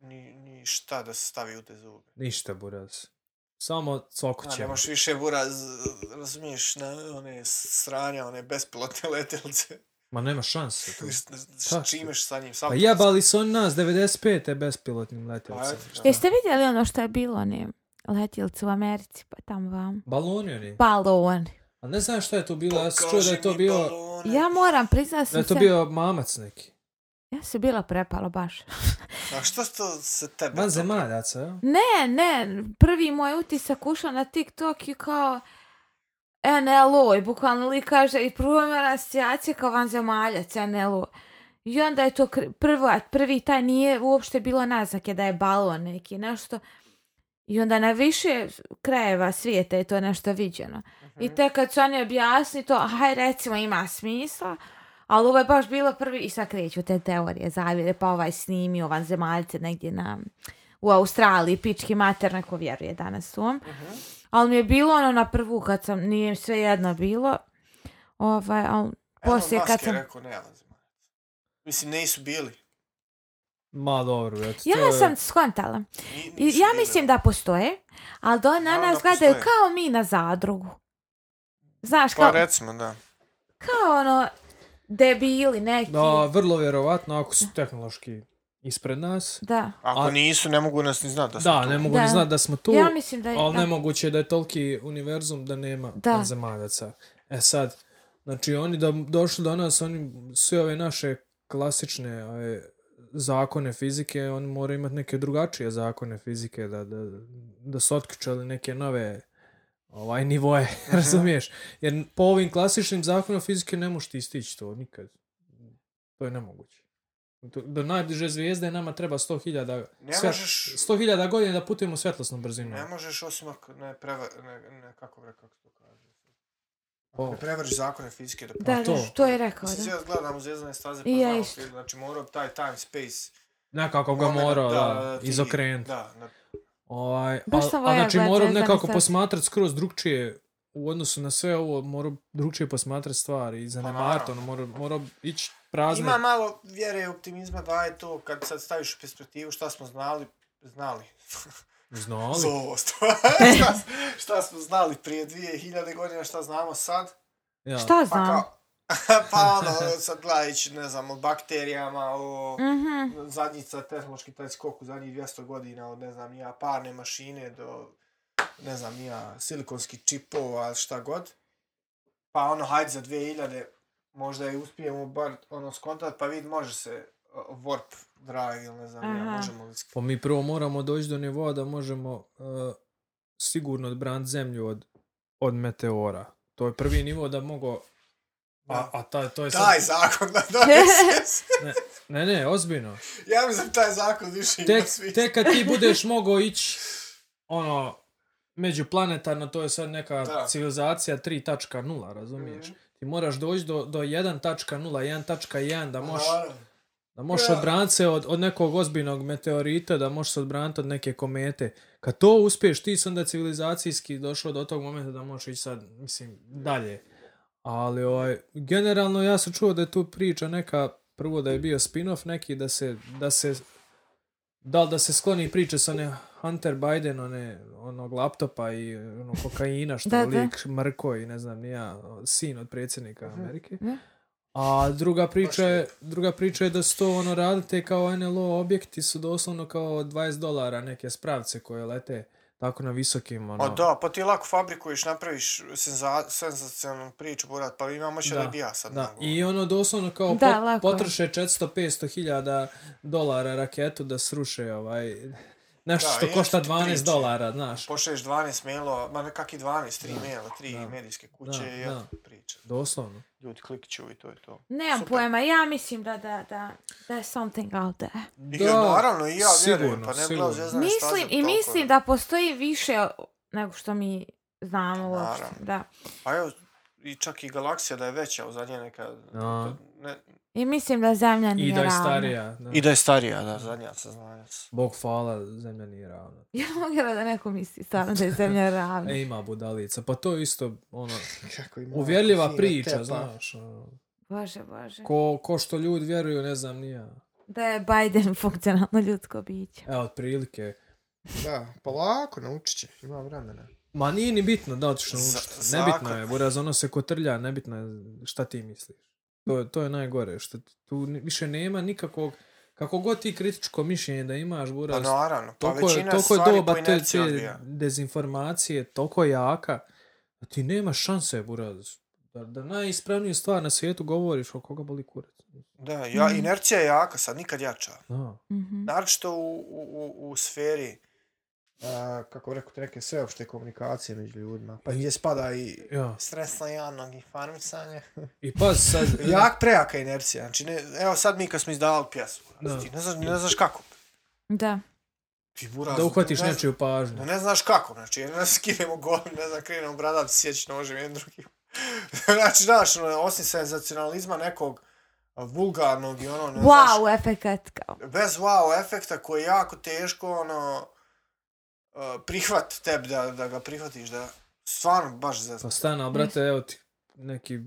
S3: ni, ni šta da se stavi u te zube.
S1: Ništa, Buraz. Samo
S3: Da,
S1: cokućemo.
S3: nemaš više buraz, razumiješ, na one sranja, one bespilotne letelice.
S1: Ma nema šanse. tu.
S3: S, s,
S1: Šta
S3: s čimeš sa njim? Samo Pa
S1: Pa jebali su oni nas 95. bespilotnim letelicama.
S3: Ajde,
S1: Šta?
S2: Jeste vidjeli ono što je bilo onim letjelcu u Americi, pa tamo vam?
S1: Baloni oni.
S2: Pa- Baloni.
S1: A ne znam šta je to bilo, ja sam čuo
S3: Pokaži
S1: da je to
S3: mi
S1: bio,
S3: balone.
S2: Ja moram priznat
S1: da
S2: sam
S1: je to
S2: se,
S1: bio mamac neki.
S2: ja sam bila prepala baš.
S3: A što se to se tebe...
S1: Van zemaljaca, jel?
S2: Ne, ne, prvi moj utisak ušao na TikTok i kao NLO i bukvalno li kaže i prvo me asocijacija kao vanzemaljac NLO. I onda je to kri- prva, prvi taj nije uopšte bilo naznake da je balon neki nešto. I onda na više krajeva svijeta je to nešto viđeno. I te kad su oni objasni to, aj recimo ima smisla, ali ovo je baš bilo prvi, i sad kreću te teorije zavire, pa ovaj snimio vanzemaljce negdje na, u Australiji, pički mater, neko vjeruje danas u Ali mi je bilo ono na prvu kad sam, nije sve jedno bilo, ovaj, ali poslije kad sam...
S3: Elon Musk je rekao, ne, van zemaljaca. Mislim, nisu bili.
S1: Ma dobro, eto. to
S2: Ja
S1: je-
S2: sam skontala.
S3: Ni-
S2: I,
S3: nisu
S2: ja
S3: bili,
S2: mislim
S3: da.
S2: da postoje, ali da na
S3: Naravno
S2: nas
S3: da
S2: gledaju
S3: postoje.
S2: kao mi na zadrugu. Znaš,
S3: Pa
S2: kao,
S3: recimo, da.
S2: kao ono debili neki.
S1: Da, vrlo vjerovatno, ako su tehnološki ispred nas.
S2: Da.
S3: Ako
S1: A-
S3: nisu, ne mogu nas ni znati da smo
S1: Da,
S3: tu.
S1: ne mogu
S2: Da.
S1: ni znat da smo tu,
S2: ja mislim da je...
S1: ali
S2: E, da.
S1: nemoguće je da je toliki univerzum da nema
S2: Da.
S1: vanzemaljaca. E sad, znači oni da došli do nas, oni sve ove naše klasične ove, zakone fizike, oni moraju imati neke drugačije zakone fizike da, da, da su otključali neke nove ovaj nivoje,
S3: Mhm.
S1: razumiješ? Jer po ovim klasičnim zakonima fizike ne možeš ti stići to nikad. To je nemoguće. Do, do najbliže zvijezde nama treba 100.000
S3: Ne
S1: svjet-
S3: možeš-
S1: 100.000 godina da putujemo svjetlosnom brzinom.
S3: Ne možeš, osim ako ne preva... Ne, ne kako bi rekao, kako se to kaže.
S1: O.
S3: Ne prevariš zakone fizike da...
S2: Da,
S1: A
S2: to.
S1: to?
S2: da, to je rekao,
S3: Mislim,
S2: da.
S3: ja gledam u zvezdane staze, pa
S2: I ja
S3: znamo,
S2: isto.
S3: znači morao bi taj time, space...
S1: Nekako ga
S3: moment,
S1: morao da,
S3: ti-
S1: izokrenuti.
S3: Da, na
S1: Ovaj, a,
S2: Baš sam
S1: a
S2: voljela
S1: znači
S2: gledat
S1: morao bi
S2: Zvezdane
S1: nekako
S2: staze.
S1: posmatrati skroz drugčije u odnosu na sve ovo, morao bi drugčije posmatrati stvari i zanemariti, ono, morao, morao bi ići prazne.
S3: Ima malo vjere i optimizma da je to kad sad staviš u perspektivu šta smo znali, znali.
S1: Znali.
S3: Zovo, šta, šta smo znali prije 2000 godina, šta znamo sad.
S1: Ja.
S2: Šta
S3: Pa
S2: znam?
S3: kao, pa ono, sad glajić, ne znam, o bakterijama, o
S2: Mhm.
S3: zadnjica, tehnološki taj skok u zadnjih 200 godina, od ne znam, nija parne mašine do, ne znam, nija silikonski čipova, šta god. Pa ono, hajde za 2000, možda i uspijemo bar ono skontat, pa vid, može se warp drive ili ne znam, ja,
S2: Aha.
S3: možemo li
S1: Pa mi prvo moramo doći do nivoa da možemo uh, sigurno odbraniti zemlju od, od meteora. To je prvi nivo da mogu... A,
S3: Da.
S1: a ta, to je
S3: Pa, taj zakon da donese.
S1: Ne, ne, ne, ozbiljno.
S3: ja mislim taj zakon više ima
S1: Tek,
S3: svi.
S1: tek kad ti budeš mogao ići, ono, međuplanetarno, to je sad neka
S3: Da.
S1: da. civilizacija 3.0, razumiješ?
S3: Mhm.
S1: Ti moraš doći do, do 1.0, 1.1 da možeš
S3: Naravno.
S1: Da možeš
S3: Da.
S1: odbraniti se od, od nekog ozbiljnog meteorita, da možeš se odbraniti od neke komete. Kad to uspiješ, ti si onda civilizacijski došao do tog momenta da možeš ići sad, mislim, dalje. Ali, ovaj, generalno ja sam čuo da je tu priča neka, prvo da je bio spin-off neki, da se, da se, da li da se skloni priče sa one Hunter Biden, one, onog laptopa i onog kokaina što
S2: Da,
S1: da,
S2: da.
S1: lik mrko i ne znam, nija, sin od predsjednika
S3: Mhm.
S1: Amerike.
S2: Da.
S1: A druga priča
S3: Baš
S1: je, druga priča je da su to ono radite kao NLO objekti su doslovno kao 20 dolara neke spravce koje lete tako na visokim ono.
S3: A da, pa ti lako fabrikuješ, napraviš senza, senzacionalnu priču, burat, pa imamo će da,
S1: Da,
S3: da bi ja sad
S1: Da,
S3: mogu.
S1: i ono doslovno kao
S2: Da,
S1: pot-
S2: lako je.
S1: potroše 400-500 hiljada dolara raketu da sruše ovaj nešto
S3: Da,
S1: što
S3: i
S1: košta
S3: nešto ti
S1: 12
S3: priče.
S1: dolara, znaš.
S3: Pošliješ 12 mailova, ma ne kak i 12, 3
S1: Da,
S3: maila, 3
S1: da,
S3: medijske kuće
S1: da,
S3: i eto priča.
S1: Doslovno.
S3: Ljudi klikću i to je to.
S2: Nemam
S3: Super.
S2: pojma, ja mislim da, da, da, da je something out there.
S3: I ja, naravno, i ja vjerujem, pa ne bi
S1: sigurno.
S3: gledao zvezdane staze
S2: Mislim i
S3: toliko,
S2: mislim da postoji više nego što mi znamo uopšte.
S3: Naravno.
S2: Da.
S3: Pa evo, i čak i galaksija da je veća u zadnje neka...
S1: A.
S3: Ne,
S2: I mislim da zemlja nije
S1: I da je
S2: ravna.
S1: starija. Da.
S3: I da je starija, da, zadnja saznanjac.
S1: Bog hvala, zemlja nije ravna.
S2: Ja mogu vjerovati da neko misli stvarno da je zemlja ravna.
S1: E, ima budalica. Pa to je isto, ono,
S3: Kako ima
S1: uvjerljiva
S3: fine
S1: priča,
S3: tepa.
S1: znaš. ono.
S2: Bože, bože.
S1: Ko, ko što ljudi vjeruju, ne znam, nije.
S2: Da je Biden funkcionalno ljudsko biće.
S1: Evo, otprilike.
S3: Da, polako, naučit će, ima vremena.
S1: Ma nije ni bitno da otiš na
S3: Za-
S1: učiti. Nebitno je,
S3: zakon.
S1: buraz, ono se kotrlja, nebitno je šta ti misliš. To, je- to je najgore, što tu ni- više nema nikakvog, kako god ti kritičko mišljenje da imaš,
S3: Pa
S1: buraz,
S3: naravno, pa
S1: toliko je,
S3: većina
S1: toliko je
S3: stvari
S1: doba
S3: koji
S1: te,
S3: ne se
S1: te
S3: odbija.
S1: dezinformacije, toliko jaka, da ti nema šanse, buraz. Da, da najispravniju stvar na svijetu govoriš, o koga boli kurac.
S3: Da, ja,
S2: Mhm.
S3: inercija je jaka sad, nikad jača.
S1: Da.
S2: Mhm.
S3: Naročito u, u, u, u sferi a, kako rekao te neke sveopšte komunikacije među ljudima. Pa gdje spada i
S1: Ja.
S3: stresna javnog informisanja.
S1: I pa sad...
S3: Jak prejaka inercija. Znači, ne, evo sad mi kad smo izdavali pjesu.
S1: Da.
S3: Ti ne znaš, ne znaš kako.
S2: Da.
S3: Ti buraz,
S1: da uhvatiš
S3: ne znaš-
S1: nečiju pažnju.
S3: Da ne znaš kako, znači, jedno skinemo golem, ne znam, krenemo bradam, sjeći nožem jedan drugim. znači, znaš, ono, osim senzacionalizma nekog a, vulgarnog i ono, ne znaš,
S2: Wow, efekat kao.
S3: bez wow efekta koji je jako teško, ono, a, prihvat tebi da, da ga prihvatiš, da stvarno baš za...
S1: Pa stan, ali brate, evo ti neki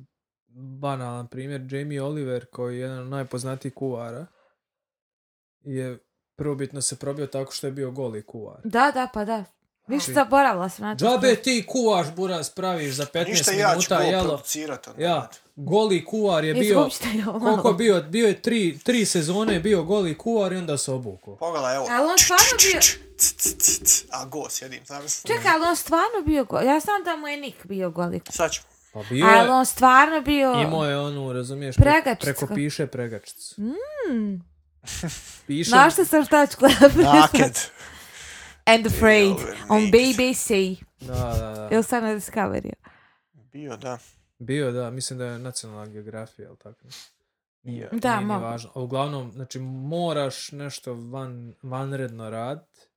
S1: banalan primjer. Jamie Oliver, koji je jedan od najpoznatijih kuvara, je prvobitno se probio tako što je bio goli kuvar.
S2: Da, da, pa da. Više
S1: Znači-
S2: zaboravila sam na to.
S1: Džabe ti kuvaš, buraz, praviš za 15
S3: Ništa ja ću
S1: minuta,
S3: ovo
S1: jelo.
S3: producirati. ono, onda,
S1: Ja,
S3: brate.
S1: goli kuvar je bio,
S2: Izgubšte je ovo.
S1: koliko je bio, bio je tri, tri sezone je bio goli kuvar i onda se obukao.
S3: Pogledaj, evo.
S2: Ali on stvarno bio...
S3: C, c, c, c, A go, sjedim, znam se.
S2: Čekaj, ali on stvarno bio go... Ja sam da mu je Nik bio golik.
S3: Sad ćemo.
S1: Pa bio
S2: Ali
S1: je,
S2: on stvarno bio...
S1: imao je onu, razumiješ,
S2: Pregačicu.
S1: preko piše pregačicu.
S2: Hmm.
S1: Piše,
S2: Našla sam šta ću gledati.
S3: Naked.
S2: And afraid.
S3: Oliver
S2: On
S3: Naked.
S2: BBC.
S1: da, da, da.
S2: Ili sam na Discovery.
S3: Bio, da.
S1: Bio, da, mislim da je nacionalna geografija, ali tako.
S3: Bio.
S2: Da,
S1: nije ni
S2: mogu.
S1: važno. A Uglavnom, znači, moraš nešto van, vanredno radit,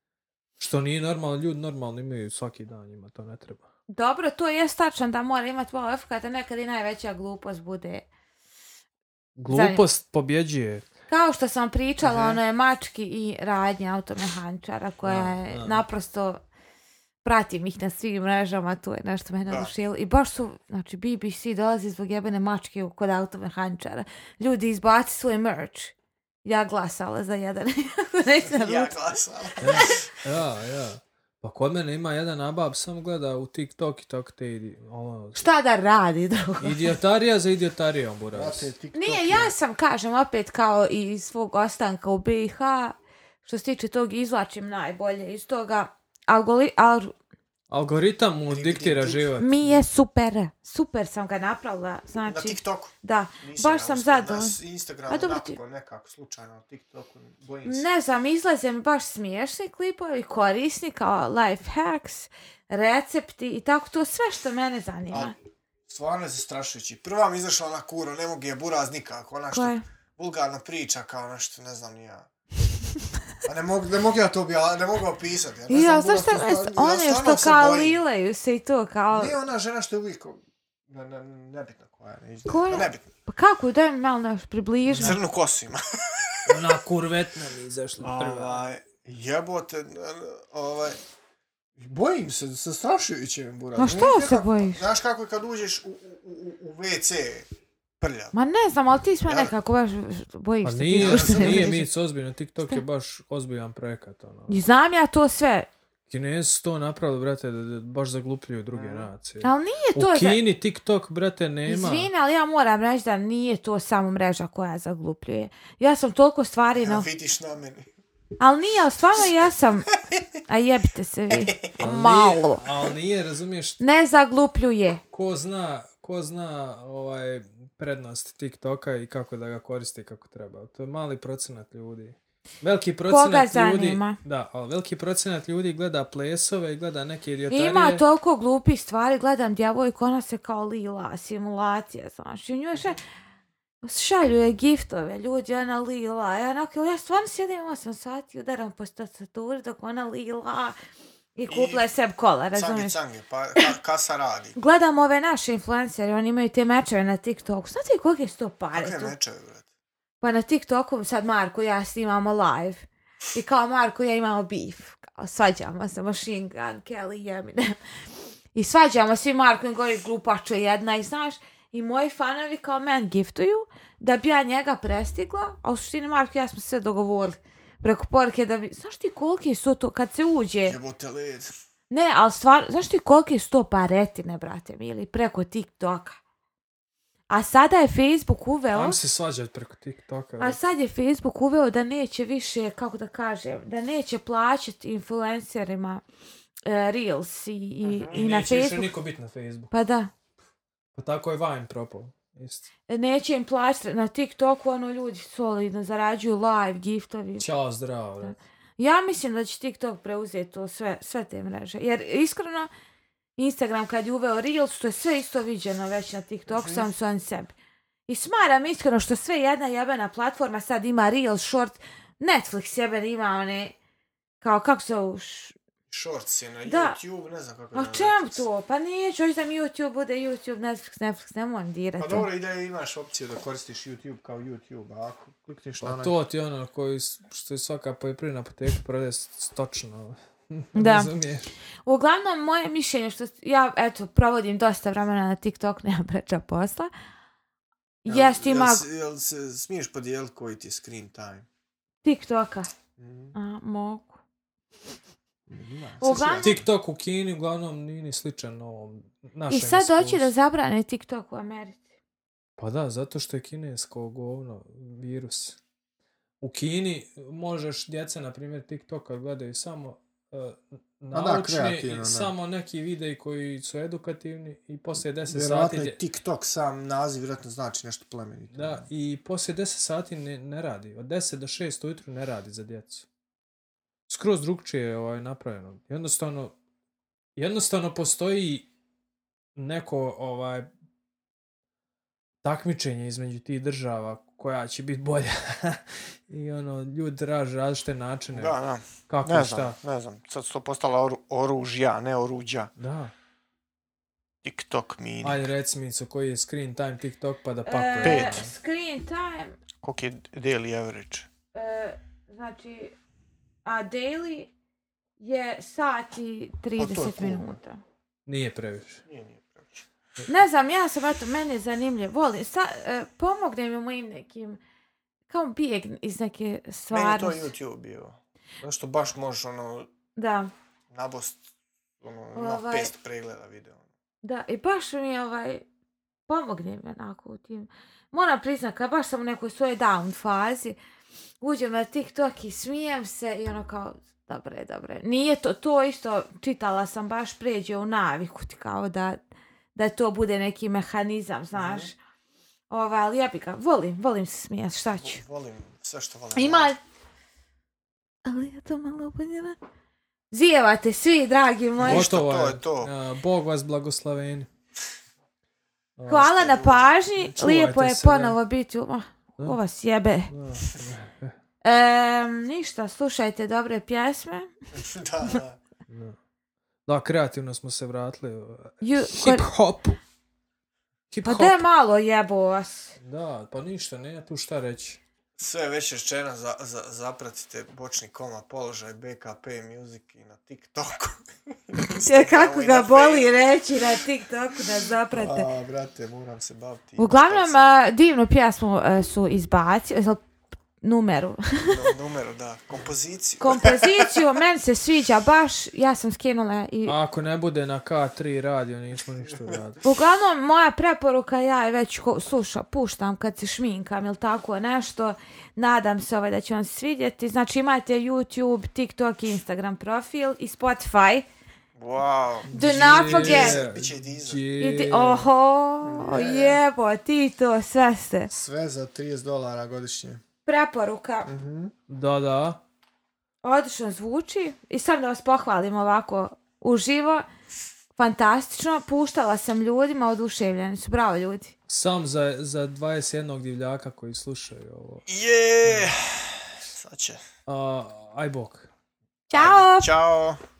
S1: što nije normalno, ljudi normalno imaju svaki dan, njima to ne treba.
S2: Dobro, to je tačno da mora imati wow efekata. Nekad i najveća glupost bude...
S1: Glupost pobjeđuje.
S2: Kao što sam pričala,
S3: Mhm.
S2: ono je mački i radnja automehaničara koja
S1: Da,
S2: je
S1: da.
S2: naprosto pratim ih na svim mrežama, to je nešto mene
S3: Da.
S2: oduševilo. I baš su, znači BBC dolazi zbog jebene mačke u- kod automehaničara. Ljudi izbaci svoj merch. Ja glasala za jedan. Neću na
S3: Ja
S2: ruci.
S3: glasam.
S1: Ja, ja. Pa kod mene ima jedan abab, sam gleda u TikTok i tako te idi, ono,
S2: Šta da radi drugo?
S1: idiotarija za idiotarijom, buraz.
S2: Nije, ja sam, kažem, opet kao i iz svog ostanka u BiH, što se tiče tog, izvlačim najbolje iz toga. Algoli, al,
S1: Algoritam mu diktira život.
S2: Mi je super. Super sam ga napravila.
S3: Na
S2: Znači,
S3: TikToku.
S2: da.
S3: Nisam
S2: Baš
S3: ja
S2: sam
S3: uspio, na
S2: zadovoljna.
S3: s- Instagramu
S2: A dobro
S3: tako
S2: ti- Mm.
S3: nekako slučajno na TikToku, bojim se.
S2: Ne znam, izlaze mi baš smiješni klipovi, korisni kao life hacks, recepti i tako to sve što mene
S3: A,
S2: zanima.
S3: stvarno je zastrašujući. Prva mi izašla ona kuro, ne mogu je buraz nikako, ona što
S2: Koje?
S3: vulgarna priča kao nešto, ne znam ni ja. A ne mogu, ne mogu ja to obja, ne mogu opisati. Ja,
S2: Ja,
S3: ne znam
S2: znaš
S3: buraz,
S2: šta,
S3: to stvarno- ja
S2: one
S3: stvarno
S2: što
S3: se
S2: kao
S3: bojim.
S2: lilaju se i to kao...
S3: Nije ona žena što je uvijek, ne, ne, nebitno koja ne izgleda.
S2: Koja?
S3: Pa Nebitno.
S2: Pa kako, daj mi malo naš približi.
S3: Crnu kosu ima.
S1: Na kurvetna mi izašla prva.
S3: Ovaj, jebote, n- n- ovaj, bojim se, zastrašujuće mi buraz.
S2: Ma šta
S3: Nije
S2: se
S3: nekako-
S2: bojiš?
S3: Znaš kako je kad uđeš u, u, u, u WC prlja.
S2: Ma ne znam, ali ti smo
S3: Ja-
S2: nekako baš bojiš
S1: Pa
S2: se. ti
S1: nije,
S2: uopšte ne
S1: nije
S2: vidiš.
S1: mic ozbiljno, TikTok je baš ozbiljan projekat. Ono.
S2: I znam ja to sve,
S1: Kinezi su to napravili, brate, da, da baš zaglupljuju druge nacije.
S2: ali nije
S1: U
S2: to... za-
S1: Kini TikTok, brate, nema.
S2: Izvini, ali ja moram reći da nije to samo mreža koja zaglupljuje. Ja sam toliko stvari
S3: Ja,
S2: na...
S3: vidiš na meni.
S2: Ali nije, ali stvarno ja sam... A jebite se vi.
S1: Ali
S2: Malo.
S1: Nije, ali nije, razumiješ,
S2: Ne zaglupljuje.
S1: ko zna, ko zna ovaj prednost TikToka i kako da ga koristi kako treba. To je mali procenat ljudi. Veliki procenat ljudi,
S2: zanima?
S1: da, ali veliki procenat ljudi gleda plesove i gleda neke idiotarije.
S2: Ima toliko glupih stvari. Gledam djevojku, ona se kao lila, simulacija, znaš. I u njoj še... Šaljuje giftove, ljudi, ona lila. Ja, onako, ja stvarno sjedim 8 sati, udaram po tastaturi dok ona lila i kupla je seb kola,
S3: Cange,
S2: razumiješ?
S3: cange, pa ka, kasa radi.
S2: Gledam ove naše influencere, oni imaju te mečeve na TikToku. Znate li kolike su to pare?
S3: Kakve
S2: tu?
S3: mečeve, brate?
S2: Pa na TikToku sad Marko i ja snimamo live. I kao Marko i ja imamo beef. Kao svađamo se Machine Gun, Kelly i Eminem. I svađamo svi Marko i govori glupačo jedna i znaš. I moji fanovi kao men giftuju da bi ja njega prestigla. A u suštini Marko i ja smo se dogovorili preko poruke da bi... Znaš ti koliki su to kad se uđe?
S3: Jebote led.
S2: Ne, ali stvarno, znaš ti kolike su to paretine, brate mili, preko TikToka. A sada je Facebook uveo,
S1: Tam se svađat preko TikToka.
S2: a sad je Facebook uveo da neće više, kako da kažem, da neće plaćati influencerima e, Reels i, i, i na
S1: Neće više
S2: Facebooku.
S1: niko biti na Facebooku.
S2: Pa da,
S1: Pa tako je Vine propao. Isto.
S2: neće im plaćati na TikToku, ono ljudi solidno zarađuju live, giftovi.
S1: Ćao, zdravo. brate.
S2: Ja mislim da će TikTok preuzeti to sve, sve te mreže. Jer iskreno, Instagram kad je uveo Reels, to je sve isto viđeno već na TikToku,
S3: Mhm.
S2: sam su oni sebi. I smaram iskreno što sve jedna jebena platforma sad ima Reels, Short, Netflix jeben ima one, kao kako se u... š-
S3: Shorts je na
S2: Da.
S3: YouTube, ne znam kako je
S2: A
S3: na
S2: čem
S3: Netflixu.
S2: to? Pa neću, hoću da mi YouTube bude YouTube, Netflix, Netflix, ne moram dirati.
S3: Pa dobro, i da imaš opciju da koristiš YouTube kao YouTube, a ako klikneš na
S1: Pa
S3: onaj...
S1: to ti je ono koji, s- što je svaka poljoprivredna apoteka prodaje stočno.
S2: Da.
S1: ono. Razumiješ?
S2: Uglavnom, moje mišljenje, što s- ja, eto, provodim dosta vremena na TikTok, nemam preča posla,
S3: Jel-
S2: Jest, ima
S3: Jel, se- jel se smiješ podijeliti koji ti je screen time?
S2: TikToka.
S3: Mm,
S2: A, mogu.
S3: ima.
S2: Uglavnom-
S1: TikTok u Kini uglavnom nije ni sličan ovom našem
S2: I sad hoće
S1: iskustvu.
S2: da zabrane TikTok u Americi.
S1: Pa da, zato što je kinesko govno virus. U Kini možeš djeca, na primjer, TikToka gledaju samo uh,
S3: Pa da,
S1: naučni i
S3: kreativno, da.
S1: samo neki videi koji su edukativni i poslije 10 sati...
S3: Vjerojatno
S1: dje-
S3: je TikTok sam naziv, vjerojatno znači nešto plemenito.
S1: Da, i poslije 10 sati ne, ne radi. Od 10 do 6 ujutru ne radi za djecu. Skroz drugčije je ovaj, napravljeno. Jednostavno, jednostavno postoji neko ovaj takmičenje između tih država koja će biti bolja. I ono, ljudi traže različite načine.
S3: Da, da.
S1: kako
S3: Ne
S1: šta.
S3: znam, ne znam. Sad su to postala oru, oružja, ne oruđa.
S1: Da.
S3: TikTok mini. Aj.
S1: Ajde, reci mi, so, koji je screen time TikTok pa da pakuje.
S2: E,
S3: Pet.
S2: Screen time,
S3: Koliko je daily average?
S2: e, znači, a daily je sati
S3: puno.
S2: 30 minuta.
S1: Nije previše.
S3: Nije, nije previše.
S2: Ne znam, ja sam, eto, meni je zanimljiv. Volim, sa, e, pomogne mi u mojim nekim, kao bijeg iz neke
S3: Meni je to
S2: stvarnosti.
S3: YouTube bio. Zašto baš možeš ono
S2: Da,
S3: nabost ono, ima
S2: Ovaj.
S3: 500 pregleda video.
S2: da, i baš mi je ovaj, pomogne mi onako u tim. Moram priznat, kad baš sam u nekoj svojoj down fazi, uđem na TikTok i smijem se i ono kao, Dobre, dobre. Nije to, to isto, čitala sam baš pređe u naviku, ti kao da, da to bude neki mehanizam, znaš. Ova, ali ja bi ga, volim, volim se smijat, šta ću.
S3: Volim sve što volim.
S2: Ima... Ali ja to malo oboljela. Zijevate svi, dragi moji.
S3: Ništa,
S1: Gotovo
S3: to
S1: je.
S3: je to.
S1: A, Bog vas blagoslaveni.
S2: Hvala na pažnji.
S1: Čuvajte
S2: Lijepo je
S1: se, da.
S2: ponovo biti u... Ma, ko vas jebe. Em, ništa, slušajte dobre pjesme.
S3: da, da.
S1: Da, kreativno smo se vratili.
S2: Ju,
S1: Hip hop. Hip
S2: pa
S1: hop.
S2: da je malo jebo vas.
S1: Da, pa ništa, ne tu šta reći.
S3: Sve je već rečeno, za, za, zapratite bočni koma položaj BKP Music i na TikToku.
S2: Ja kako
S3: i
S2: ga
S3: na
S2: boli reći na TikToku da zaprate.
S3: A, brate, moram se baviti.
S2: Uglavnom, a, divnu pjesmu e, su izbacili, jel, numeru.
S3: No, numero, da. Kompoziciju.
S2: Kompoziciju, meni se sviđa baš, ja sam skinula i...
S1: A ako ne bude na K3 radio, nismo ništa radili.
S2: Uglavnom, moja preporuka, ja je već ko, sluša, puštam kad se šminkam ili tako nešto. Nadam se ovaj da će vam se svidjeti. Znači imate YouTube, TikTok, Instagram profil i Spotify.
S3: Wow.
S2: Do not forget.
S1: Yeah.
S3: Biće i Deezer.
S2: I ti,
S1: Yeah.
S2: oho, jebo, ti to, sve ste.
S7: Sve za 30 dolara godišnje.
S2: Preporuka,
S1: Mhm. Da, da.
S2: odlično zvuči. I sam da vas pohvalim ovako uživo. Fantastično, puštala sam ljudima, oduševljeni su, bravo ljudi.
S1: Sam za, za 21 divljaka koji slušaju ovo.
S3: Yeah. Sad će.
S1: A, aj bok.
S2: Ćao!
S3: Ćao.